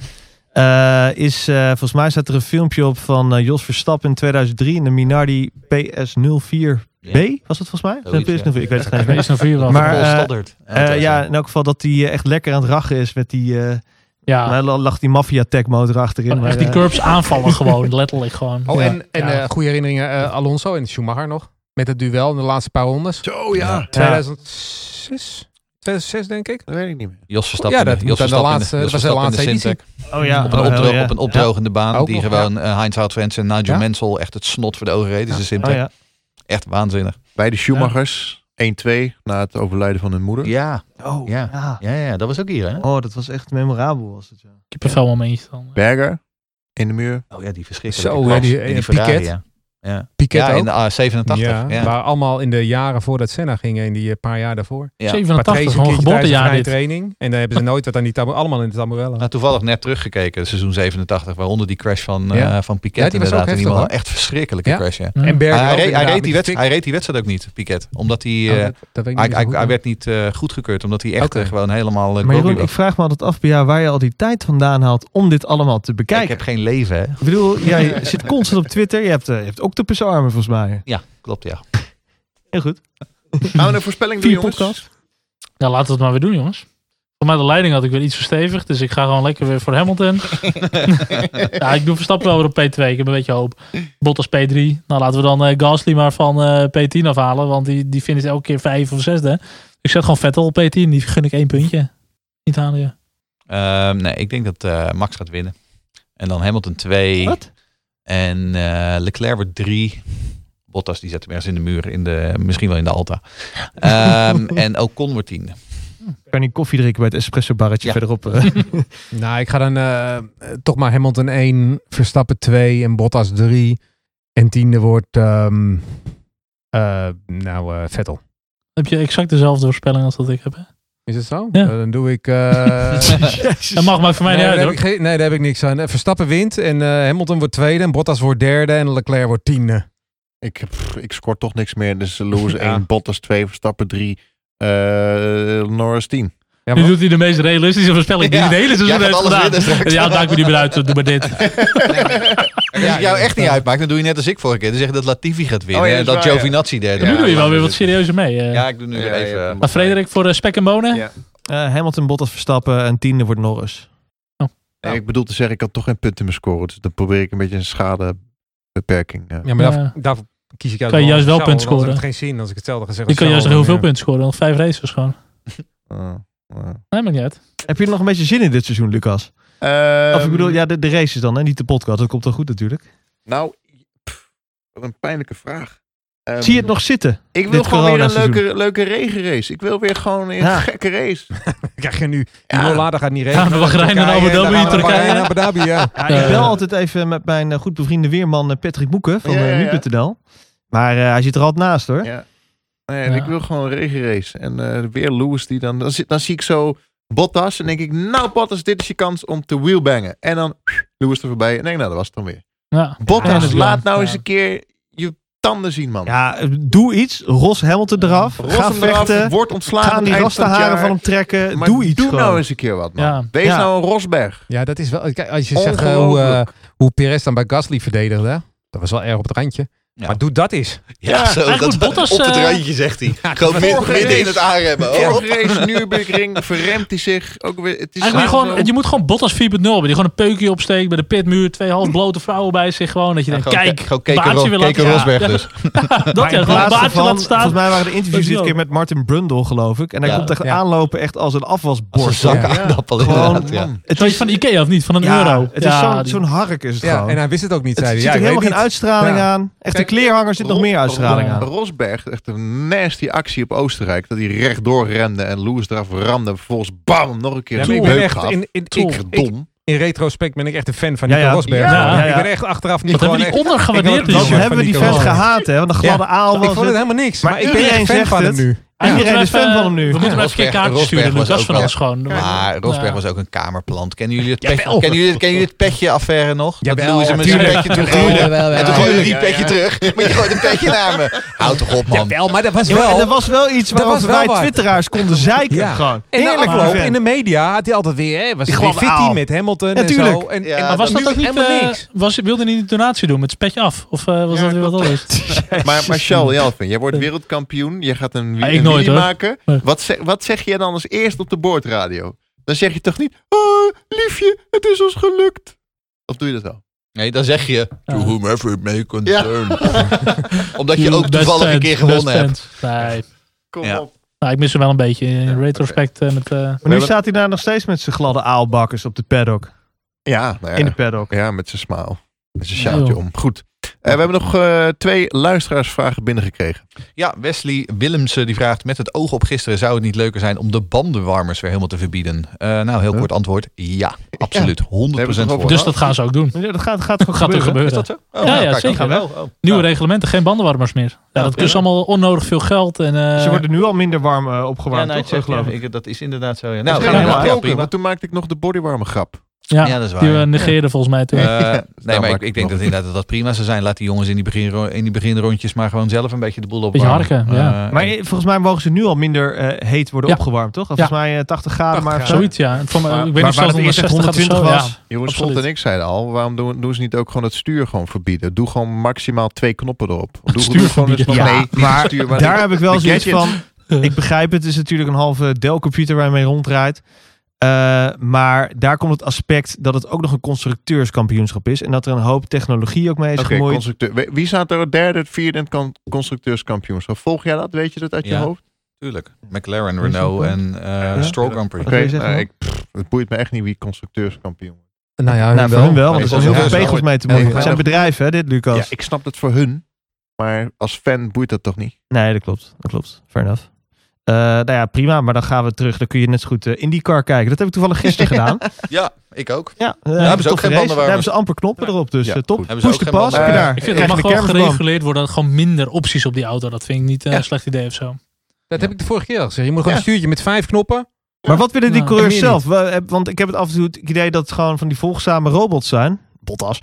[SPEAKER 5] Eh, is, eh, volgens mij staat er een filmpje op van eh, Jos Verstappen in 2003 in de Minardi PS04B. Was dat volgens mij?
[SPEAKER 6] Zoiets,
[SPEAKER 5] PS04, Ik weet het geen.
[SPEAKER 3] Is nog vier wel.
[SPEAKER 5] Maar,
[SPEAKER 6] Paul
[SPEAKER 5] eh,
[SPEAKER 6] Stoddard.
[SPEAKER 5] Eh, ja, in elk geval dat hij eh, echt lekker aan het rachen is met die... eh,
[SPEAKER 3] ja.
[SPEAKER 5] nou, dan lag die maffia tech motor achterin.
[SPEAKER 3] Gewoon
[SPEAKER 5] Maar,
[SPEAKER 3] echt die
[SPEAKER 5] eh,
[SPEAKER 3] curbs aanvallen gewoon, letterlijk gewoon.
[SPEAKER 4] Oh,
[SPEAKER 3] Ja.
[SPEAKER 4] en, en
[SPEAKER 3] Ja.
[SPEAKER 4] eh, goede herinneringen. eh, Alonso en Schumacher nog. Met het duel in de laatste paar rondes.
[SPEAKER 1] Zo ja.
[SPEAKER 4] 2006? 2006 denk ik.
[SPEAKER 1] Dat weet ik niet meer.
[SPEAKER 6] Jos Verstappen.
[SPEAKER 4] Ja, dat
[SPEAKER 6] Jos
[SPEAKER 4] moet dan de
[SPEAKER 6] Verstappen in
[SPEAKER 4] laatste-
[SPEAKER 6] Jos
[SPEAKER 4] dat was de
[SPEAKER 6] Verstappen in
[SPEAKER 4] laatste editie.
[SPEAKER 6] Sintek.
[SPEAKER 5] Oh ja.
[SPEAKER 6] Op een,
[SPEAKER 5] oh,
[SPEAKER 6] opdro-
[SPEAKER 5] ja.
[SPEAKER 6] op een opdrogende baan
[SPEAKER 4] Ook
[SPEAKER 6] die
[SPEAKER 4] nog,
[SPEAKER 6] gewoon eh, Heinz Houtfrens en Nigel
[SPEAKER 4] Ja.
[SPEAKER 6] Mansell echt het snot voor de ogen reden. Dus
[SPEAKER 5] Oh ja.
[SPEAKER 6] Echt waanzinnig.
[SPEAKER 1] Bij de Schumachers 1-2 na het overlijden van hun moeder.
[SPEAKER 6] Ja,
[SPEAKER 5] Oh,
[SPEAKER 6] Ja.
[SPEAKER 5] ja.
[SPEAKER 6] ja, ja, dat was ook hier hè?
[SPEAKER 5] Oh, dat was echt memorabel was het, ja.
[SPEAKER 3] Kippenvel momentje dan.
[SPEAKER 1] Berger in de muur.
[SPEAKER 6] Oh ja, die
[SPEAKER 4] Zo,
[SPEAKER 6] verschrikkelijke
[SPEAKER 4] ja,
[SPEAKER 6] klas
[SPEAKER 4] die-
[SPEAKER 6] in
[SPEAKER 4] eh,
[SPEAKER 6] Ferrari,
[SPEAKER 4] Piquet.
[SPEAKER 6] Ja, ja.
[SPEAKER 4] Piquet
[SPEAKER 6] ja
[SPEAKER 4] ook.
[SPEAKER 6] in de ah, 87. Ja,
[SPEAKER 4] ja, Waar allemaal in de jaren voordat Senna ging en die eh, paar jaar daarvoor.
[SPEAKER 6] Ja.
[SPEAKER 3] 87,
[SPEAKER 4] Patrese
[SPEAKER 3] gewoon
[SPEAKER 4] een keertje tijdens een
[SPEAKER 3] geboortejaar
[SPEAKER 4] vrije
[SPEAKER 3] dit.
[SPEAKER 4] training. En daar hebben ze nooit wat aan die tabu- allemaal in de Tamburella.
[SPEAKER 6] Nou, toevallig net teruggekeken, seizoen 87, waaronder die crash van, eh
[SPEAKER 4] Ja.
[SPEAKER 6] van Piquet
[SPEAKER 4] Ja, die was
[SPEAKER 6] inderdaad.
[SPEAKER 4] ook heftig,
[SPEAKER 6] in ieder geval.
[SPEAKER 4] hoor.
[SPEAKER 6] Echt verschrikkelijke
[SPEAKER 4] Ja.
[SPEAKER 6] crash, ja.
[SPEAKER 3] Ja.
[SPEAKER 4] En Berger
[SPEAKER 6] Maar hij,
[SPEAKER 4] ook
[SPEAKER 6] reed, hij,
[SPEAKER 4] inderdaad
[SPEAKER 6] reed die
[SPEAKER 4] met
[SPEAKER 6] wedst- hij reed die wedstrijd ook niet, Piquet. Omdat hij,
[SPEAKER 4] die fik.
[SPEAKER 6] eh,
[SPEAKER 4] Oh, dat- dat weet ik
[SPEAKER 6] hij,
[SPEAKER 4] niet zo
[SPEAKER 6] hij,
[SPEAKER 4] goed,
[SPEAKER 6] hij
[SPEAKER 4] maar-
[SPEAKER 6] werd niet eh, goed gekeurd, omdat hij echt
[SPEAKER 4] Oké.
[SPEAKER 6] eh, gewoon helemaal uh,
[SPEAKER 5] Maar Jeroen, ik vraag me altijd af bij jou waar je al die tijd vandaan haalt om dit allemaal te
[SPEAKER 6] Ik
[SPEAKER 5] bekijken.
[SPEAKER 6] heb geen leven, hè?
[SPEAKER 5] Ik bedoel, jij zit constant op Twitter. Je hebt, eh, je hebt octopusarmen volgens mij.
[SPEAKER 6] Ja, klopt, ja.
[SPEAKER 5] Heel goed.
[SPEAKER 1] Gaan we een voorspelling doen,
[SPEAKER 5] Vier
[SPEAKER 1] jongens?
[SPEAKER 5] podcast.
[SPEAKER 3] Ja, laten we het maar weer doen, jongens. Voor mij de leiding had ik weer iets verstevigd. Dus ik ga gewoon lekker weer voor Hamilton. ja, ik doe Verstappen wel weer op P2. Ik heb een beetje hoop. Bottas P3. Nou, laten we dan eh, Gasly maar van eh, P10 afhalen. Want die, die vindt het elke keer vijf of zesde. Ik zet gewoon Vettel op P10. Die gun ik één puntje. Italië.
[SPEAKER 6] Ehm, nee, ik denk dat eh, Max gaat winnen. En dan Hamilton
[SPEAKER 3] Oh,
[SPEAKER 6] 2.
[SPEAKER 5] Wat?
[SPEAKER 6] En eh, Leclerc wordt 3. Bottas die zet hem ergens in de muur, in de, misschien wel in de Alta. Ehm, en Ocon wordt 10.
[SPEAKER 5] Kan je koffie drinken bij het espresso barretje
[SPEAKER 6] Ja.
[SPEAKER 5] verderop? eh?
[SPEAKER 4] Nou, ik ga dan eh, eh, toch maar Hamilton 1, Verstappen 2 en Bottas 3. En tiende wordt, ehm, eh, nou, eh, Vettel.
[SPEAKER 3] Heb je exact dezelfde voorspelling als dat ik heb? Hè?
[SPEAKER 4] Is het zo?
[SPEAKER 3] Ja.
[SPEAKER 4] Eh, dan doe ik... eh,
[SPEAKER 3] Dat mag maar voor mij
[SPEAKER 4] nee,
[SPEAKER 3] niet uit
[SPEAKER 4] daar heb
[SPEAKER 3] hoor.
[SPEAKER 4] ik geen- nee, daar heb ik niks aan. Eh, Verstappen wint en eh, Hamilton wordt tweede en Bottas wordt derde en Leclerc wordt tiende.
[SPEAKER 1] Ik, pff, ik scoor toch niks meer. Dus Lewis
[SPEAKER 4] Ja.
[SPEAKER 1] 1, Bottas 2, Verstappen 3, eh, Norris 10.
[SPEAKER 4] Ja,
[SPEAKER 3] Nu
[SPEAKER 4] maar-
[SPEAKER 3] doet hij de meest realistische voorspelling die
[SPEAKER 6] Ja,
[SPEAKER 3] hij de hele
[SPEAKER 6] jij
[SPEAKER 3] seizoen
[SPEAKER 6] gaat
[SPEAKER 3] heeft
[SPEAKER 6] alles winnen
[SPEAKER 3] gedaan.
[SPEAKER 6] straks.
[SPEAKER 3] Ja, maakt me niet meer uit. Doe maar dit.
[SPEAKER 6] Als het jou echt niet uitmaakt, dan doe je net als ik vorige keer. Dan zeg je dat Latifi gaat winnen
[SPEAKER 1] Oh ja,
[SPEAKER 6] en
[SPEAKER 1] dat
[SPEAKER 6] dat
[SPEAKER 1] is waar, ja.
[SPEAKER 6] Giovinazzi derde
[SPEAKER 1] Ja,
[SPEAKER 3] nu
[SPEAKER 6] wordt.
[SPEAKER 3] doe je wel weer wat serieuzer mee. eh.
[SPEAKER 6] Ja, ik doe nu weer
[SPEAKER 1] Ja, je
[SPEAKER 6] even...
[SPEAKER 1] hebt hem
[SPEAKER 3] maar Frederik voor eh, spek en bonen.
[SPEAKER 1] Ja.
[SPEAKER 5] Eh, Hamilton, Bottas, Verstappen en tiende wordt Norris.
[SPEAKER 1] En ik bedoel te zeggen, ik had toch geen punten meer scoren. Dus dan probeer ik een beetje een schadebeperking. eh.
[SPEAKER 4] Ja, maar daar,
[SPEAKER 3] Ja.
[SPEAKER 4] daarvoor kies ik uit.
[SPEAKER 3] Kan je
[SPEAKER 4] wel
[SPEAKER 3] juist wel
[SPEAKER 4] Charles,
[SPEAKER 3] punten
[SPEAKER 4] want
[SPEAKER 3] scoren.
[SPEAKER 4] Het heeft geen zin als ik hetzelfde gezegd
[SPEAKER 3] Die
[SPEAKER 4] had,
[SPEAKER 3] kan juist nog heel
[SPEAKER 4] Charles,
[SPEAKER 3] veel
[SPEAKER 4] dan,
[SPEAKER 3] punten scoren. Nog vijf races gewoon.
[SPEAKER 6] Oh,
[SPEAKER 1] Eh, eh.
[SPEAKER 3] Nee, maar niet uit.
[SPEAKER 5] Heb je er nog een beetje zin in dit seizoen, Lucas?
[SPEAKER 1] ehm,
[SPEAKER 5] of ik bedoel, ja, de, de races dan, hè? niet de podcast. Dat komt dan goed natuurlijk.
[SPEAKER 1] Nou, pff, wat een pijnlijke vraag. Ehm,
[SPEAKER 5] Zie je het nog zitten?
[SPEAKER 1] Ik wil
[SPEAKER 5] dit
[SPEAKER 1] gewoon weer een
[SPEAKER 5] coronaseizoen?
[SPEAKER 1] leuke, leuke regenrace. Ik wil weer gewoon een
[SPEAKER 5] Ja.
[SPEAKER 1] gekke race.
[SPEAKER 4] ja. Krijg je nu. Die
[SPEAKER 1] Ja.
[SPEAKER 4] Rolada gaat niet
[SPEAKER 3] Gaan
[SPEAKER 4] regelen.
[SPEAKER 3] we Bahrein en Abu Dhabi, Turkije?
[SPEAKER 4] en Abu Dhabi, ja.
[SPEAKER 5] Ja,
[SPEAKER 3] Eh.
[SPEAKER 5] ik bel altijd even met mijn eh, goed bevriende weerman eh, Patrick Moeken van
[SPEAKER 1] Ja, ja,
[SPEAKER 5] eh,
[SPEAKER 1] ja.
[SPEAKER 5] nu.nl. Maar eh, hij zit er altijd naast hoor.
[SPEAKER 1] Ja. Nee,
[SPEAKER 3] Ja.
[SPEAKER 1] Ik wil gewoon een regenrace. En eh, weer Lewis die dan... Dan, zie- dan zie ik zo Bottas en denk ik... Nou Bottas, dit is je kans om te wheelbangen. En dan pff, Lewis er voorbij. En denk nou, dat was het dan weer.
[SPEAKER 3] Ja.
[SPEAKER 1] Bottas,
[SPEAKER 3] Ja.
[SPEAKER 1] laat nou
[SPEAKER 3] Ja.
[SPEAKER 1] eens een keer je tanden zien, man.
[SPEAKER 5] Ja, eh, doe iets. Ros Hamilton eraf.
[SPEAKER 1] Ros
[SPEAKER 5] ga
[SPEAKER 1] hem eraf,
[SPEAKER 5] vechten.
[SPEAKER 1] Word ontslagen.
[SPEAKER 5] Ga aan die
[SPEAKER 1] eind van het
[SPEAKER 5] rastenharen
[SPEAKER 1] jaar.
[SPEAKER 5] van hem trekken.
[SPEAKER 1] Maar
[SPEAKER 5] doe iets
[SPEAKER 1] Doe
[SPEAKER 5] gewoon.
[SPEAKER 1] nou eens een keer wat, man.
[SPEAKER 3] Ja.
[SPEAKER 1] Wees
[SPEAKER 5] Ja.
[SPEAKER 1] nou een Rosberg.
[SPEAKER 4] Ja, dat is wel. Kijk, als je zegt eh, hoe, eh, hoe Perez dan bij Gasly verdedigde. hè? Dat was wel erg op het randje.
[SPEAKER 6] Ja.
[SPEAKER 4] Maar doe dat eens.
[SPEAKER 3] Ja, eigenlijk moet Bottas, eh,
[SPEAKER 6] zegt hij.
[SPEAKER 1] maar
[SPEAKER 6] Gewoon
[SPEAKER 1] vorige race-
[SPEAKER 6] aanremmen. Oh.
[SPEAKER 1] Vorige race, Nürburgring, verremt hij zich. Ook weer, het is
[SPEAKER 3] Eigenlijk
[SPEAKER 1] zo-
[SPEAKER 3] gewoon, je moet gewoon Bottas 4.0 hebben. Die gewoon een peukje opsteekt bij de pitmuur. Twee half blote vrouwen bij zich. Gewoon dat je
[SPEAKER 6] Ja,
[SPEAKER 3] denkt,
[SPEAKER 6] gewoon
[SPEAKER 3] kijk,
[SPEAKER 6] ke- gewoon keken
[SPEAKER 3] baardje
[SPEAKER 6] Ro-
[SPEAKER 3] weer
[SPEAKER 6] keken
[SPEAKER 3] laten-
[SPEAKER 6] Rosberg
[SPEAKER 3] Ja,
[SPEAKER 6] dus.
[SPEAKER 3] ja, dat
[SPEAKER 5] Maar
[SPEAKER 3] ja, gewoon
[SPEAKER 5] in
[SPEAKER 3] een
[SPEAKER 5] plaats
[SPEAKER 3] baardje
[SPEAKER 5] van,
[SPEAKER 3] laten staan.
[SPEAKER 5] Volgens mij waren de interviews
[SPEAKER 3] Dat
[SPEAKER 5] dit
[SPEAKER 3] ook.
[SPEAKER 5] keer met Martin Brundle, geloof ik. En hij
[SPEAKER 6] Ja.
[SPEAKER 5] komt echt
[SPEAKER 4] Ja.
[SPEAKER 5] aanlopen echt als een
[SPEAKER 6] Als een
[SPEAKER 5] afwasborst.
[SPEAKER 6] zak
[SPEAKER 4] Ja.
[SPEAKER 6] aardappel
[SPEAKER 5] Gewoon,
[SPEAKER 6] inderdaad, ja.
[SPEAKER 5] Het
[SPEAKER 3] Weet je van Ikea of niet? Van een
[SPEAKER 5] ja,
[SPEAKER 3] euro.
[SPEAKER 5] Het is
[SPEAKER 3] Ja,
[SPEAKER 5] zo'n
[SPEAKER 3] die-
[SPEAKER 5] zo'n hark is het
[SPEAKER 4] Ja,
[SPEAKER 5] gewoon.
[SPEAKER 4] en hij wist het ook niet,
[SPEAKER 5] het
[SPEAKER 4] zei
[SPEAKER 5] zit
[SPEAKER 4] hij. Ja,
[SPEAKER 5] er
[SPEAKER 4] ik
[SPEAKER 5] helemaal
[SPEAKER 4] weet
[SPEAKER 5] geen
[SPEAKER 4] niet.
[SPEAKER 5] uitstraling
[SPEAKER 4] Ja.
[SPEAKER 5] aan. Echt, de
[SPEAKER 4] Kijk,
[SPEAKER 5] kleerhanger zit nog meer uitstraling
[SPEAKER 3] Ro-
[SPEAKER 5] aan.
[SPEAKER 1] Rosberg, echt een nasty actie op Oostenrijk. Dat hij rechtdoor rende en Lewis eraf ramde. En vervolgens bam, hem nog een keer
[SPEAKER 4] Ja,
[SPEAKER 1] een
[SPEAKER 4] maar ik ben
[SPEAKER 1] beuk
[SPEAKER 4] echt
[SPEAKER 1] gaf.
[SPEAKER 4] in, in,
[SPEAKER 1] Toen.
[SPEAKER 4] ik,
[SPEAKER 1] Echt
[SPEAKER 4] ik-
[SPEAKER 1] dom.
[SPEAKER 4] in retrospect ben ik echt een fan van
[SPEAKER 5] Ja,
[SPEAKER 4] Nico
[SPEAKER 5] ja.
[SPEAKER 4] Rosberg.
[SPEAKER 5] Ja,
[SPEAKER 4] Ja,
[SPEAKER 5] ja, ja.
[SPEAKER 4] Ik ben echt achteraf niet
[SPEAKER 3] Wat hebben
[SPEAKER 4] gewoon
[SPEAKER 3] die
[SPEAKER 4] echt...
[SPEAKER 3] ondergewaardeerd
[SPEAKER 4] ik
[SPEAKER 3] dus?
[SPEAKER 4] word-
[SPEAKER 5] Dat
[SPEAKER 4] Van
[SPEAKER 5] hebben we die
[SPEAKER 4] Nico
[SPEAKER 5] vent
[SPEAKER 4] Rosberg.
[SPEAKER 5] gehaat, hè? Want een gladde aal
[SPEAKER 4] Ik
[SPEAKER 5] was
[SPEAKER 4] vond het
[SPEAKER 5] het.
[SPEAKER 4] helemaal niks.
[SPEAKER 5] Maar
[SPEAKER 4] Maar, ik ben
[SPEAKER 5] iedereen
[SPEAKER 4] echt fan
[SPEAKER 5] zegt
[SPEAKER 4] van hem
[SPEAKER 5] het.
[SPEAKER 4] nu.
[SPEAKER 3] Ja,
[SPEAKER 5] Iedereen
[SPEAKER 3] moeten we
[SPEAKER 5] is fan
[SPEAKER 3] even- eh,
[SPEAKER 5] van hem nu.
[SPEAKER 3] We moeten hem even geen
[SPEAKER 6] Rosberg-
[SPEAKER 3] kaartjes
[SPEAKER 6] Rosberg
[SPEAKER 3] sturen.
[SPEAKER 6] was
[SPEAKER 3] Lucas
[SPEAKER 6] ook
[SPEAKER 3] van
[SPEAKER 6] wel-
[SPEAKER 3] alles gewoon.
[SPEAKER 6] Maar Rosberg
[SPEAKER 3] Ja.
[SPEAKER 6] was ook een kamerplant. Kennen jullie het, pet-
[SPEAKER 4] Jawel.
[SPEAKER 6] kennen jullie, kennen jullie het petje affaire nog? Dat
[SPEAKER 4] Jawel,
[SPEAKER 6] Lewis hem met zijn
[SPEAKER 4] tuurlijk.
[SPEAKER 6] petje toe
[SPEAKER 4] Jawel,
[SPEAKER 6] gooide.
[SPEAKER 4] jawel,
[SPEAKER 6] En toen
[SPEAKER 4] jawel.
[SPEAKER 6] gooide hij het petje terug. Maar je gooit een petje naar me. Houd toch op man.
[SPEAKER 4] Wel, maar dat was
[SPEAKER 5] Ja, maar er
[SPEAKER 4] wel...
[SPEAKER 5] was wel iets
[SPEAKER 4] Dat
[SPEAKER 5] waarop
[SPEAKER 4] was wel
[SPEAKER 5] wij
[SPEAKER 4] wat.
[SPEAKER 5] twitteraars konden zeiken.
[SPEAKER 4] Ja.
[SPEAKER 5] Gewoon.
[SPEAKER 4] En na
[SPEAKER 5] Eerlijk
[SPEAKER 4] afloop,
[SPEAKER 5] man.
[SPEAKER 4] in de media had hij altijd weer... Hè, was
[SPEAKER 5] Die
[SPEAKER 4] hij weer
[SPEAKER 5] gladde
[SPEAKER 4] fitty
[SPEAKER 5] aal.
[SPEAKER 4] met Hamilton
[SPEAKER 5] Ja,
[SPEAKER 4] en zo.
[SPEAKER 5] tuurlijk.
[SPEAKER 4] En,
[SPEAKER 6] Ja,
[SPEAKER 4] en
[SPEAKER 3] Maar was
[SPEAKER 4] nu
[SPEAKER 3] dat ook niet...
[SPEAKER 4] helemaal
[SPEAKER 3] eh,
[SPEAKER 4] niks.
[SPEAKER 3] was- Wilde hij niet een donatie doen met het petje af? Of eh, was dat weer wat anders?
[SPEAKER 1] Maar, maar Charles Jelvin, jij wordt wereldkampioen. Jij gaat een,
[SPEAKER 3] Ah,
[SPEAKER 1] wi-
[SPEAKER 3] ik
[SPEAKER 1] een
[SPEAKER 3] nooit,
[SPEAKER 1] wheelie
[SPEAKER 3] hoor.
[SPEAKER 1] maken.
[SPEAKER 3] Nee.
[SPEAKER 1] Wat, zeg, wat zeg je dan als eerst op de boordradio? Dan zeg je toch niet... Oh, liefje, het is ons gelukt. Of doe je dat wel?
[SPEAKER 6] Nee, dan zeg je... To
[SPEAKER 3] Ja.
[SPEAKER 6] whomever it may concern. Omdat je ook
[SPEAKER 3] Best
[SPEAKER 6] toevallig een
[SPEAKER 3] fans,
[SPEAKER 6] keer
[SPEAKER 3] best
[SPEAKER 6] gewonnen hebt.
[SPEAKER 3] fans. Nee.
[SPEAKER 1] Kom
[SPEAKER 6] Ja.
[SPEAKER 1] op.
[SPEAKER 3] Nou, ik mis hem wel een beetje in retrospect eh, met... eh,
[SPEAKER 5] Maar nu staat hij daar nog steeds met zijn gladde aalbakkers op de paddock.
[SPEAKER 1] Ja, nou ja.
[SPEAKER 5] In de paddock.
[SPEAKER 1] ja, met zijn smaal. Met zijn sjaaltje
[SPEAKER 3] Ja.
[SPEAKER 1] om. Goed. Eh, we hebben nog eh, twee luisteraarsvragen binnengekregen.
[SPEAKER 6] Ja, Wesley Willemsen die vraagt... Met het oog op gisteren zou het niet leuker zijn... om de bandenwarmers weer helemaal te verbieden? Eh, nou, heel
[SPEAKER 1] Huh?
[SPEAKER 6] kort antwoord. Ja, absoluut. 100%
[SPEAKER 1] Hebben ze het nog
[SPEAKER 6] voor.
[SPEAKER 1] over?
[SPEAKER 3] dus dat gaan ze ook doen.
[SPEAKER 5] Ja, Dat gaat, gaat gewoon
[SPEAKER 3] Gaat er
[SPEAKER 5] gebeuren.
[SPEAKER 3] gebeuren.
[SPEAKER 6] Is dat zo? Oh,
[SPEAKER 3] Ja,
[SPEAKER 6] nou,
[SPEAKER 3] ja,
[SPEAKER 6] kijk,
[SPEAKER 3] zeker.
[SPEAKER 6] dan gaan we. Oh,
[SPEAKER 3] Nieuwe
[SPEAKER 6] nou.
[SPEAKER 3] reglementen, geen bandenwarmers meer. Ja, dat kost allemaal onnodig veel geld. En, eh,
[SPEAKER 5] Ze worden nu al minder warm eh,
[SPEAKER 6] Ja,
[SPEAKER 5] opgewarmd,
[SPEAKER 6] nou,
[SPEAKER 5] toch?
[SPEAKER 6] ik zeg,
[SPEAKER 5] geloof
[SPEAKER 6] ja,
[SPEAKER 5] ik.
[SPEAKER 6] ik- dat is inderdaad zo. Ja.
[SPEAKER 1] Nou,
[SPEAKER 6] Nou,
[SPEAKER 1] we
[SPEAKER 5] gaan
[SPEAKER 1] gaan
[SPEAKER 5] helemaal
[SPEAKER 6] ja,
[SPEAKER 1] helemaal
[SPEAKER 6] prima.
[SPEAKER 1] want toen maakte ik nog de bodywarme grap.
[SPEAKER 3] ja,
[SPEAKER 6] ja, dat is waar,
[SPEAKER 3] Die
[SPEAKER 6] ja.
[SPEAKER 3] we negeerden volgens mij toen.
[SPEAKER 6] Eh, nee, maar
[SPEAKER 1] maak
[SPEAKER 6] ik,
[SPEAKER 1] ik
[SPEAKER 6] ik denk
[SPEAKER 1] nog.
[SPEAKER 6] dat inderdaad dat dat prima zou zijn. Laat die jongens in die, begin, in die beginrondjes maar gewoon zelf een beetje de boel
[SPEAKER 3] Beetje
[SPEAKER 6] opwarmen.
[SPEAKER 3] harken, ja.
[SPEAKER 6] Eh,
[SPEAKER 5] Maar
[SPEAKER 6] en-
[SPEAKER 5] eh, volgens mij mogen ze nu al minder eh, heet worden
[SPEAKER 3] Ja.
[SPEAKER 5] opgewarmd, toch?
[SPEAKER 3] Ja.
[SPEAKER 5] Volgens mij eh, 80 graden,
[SPEAKER 4] 80
[SPEAKER 5] maar
[SPEAKER 4] graden.
[SPEAKER 3] Zoiets, ja. En Van,
[SPEAKER 4] Maar-
[SPEAKER 3] ik
[SPEAKER 5] waar-
[SPEAKER 3] weet niet
[SPEAKER 5] waar
[SPEAKER 3] of het
[SPEAKER 5] het eerst
[SPEAKER 3] 160 gaat of
[SPEAKER 5] 120
[SPEAKER 3] zo.
[SPEAKER 5] was.
[SPEAKER 3] Ja.
[SPEAKER 1] Jeroen
[SPEAKER 3] Absoluut.
[SPEAKER 1] Slot en ik zeiden al, waarom doen, doen ze niet ook gewoon het stuur gewoon verbieden? Doe gewoon maximaal twee knoppen erop. Doe,
[SPEAKER 3] stuur
[SPEAKER 1] doe gewoon eens
[SPEAKER 3] verbieden.
[SPEAKER 1] van,
[SPEAKER 5] Ja,
[SPEAKER 1] nee, niet
[SPEAKER 5] maar
[SPEAKER 1] het stuur, maar
[SPEAKER 5] Daar heb ik wel
[SPEAKER 1] de
[SPEAKER 5] zoiets van.
[SPEAKER 1] gadget.
[SPEAKER 5] Ik begrijp het, het is natuurlijk een halve Dell-computer waar je mee ronddraait. Eh, maar daar komt het aspect dat het ook nog een constructeurskampioenschap is. En dat er een hoop technologie ook mee is
[SPEAKER 1] Oké,
[SPEAKER 5] gemoeid.
[SPEAKER 1] constructeur. Wie- Wie staat er derde, vierde in het kan- constructeurskampioenschap? Volg jij dat? Weet je dat uit je
[SPEAKER 6] Ja.
[SPEAKER 1] hoofd?
[SPEAKER 6] Tuurlijk. McLaren, Renault en eh Stroll Grand Prix.
[SPEAKER 1] Oké,
[SPEAKER 5] wil je zeggen,
[SPEAKER 1] nou,
[SPEAKER 5] Rob?
[SPEAKER 1] ik, pff, het boeit me echt niet wie constructeurskampioen wordt.
[SPEAKER 4] Nou ja,
[SPEAKER 5] nou, voor hun wel, want er
[SPEAKER 1] ik
[SPEAKER 5] zijn
[SPEAKER 1] wil
[SPEAKER 5] heel veel
[SPEAKER 1] zeggen,
[SPEAKER 5] pegels mee te
[SPEAKER 1] heel
[SPEAKER 5] moeien. Het
[SPEAKER 1] veel.
[SPEAKER 5] zijn bedrijven, hè, dit, Lucas?
[SPEAKER 1] Ja, ik snap dat voor hun, maar als fan boeit dat toch niet?
[SPEAKER 5] Nee, dat klopt. Dat klopt. Fair enough. Eh, nou ja, prima, maar dan gaan we terug. Dan kun je net zo goed eh, IndyCar kijken. Dat heb ik toevallig gisteren gedaan.
[SPEAKER 6] Ja, ik ook.
[SPEAKER 5] Ja, eh,
[SPEAKER 6] hebben ze ook
[SPEAKER 5] toffe
[SPEAKER 6] geen
[SPEAKER 5] race.
[SPEAKER 6] bandenwarmers.
[SPEAKER 5] Daar hebben ze amper knoppen erop, dus
[SPEAKER 1] Ja,
[SPEAKER 5] eh, top.
[SPEAKER 1] goed.
[SPEAKER 6] Hebben ze
[SPEAKER 5] Push
[SPEAKER 6] ook
[SPEAKER 5] de
[SPEAKER 6] geen
[SPEAKER 5] pas, heb je
[SPEAKER 1] bandenwarmers.
[SPEAKER 5] daar.
[SPEAKER 3] Ik vind
[SPEAKER 5] Krijg
[SPEAKER 3] het mag
[SPEAKER 5] je de
[SPEAKER 3] wel
[SPEAKER 5] kermisband.
[SPEAKER 3] gereguleerd worden. dat Gewoon minder opties op die auto. Dat vind ik niet eh, een slecht idee of zo.
[SPEAKER 4] Dat heb ik de vorige keer al gezegd. Je moet gewoon
[SPEAKER 1] Ja.
[SPEAKER 4] een stuurtje met vijf knoppen.
[SPEAKER 5] Maar wat willen die
[SPEAKER 3] Nou,
[SPEAKER 5] coureurs
[SPEAKER 4] meer niet.
[SPEAKER 5] zelf? Wa- eh, Want ik heb het af en toe het idee dat het gewoon van die volgzame robots zijn. Bottas.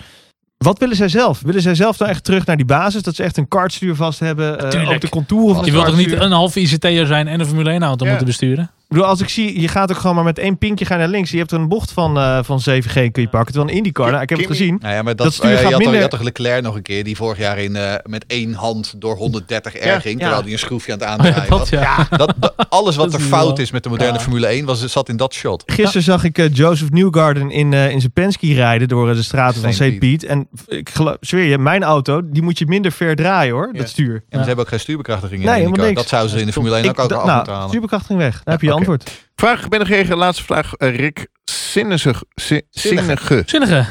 [SPEAKER 5] Wat willen zij zelf? Willen zij zelf nou echt terug naar die basis? Dat ze echt een kartstuur vast hebben? eh,
[SPEAKER 3] Tuurlijk.
[SPEAKER 5] ook de contouren van
[SPEAKER 3] Je
[SPEAKER 5] het
[SPEAKER 3] wilt toch niet
[SPEAKER 5] kartstuur?
[SPEAKER 3] een half ICT'er zijn en een Formule 1 auto
[SPEAKER 1] Ja.
[SPEAKER 3] moeten besturen?
[SPEAKER 5] Ik bedoel, als ik zie, je gaat ook gewoon maar met één pinkje ga je naar links. Je hebt er een bocht van, eh, van 7G kun je pakken. Terwijl een IndyCar, nou, ik heb het
[SPEAKER 1] Kimi-
[SPEAKER 5] gezien.
[SPEAKER 6] Nou ja, maar dat,
[SPEAKER 5] Dat stuur
[SPEAKER 6] eh,
[SPEAKER 5] gaat
[SPEAKER 6] je, had, al-
[SPEAKER 5] minder-
[SPEAKER 6] je had toch Leclerc nog een keer die vorig jaar in, eh, met één hand door 130 R ging.
[SPEAKER 5] ja.
[SPEAKER 6] Terwijl hij een schroefje aan het aandraaien
[SPEAKER 3] dat,
[SPEAKER 6] was.
[SPEAKER 3] Oh ja.
[SPEAKER 6] Dat, dat- alles wat
[SPEAKER 3] Dat
[SPEAKER 6] er
[SPEAKER 3] is
[SPEAKER 6] fout
[SPEAKER 3] wel-
[SPEAKER 6] is met de moderne
[SPEAKER 3] Ja.
[SPEAKER 6] Formule 1 was, zat in dat shot.
[SPEAKER 5] Gisteren zag ik eh, Joseph Newgarden in, eh, in zijn Penske rijden door eh, de straten van
[SPEAKER 6] St.
[SPEAKER 5] St. Piet. En f- ik geloof, zweer je, mijn auto, die moet je minder ver draaien hoor, dat stuur.
[SPEAKER 6] En
[SPEAKER 3] Ja.
[SPEAKER 6] ze hebben ook geen stuurbekrachtiging
[SPEAKER 5] Nee,
[SPEAKER 6] in
[SPEAKER 5] helemaal
[SPEAKER 6] die car.
[SPEAKER 5] niks.
[SPEAKER 6] Dat zouden ze in de Formule 1
[SPEAKER 5] Ik,
[SPEAKER 6] ook, ook
[SPEAKER 5] da-
[SPEAKER 6] af moeten
[SPEAKER 5] nou,
[SPEAKER 6] halen.
[SPEAKER 5] stuurbekrachtiging weg. Dan heb je
[SPEAKER 1] Ja,
[SPEAKER 5] je
[SPEAKER 1] oké.
[SPEAKER 5] antwoord.
[SPEAKER 1] Vraag binnengekregen, laatste vraag. eh, Rick Zinnige. Zi-
[SPEAKER 6] Zinnige.
[SPEAKER 1] Zinnige.
[SPEAKER 3] Zinnige.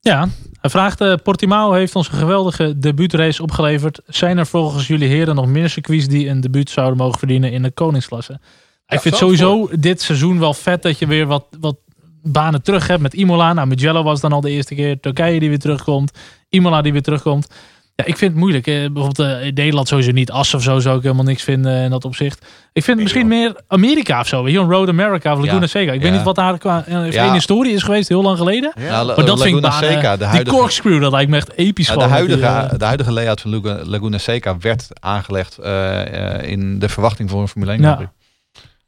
[SPEAKER 3] Ja. Hij vraagt, eh, Portimao heeft ons een geweldige debuutrace opgeleverd. Zijn er volgens jullie heren nog meer circuits die een debuut zouden mogen verdienen in de koningsklasse? ik vind
[SPEAKER 6] Zandvoort.
[SPEAKER 3] sowieso dit seizoen wel vet dat je weer wat, wat banen terug hebt met Imola. Nou, Mugello was dan al de eerste keer. Turkije die weer terugkomt. Imola die weer terugkomt. Ja, ik vind het moeilijk. Eh, bijvoorbeeld eh, in Nederland sowieso niet. Assen of zo zou ik helemaal niks vinden in dat opzicht. Ik vind misschien meer Amerika of zo. Weet je, een Road America of Laguna
[SPEAKER 6] Ja.
[SPEAKER 3] Seca. Ik
[SPEAKER 6] Ja.
[SPEAKER 3] weet niet wat daar qua eh,
[SPEAKER 6] Ja.
[SPEAKER 3] één historie is geweest heel lang geleden.
[SPEAKER 6] Nou, La-
[SPEAKER 3] Maar dat vind ik
[SPEAKER 6] Laguna
[SPEAKER 3] banen,
[SPEAKER 6] Seca, de
[SPEAKER 3] Die
[SPEAKER 6] huidige,
[SPEAKER 3] corkscrew, dat lijkt me echt episch.
[SPEAKER 6] Ja, de,
[SPEAKER 3] gewoon, dat die,
[SPEAKER 6] huidige,
[SPEAKER 3] eh,
[SPEAKER 6] de huidige layout van Laguna, Laguna Seca werd aangelegd eh, eh, in de verwachting voor een Formule 1
[SPEAKER 3] Ja.
[SPEAKER 6] Grand Prix.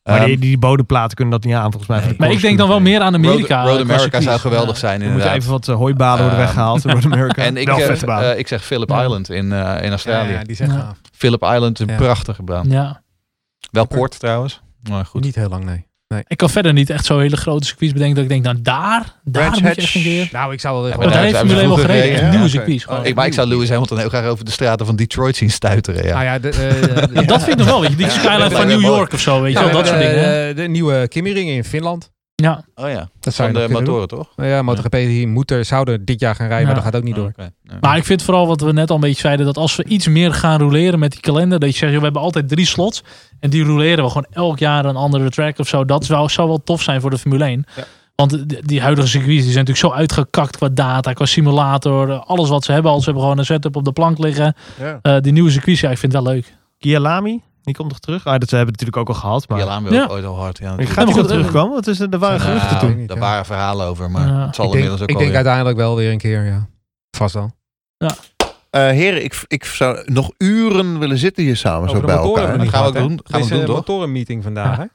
[SPEAKER 5] Maar
[SPEAKER 6] Ehm,
[SPEAKER 5] die, die bodemplaten kunnen dat niet aan, volgens mij. van de
[SPEAKER 3] maar ik denk dan wel meer aan Amerika.
[SPEAKER 6] Road,
[SPEAKER 3] eh,
[SPEAKER 6] Road
[SPEAKER 3] qua
[SPEAKER 6] America zou
[SPEAKER 3] circuits.
[SPEAKER 6] geweldig zijn
[SPEAKER 5] Er moeten
[SPEAKER 6] inderdaad.
[SPEAKER 5] even wat eh, hooibaden worden
[SPEAKER 6] Ehm,
[SPEAKER 5] weggehaald. in Amerika.
[SPEAKER 6] en ik,
[SPEAKER 5] Wel
[SPEAKER 6] eh,
[SPEAKER 5] vette baan.
[SPEAKER 6] eh, ik zeg Phillip
[SPEAKER 3] Ja.
[SPEAKER 6] Island in, eh, in Australië.
[SPEAKER 4] die zijn
[SPEAKER 3] Ja.
[SPEAKER 4] gaaf.
[SPEAKER 6] Phillip Island is een
[SPEAKER 4] Ja.
[SPEAKER 6] prachtige baan.
[SPEAKER 3] Ja.
[SPEAKER 6] Wel kort trouwens. Maar goed.
[SPEAKER 4] Niet heel lang, nee.
[SPEAKER 3] Ik kan verder niet echt zo hele grote circuits bedenken dat ik denk, nou daar, daar
[SPEAKER 1] Brands
[SPEAKER 3] moet je
[SPEAKER 1] Hatch.
[SPEAKER 3] echt een keer.
[SPEAKER 4] Nou, ik zou wel
[SPEAKER 6] Ja,
[SPEAKER 3] Want
[SPEAKER 6] daar
[SPEAKER 3] daar
[SPEAKER 4] Nou
[SPEAKER 3] heeft
[SPEAKER 6] hebben
[SPEAKER 3] Formule 1
[SPEAKER 6] ze
[SPEAKER 3] wel
[SPEAKER 6] vroeger
[SPEAKER 3] gereden.
[SPEAKER 6] gereden,
[SPEAKER 3] Echt
[SPEAKER 1] ja.
[SPEAKER 3] nieuwe
[SPEAKER 1] Oké.
[SPEAKER 3] circuits. gewoon.
[SPEAKER 6] Ik, maar ik zou Lewis Hamilton heel graag over de straten van Detroit zien stuiteren. Ja.
[SPEAKER 4] ja, de, eh, eh,
[SPEAKER 3] Dat vind ik nog wel, weet je. Die skyline van New York of zo, weet je
[SPEAKER 4] Nou,
[SPEAKER 3] wel.
[SPEAKER 4] we
[SPEAKER 3] Dat soort
[SPEAKER 4] hebben,
[SPEAKER 3] dingen. hè.
[SPEAKER 4] eh, De nieuwe Kimmiringen in Finland.
[SPEAKER 3] Ja.
[SPEAKER 6] Oh ja,
[SPEAKER 4] Dat zou
[SPEAKER 6] van
[SPEAKER 4] je
[SPEAKER 6] de
[SPEAKER 4] nog kunnen
[SPEAKER 6] motoren toch?
[SPEAKER 4] doen. Ja, MotoGP hier moet er, zouden dit jaar gaan rijden,
[SPEAKER 3] Ja.
[SPEAKER 4] maar dat gaat ook niet door.
[SPEAKER 6] Ah, Oké. Ja.
[SPEAKER 3] Maar ik vind vooral wat we net al een beetje zeiden, dat als we iets meer gaan roleren met die kalender, dat je zegt, joh, we hebben altijd drie slots en die roleren we gewoon elk jaar een andere track of zo. Dat zou, zou wel tof zijn voor de Formule 1.
[SPEAKER 6] Ja.
[SPEAKER 3] Want die, die huidige circuits die zijn natuurlijk zo uitgekakt qua data, qua simulator, eh, alles wat ze hebben. Als ze hebben gewoon een setup op de plank liggen.
[SPEAKER 1] Ja.
[SPEAKER 3] Eh, die nieuwe circuits, ja, ik vind het wel leuk.
[SPEAKER 5] Kialami, die komt nog terug. Ah, dat hebben we natuurlijk ook al gehad. Maar...
[SPEAKER 6] Die alarm wil ik
[SPEAKER 3] Ja.
[SPEAKER 6] ooit al hard. Ja,
[SPEAKER 5] Ik
[SPEAKER 6] natuurlijk.
[SPEAKER 5] ga
[SPEAKER 3] Ja,
[SPEAKER 5] niet
[SPEAKER 3] maar
[SPEAKER 5] goed
[SPEAKER 3] goed, eh,
[SPEAKER 5] terugkomen, want het is, er waren
[SPEAKER 6] Nou,
[SPEAKER 5] geruchten
[SPEAKER 4] geruchten toen.
[SPEAKER 6] Daar waren verhalen over, maar
[SPEAKER 3] Ja.
[SPEAKER 6] het zal
[SPEAKER 4] Ik
[SPEAKER 6] inmiddels
[SPEAKER 4] denk, ik
[SPEAKER 6] ook al
[SPEAKER 4] denk
[SPEAKER 6] weer-
[SPEAKER 4] uiteindelijk wel weer een keer, ja. Vast wel.
[SPEAKER 1] Eh, heren, ik, ik zou nog uren willen zitten hier samen zo
[SPEAKER 4] Over de
[SPEAKER 1] bij
[SPEAKER 4] motoren
[SPEAKER 1] elkaar.
[SPEAKER 4] hebben
[SPEAKER 6] Dat
[SPEAKER 4] niet
[SPEAKER 6] gaan we
[SPEAKER 4] gehad,
[SPEAKER 6] ook
[SPEAKER 4] hè?
[SPEAKER 6] doen. Gaan we
[SPEAKER 4] Er is
[SPEAKER 6] doen,
[SPEAKER 4] een
[SPEAKER 6] toch?
[SPEAKER 4] motorenmeeting vandaag, hè?
[SPEAKER 1] Oh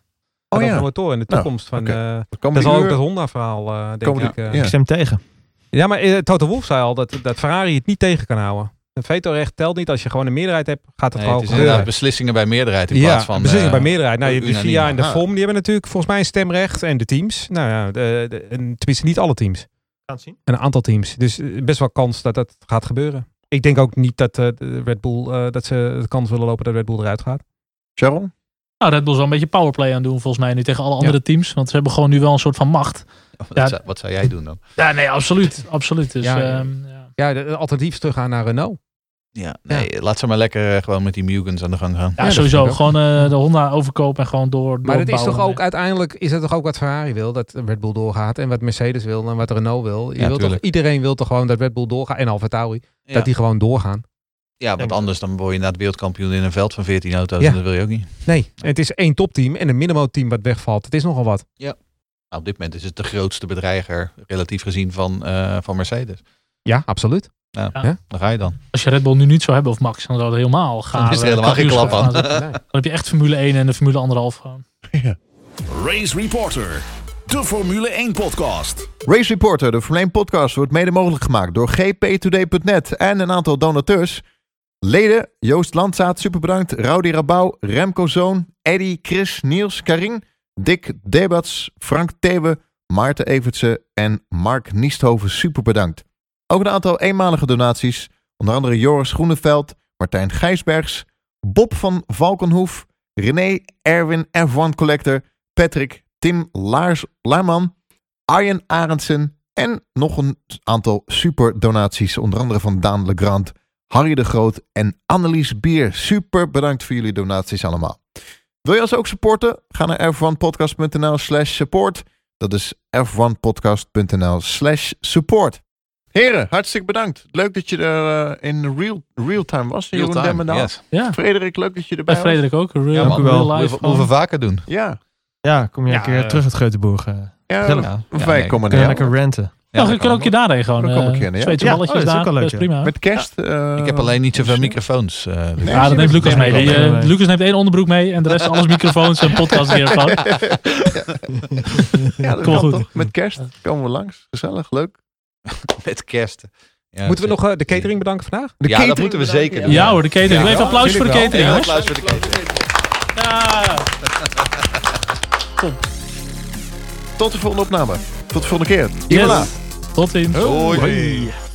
[SPEAKER 4] Over de
[SPEAKER 1] ja,
[SPEAKER 4] motoren en de
[SPEAKER 1] Nou,
[SPEAKER 4] toekomst
[SPEAKER 1] oké.
[SPEAKER 4] van... eh,
[SPEAKER 1] dat kan
[SPEAKER 4] Dat is al ook
[SPEAKER 1] uur.
[SPEAKER 4] dat Honda-verhaal, eh, denk
[SPEAKER 1] Komen-
[SPEAKER 4] ik. eh.
[SPEAKER 1] ja.
[SPEAKER 5] Ik stem tegen.
[SPEAKER 4] Ja, maar eh, Toto Wolff zei al dat, dat Ferrari het niet tegen kan houden. Een vetorecht telt niet. Als je gewoon een meerderheid hebt, gaat het
[SPEAKER 6] Nee, het
[SPEAKER 4] gewoon
[SPEAKER 6] is
[SPEAKER 4] gebeuren.
[SPEAKER 6] inderdaad beslissingen bij meerderheid in plaats van...
[SPEAKER 4] beslissing
[SPEAKER 6] eh,
[SPEAKER 4] bij meerderheid. Nou, de
[SPEAKER 6] unaniem.
[SPEAKER 4] VIA en de
[SPEAKER 1] Ah.
[SPEAKER 4] FOM die hebben natuurlijk volgens mij een stemrecht. En de teams. Nou ja, de, de- en tenminste niet alle teams.
[SPEAKER 5] gaan het zien.
[SPEAKER 4] Een aantal teams. Dus eh, best wel kans dat dat gaat gebeuren. Ik denk ook niet dat eh, de Red Bull, eh, dat ze de kans willen lopen dat Red Bull eruit gaat.
[SPEAKER 1] Sharon?
[SPEAKER 3] Nou, Red Bull zal een beetje powerplay aan doen volgens mij nu tegen alle andere teams. Want ze hebben gewoon nu wel een soort van macht.
[SPEAKER 6] Wat,
[SPEAKER 3] Ja.
[SPEAKER 6] zou, wat zou jij doen dan?
[SPEAKER 3] Ja, nee, absoluut. absoluut. Dus,
[SPEAKER 4] Ja, ja.
[SPEAKER 3] ehm, ja.
[SPEAKER 4] Ja, de, de alternatief is teruggaan naar Renault.
[SPEAKER 6] Ja, nee, laat ze maar lekker eh, gewoon met die Mugens aan de gang gaan.
[SPEAKER 3] Ja,
[SPEAKER 4] Ja, dat
[SPEAKER 3] sowieso.
[SPEAKER 4] vind ik ook.
[SPEAKER 3] Gewoon eh, de Honda overkopen en gewoon door.
[SPEAKER 4] Maar dat is
[SPEAKER 3] doorbouwen.
[SPEAKER 4] toch ook uiteindelijk, is dat toch ook wat Ferrari wil, dat Red Bull doorgaat. En wat Mercedes wil en wat Renault wil. Je
[SPEAKER 6] Ja,
[SPEAKER 4] wilt toch,
[SPEAKER 6] tuurlijk.
[SPEAKER 4] iedereen wil toch gewoon dat Red Bull doorgaat en Alfa Tauri.
[SPEAKER 6] Ja.
[SPEAKER 4] Dat die gewoon doorgaan.
[SPEAKER 6] Ja, want anders dan word je inderdaad wereldkampioen in een veld van 14 auto's.
[SPEAKER 4] Ja.
[SPEAKER 6] En dat wil je ook niet.
[SPEAKER 4] Nee, het is één topteam en een minimo team wat wegvalt. Het is nogal wat.
[SPEAKER 6] Nou, op dit moment is het de grootste bedreiger, relatief gezien, van, eh, van Mercedes.
[SPEAKER 4] Ja, absoluut.
[SPEAKER 6] Daar ga je dan.
[SPEAKER 3] Als je Red Bull nu niet zou hebben of Max, dan zou het helemaal gaan. eh,
[SPEAKER 6] is er helemaal geen klap aan.
[SPEAKER 3] Dan
[SPEAKER 4] Nee.
[SPEAKER 3] heb je echt Formule 1 en de Formule 1,5 gewoon.
[SPEAKER 2] Race Reporter, de Formule 1 podcast.
[SPEAKER 1] Race Reporter, de Formule 1 podcast, wordt mede mogelijk gemaakt door gptoday.net en een aantal donateurs. Leden Joost Landzaat, super bedankt. Rowdy Rabouw, Remco Zoon, Eddy, Chris, Niels, Karin, Dick Debats, Frank Thewe, Maarten Evertse en Mark Niesthoven, super bedankt. Ook een aantal eenmalige donaties, onder andere Joris Groeneveld, Martijn Gijsbergs, Bob van Valkenhoef, René, Erwin, F1 Collector, Patrick, Tim Laars, Laarman, Arjen Arendsen en nog een aantal superdonaties. Onder andere van Daan Legrand, Harry de Groot en Annelies Bier. Super bedankt voor jullie donaties allemaal. Wil je ons ook supporten? Ga naar f1podcast.nl slash support. Dat is f1podcast.nl slash support. Heren, hartstikke bedankt. Leuk dat je er eh, in real, real time was. Jeroen
[SPEAKER 6] Real time,
[SPEAKER 1] Demmendaal.
[SPEAKER 6] yes.
[SPEAKER 3] Ja,
[SPEAKER 1] Frederik, leuk dat je
[SPEAKER 3] bij
[SPEAKER 1] erbij was.
[SPEAKER 3] Frederik ook. Real,
[SPEAKER 6] Ja, man.
[SPEAKER 3] real
[SPEAKER 6] Moeten
[SPEAKER 3] life.
[SPEAKER 6] we- moeten we
[SPEAKER 3] gewoon.
[SPEAKER 6] vaker doen.
[SPEAKER 1] Ja,
[SPEAKER 5] Ja, kom je een keer
[SPEAKER 4] eh,
[SPEAKER 5] terug uit Geutenburg. eh. kunnen
[SPEAKER 1] ja,
[SPEAKER 5] Gezellig.
[SPEAKER 6] Ja, ja,
[SPEAKER 1] wij
[SPEAKER 6] nee.
[SPEAKER 1] komen
[SPEAKER 5] we
[SPEAKER 1] naar jou.
[SPEAKER 5] lekker ranten.
[SPEAKER 6] Ja,
[SPEAKER 3] Ja,
[SPEAKER 6] dat
[SPEAKER 3] dan kan
[SPEAKER 6] kan
[SPEAKER 3] ook je daarheen gewoon.
[SPEAKER 1] Dan
[SPEAKER 3] Dan
[SPEAKER 1] kom
[SPEAKER 3] kom
[SPEAKER 1] ik in, ja.
[SPEAKER 3] eh, Zweedse
[SPEAKER 5] Ja,
[SPEAKER 3] balletjes
[SPEAKER 5] oh, dat is ook
[SPEAKER 3] daar.
[SPEAKER 5] wel leuk,
[SPEAKER 3] best
[SPEAKER 5] ja.
[SPEAKER 3] prima.
[SPEAKER 1] Met kerst. eh,
[SPEAKER 6] Ik heb alleen niet zoveel microfoons. eh, dus-
[SPEAKER 1] Nee.
[SPEAKER 3] Ja, dat neemt Lucas mee.
[SPEAKER 5] Ja,
[SPEAKER 3] Die,
[SPEAKER 5] dat
[SPEAKER 3] eh,
[SPEAKER 5] nemen wij.
[SPEAKER 3] Lucas neemt één onderbroek mee en de rest alles microfoons en podcastmicrofoon.
[SPEAKER 1] Ja, dat
[SPEAKER 3] Kom
[SPEAKER 1] kan
[SPEAKER 3] goed.
[SPEAKER 1] toch? Met kerst komen we langs. Gezellig, leuk.
[SPEAKER 6] Met kerst. Ja,
[SPEAKER 4] Moeten we
[SPEAKER 6] dat-
[SPEAKER 4] nog eh, de catering bedanken vandaag?
[SPEAKER 1] De
[SPEAKER 6] ja,
[SPEAKER 1] catering
[SPEAKER 6] dat moeten we
[SPEAKER 1] bedankt.
[SPEAKER 6] zeker doen.
[SPEAKER 3] Ja hoor, de catering.
[SPEAKER 6] Ja.
[SPEAKER 3] Even applaus voor de
[SPEAKER 4] Jullie wel.
[SPEAKER 3] catering,
[SPEAKER 6] Ja,
[SPEAKER 3] jongens.
[SPEAKER 6] applaus voor de catering.
[SPEAKER 3] Ja.
[SPEAKER 1] Tot de volgende opname. Tot de volgende keer.
[SPEAKER 3] Yes.
[SPEAKER 1] Jawel.
[SPEAKER 3] Tot ziens.
[SPEAKER 6] Hoi.
[SPEAKER 1] Hoi.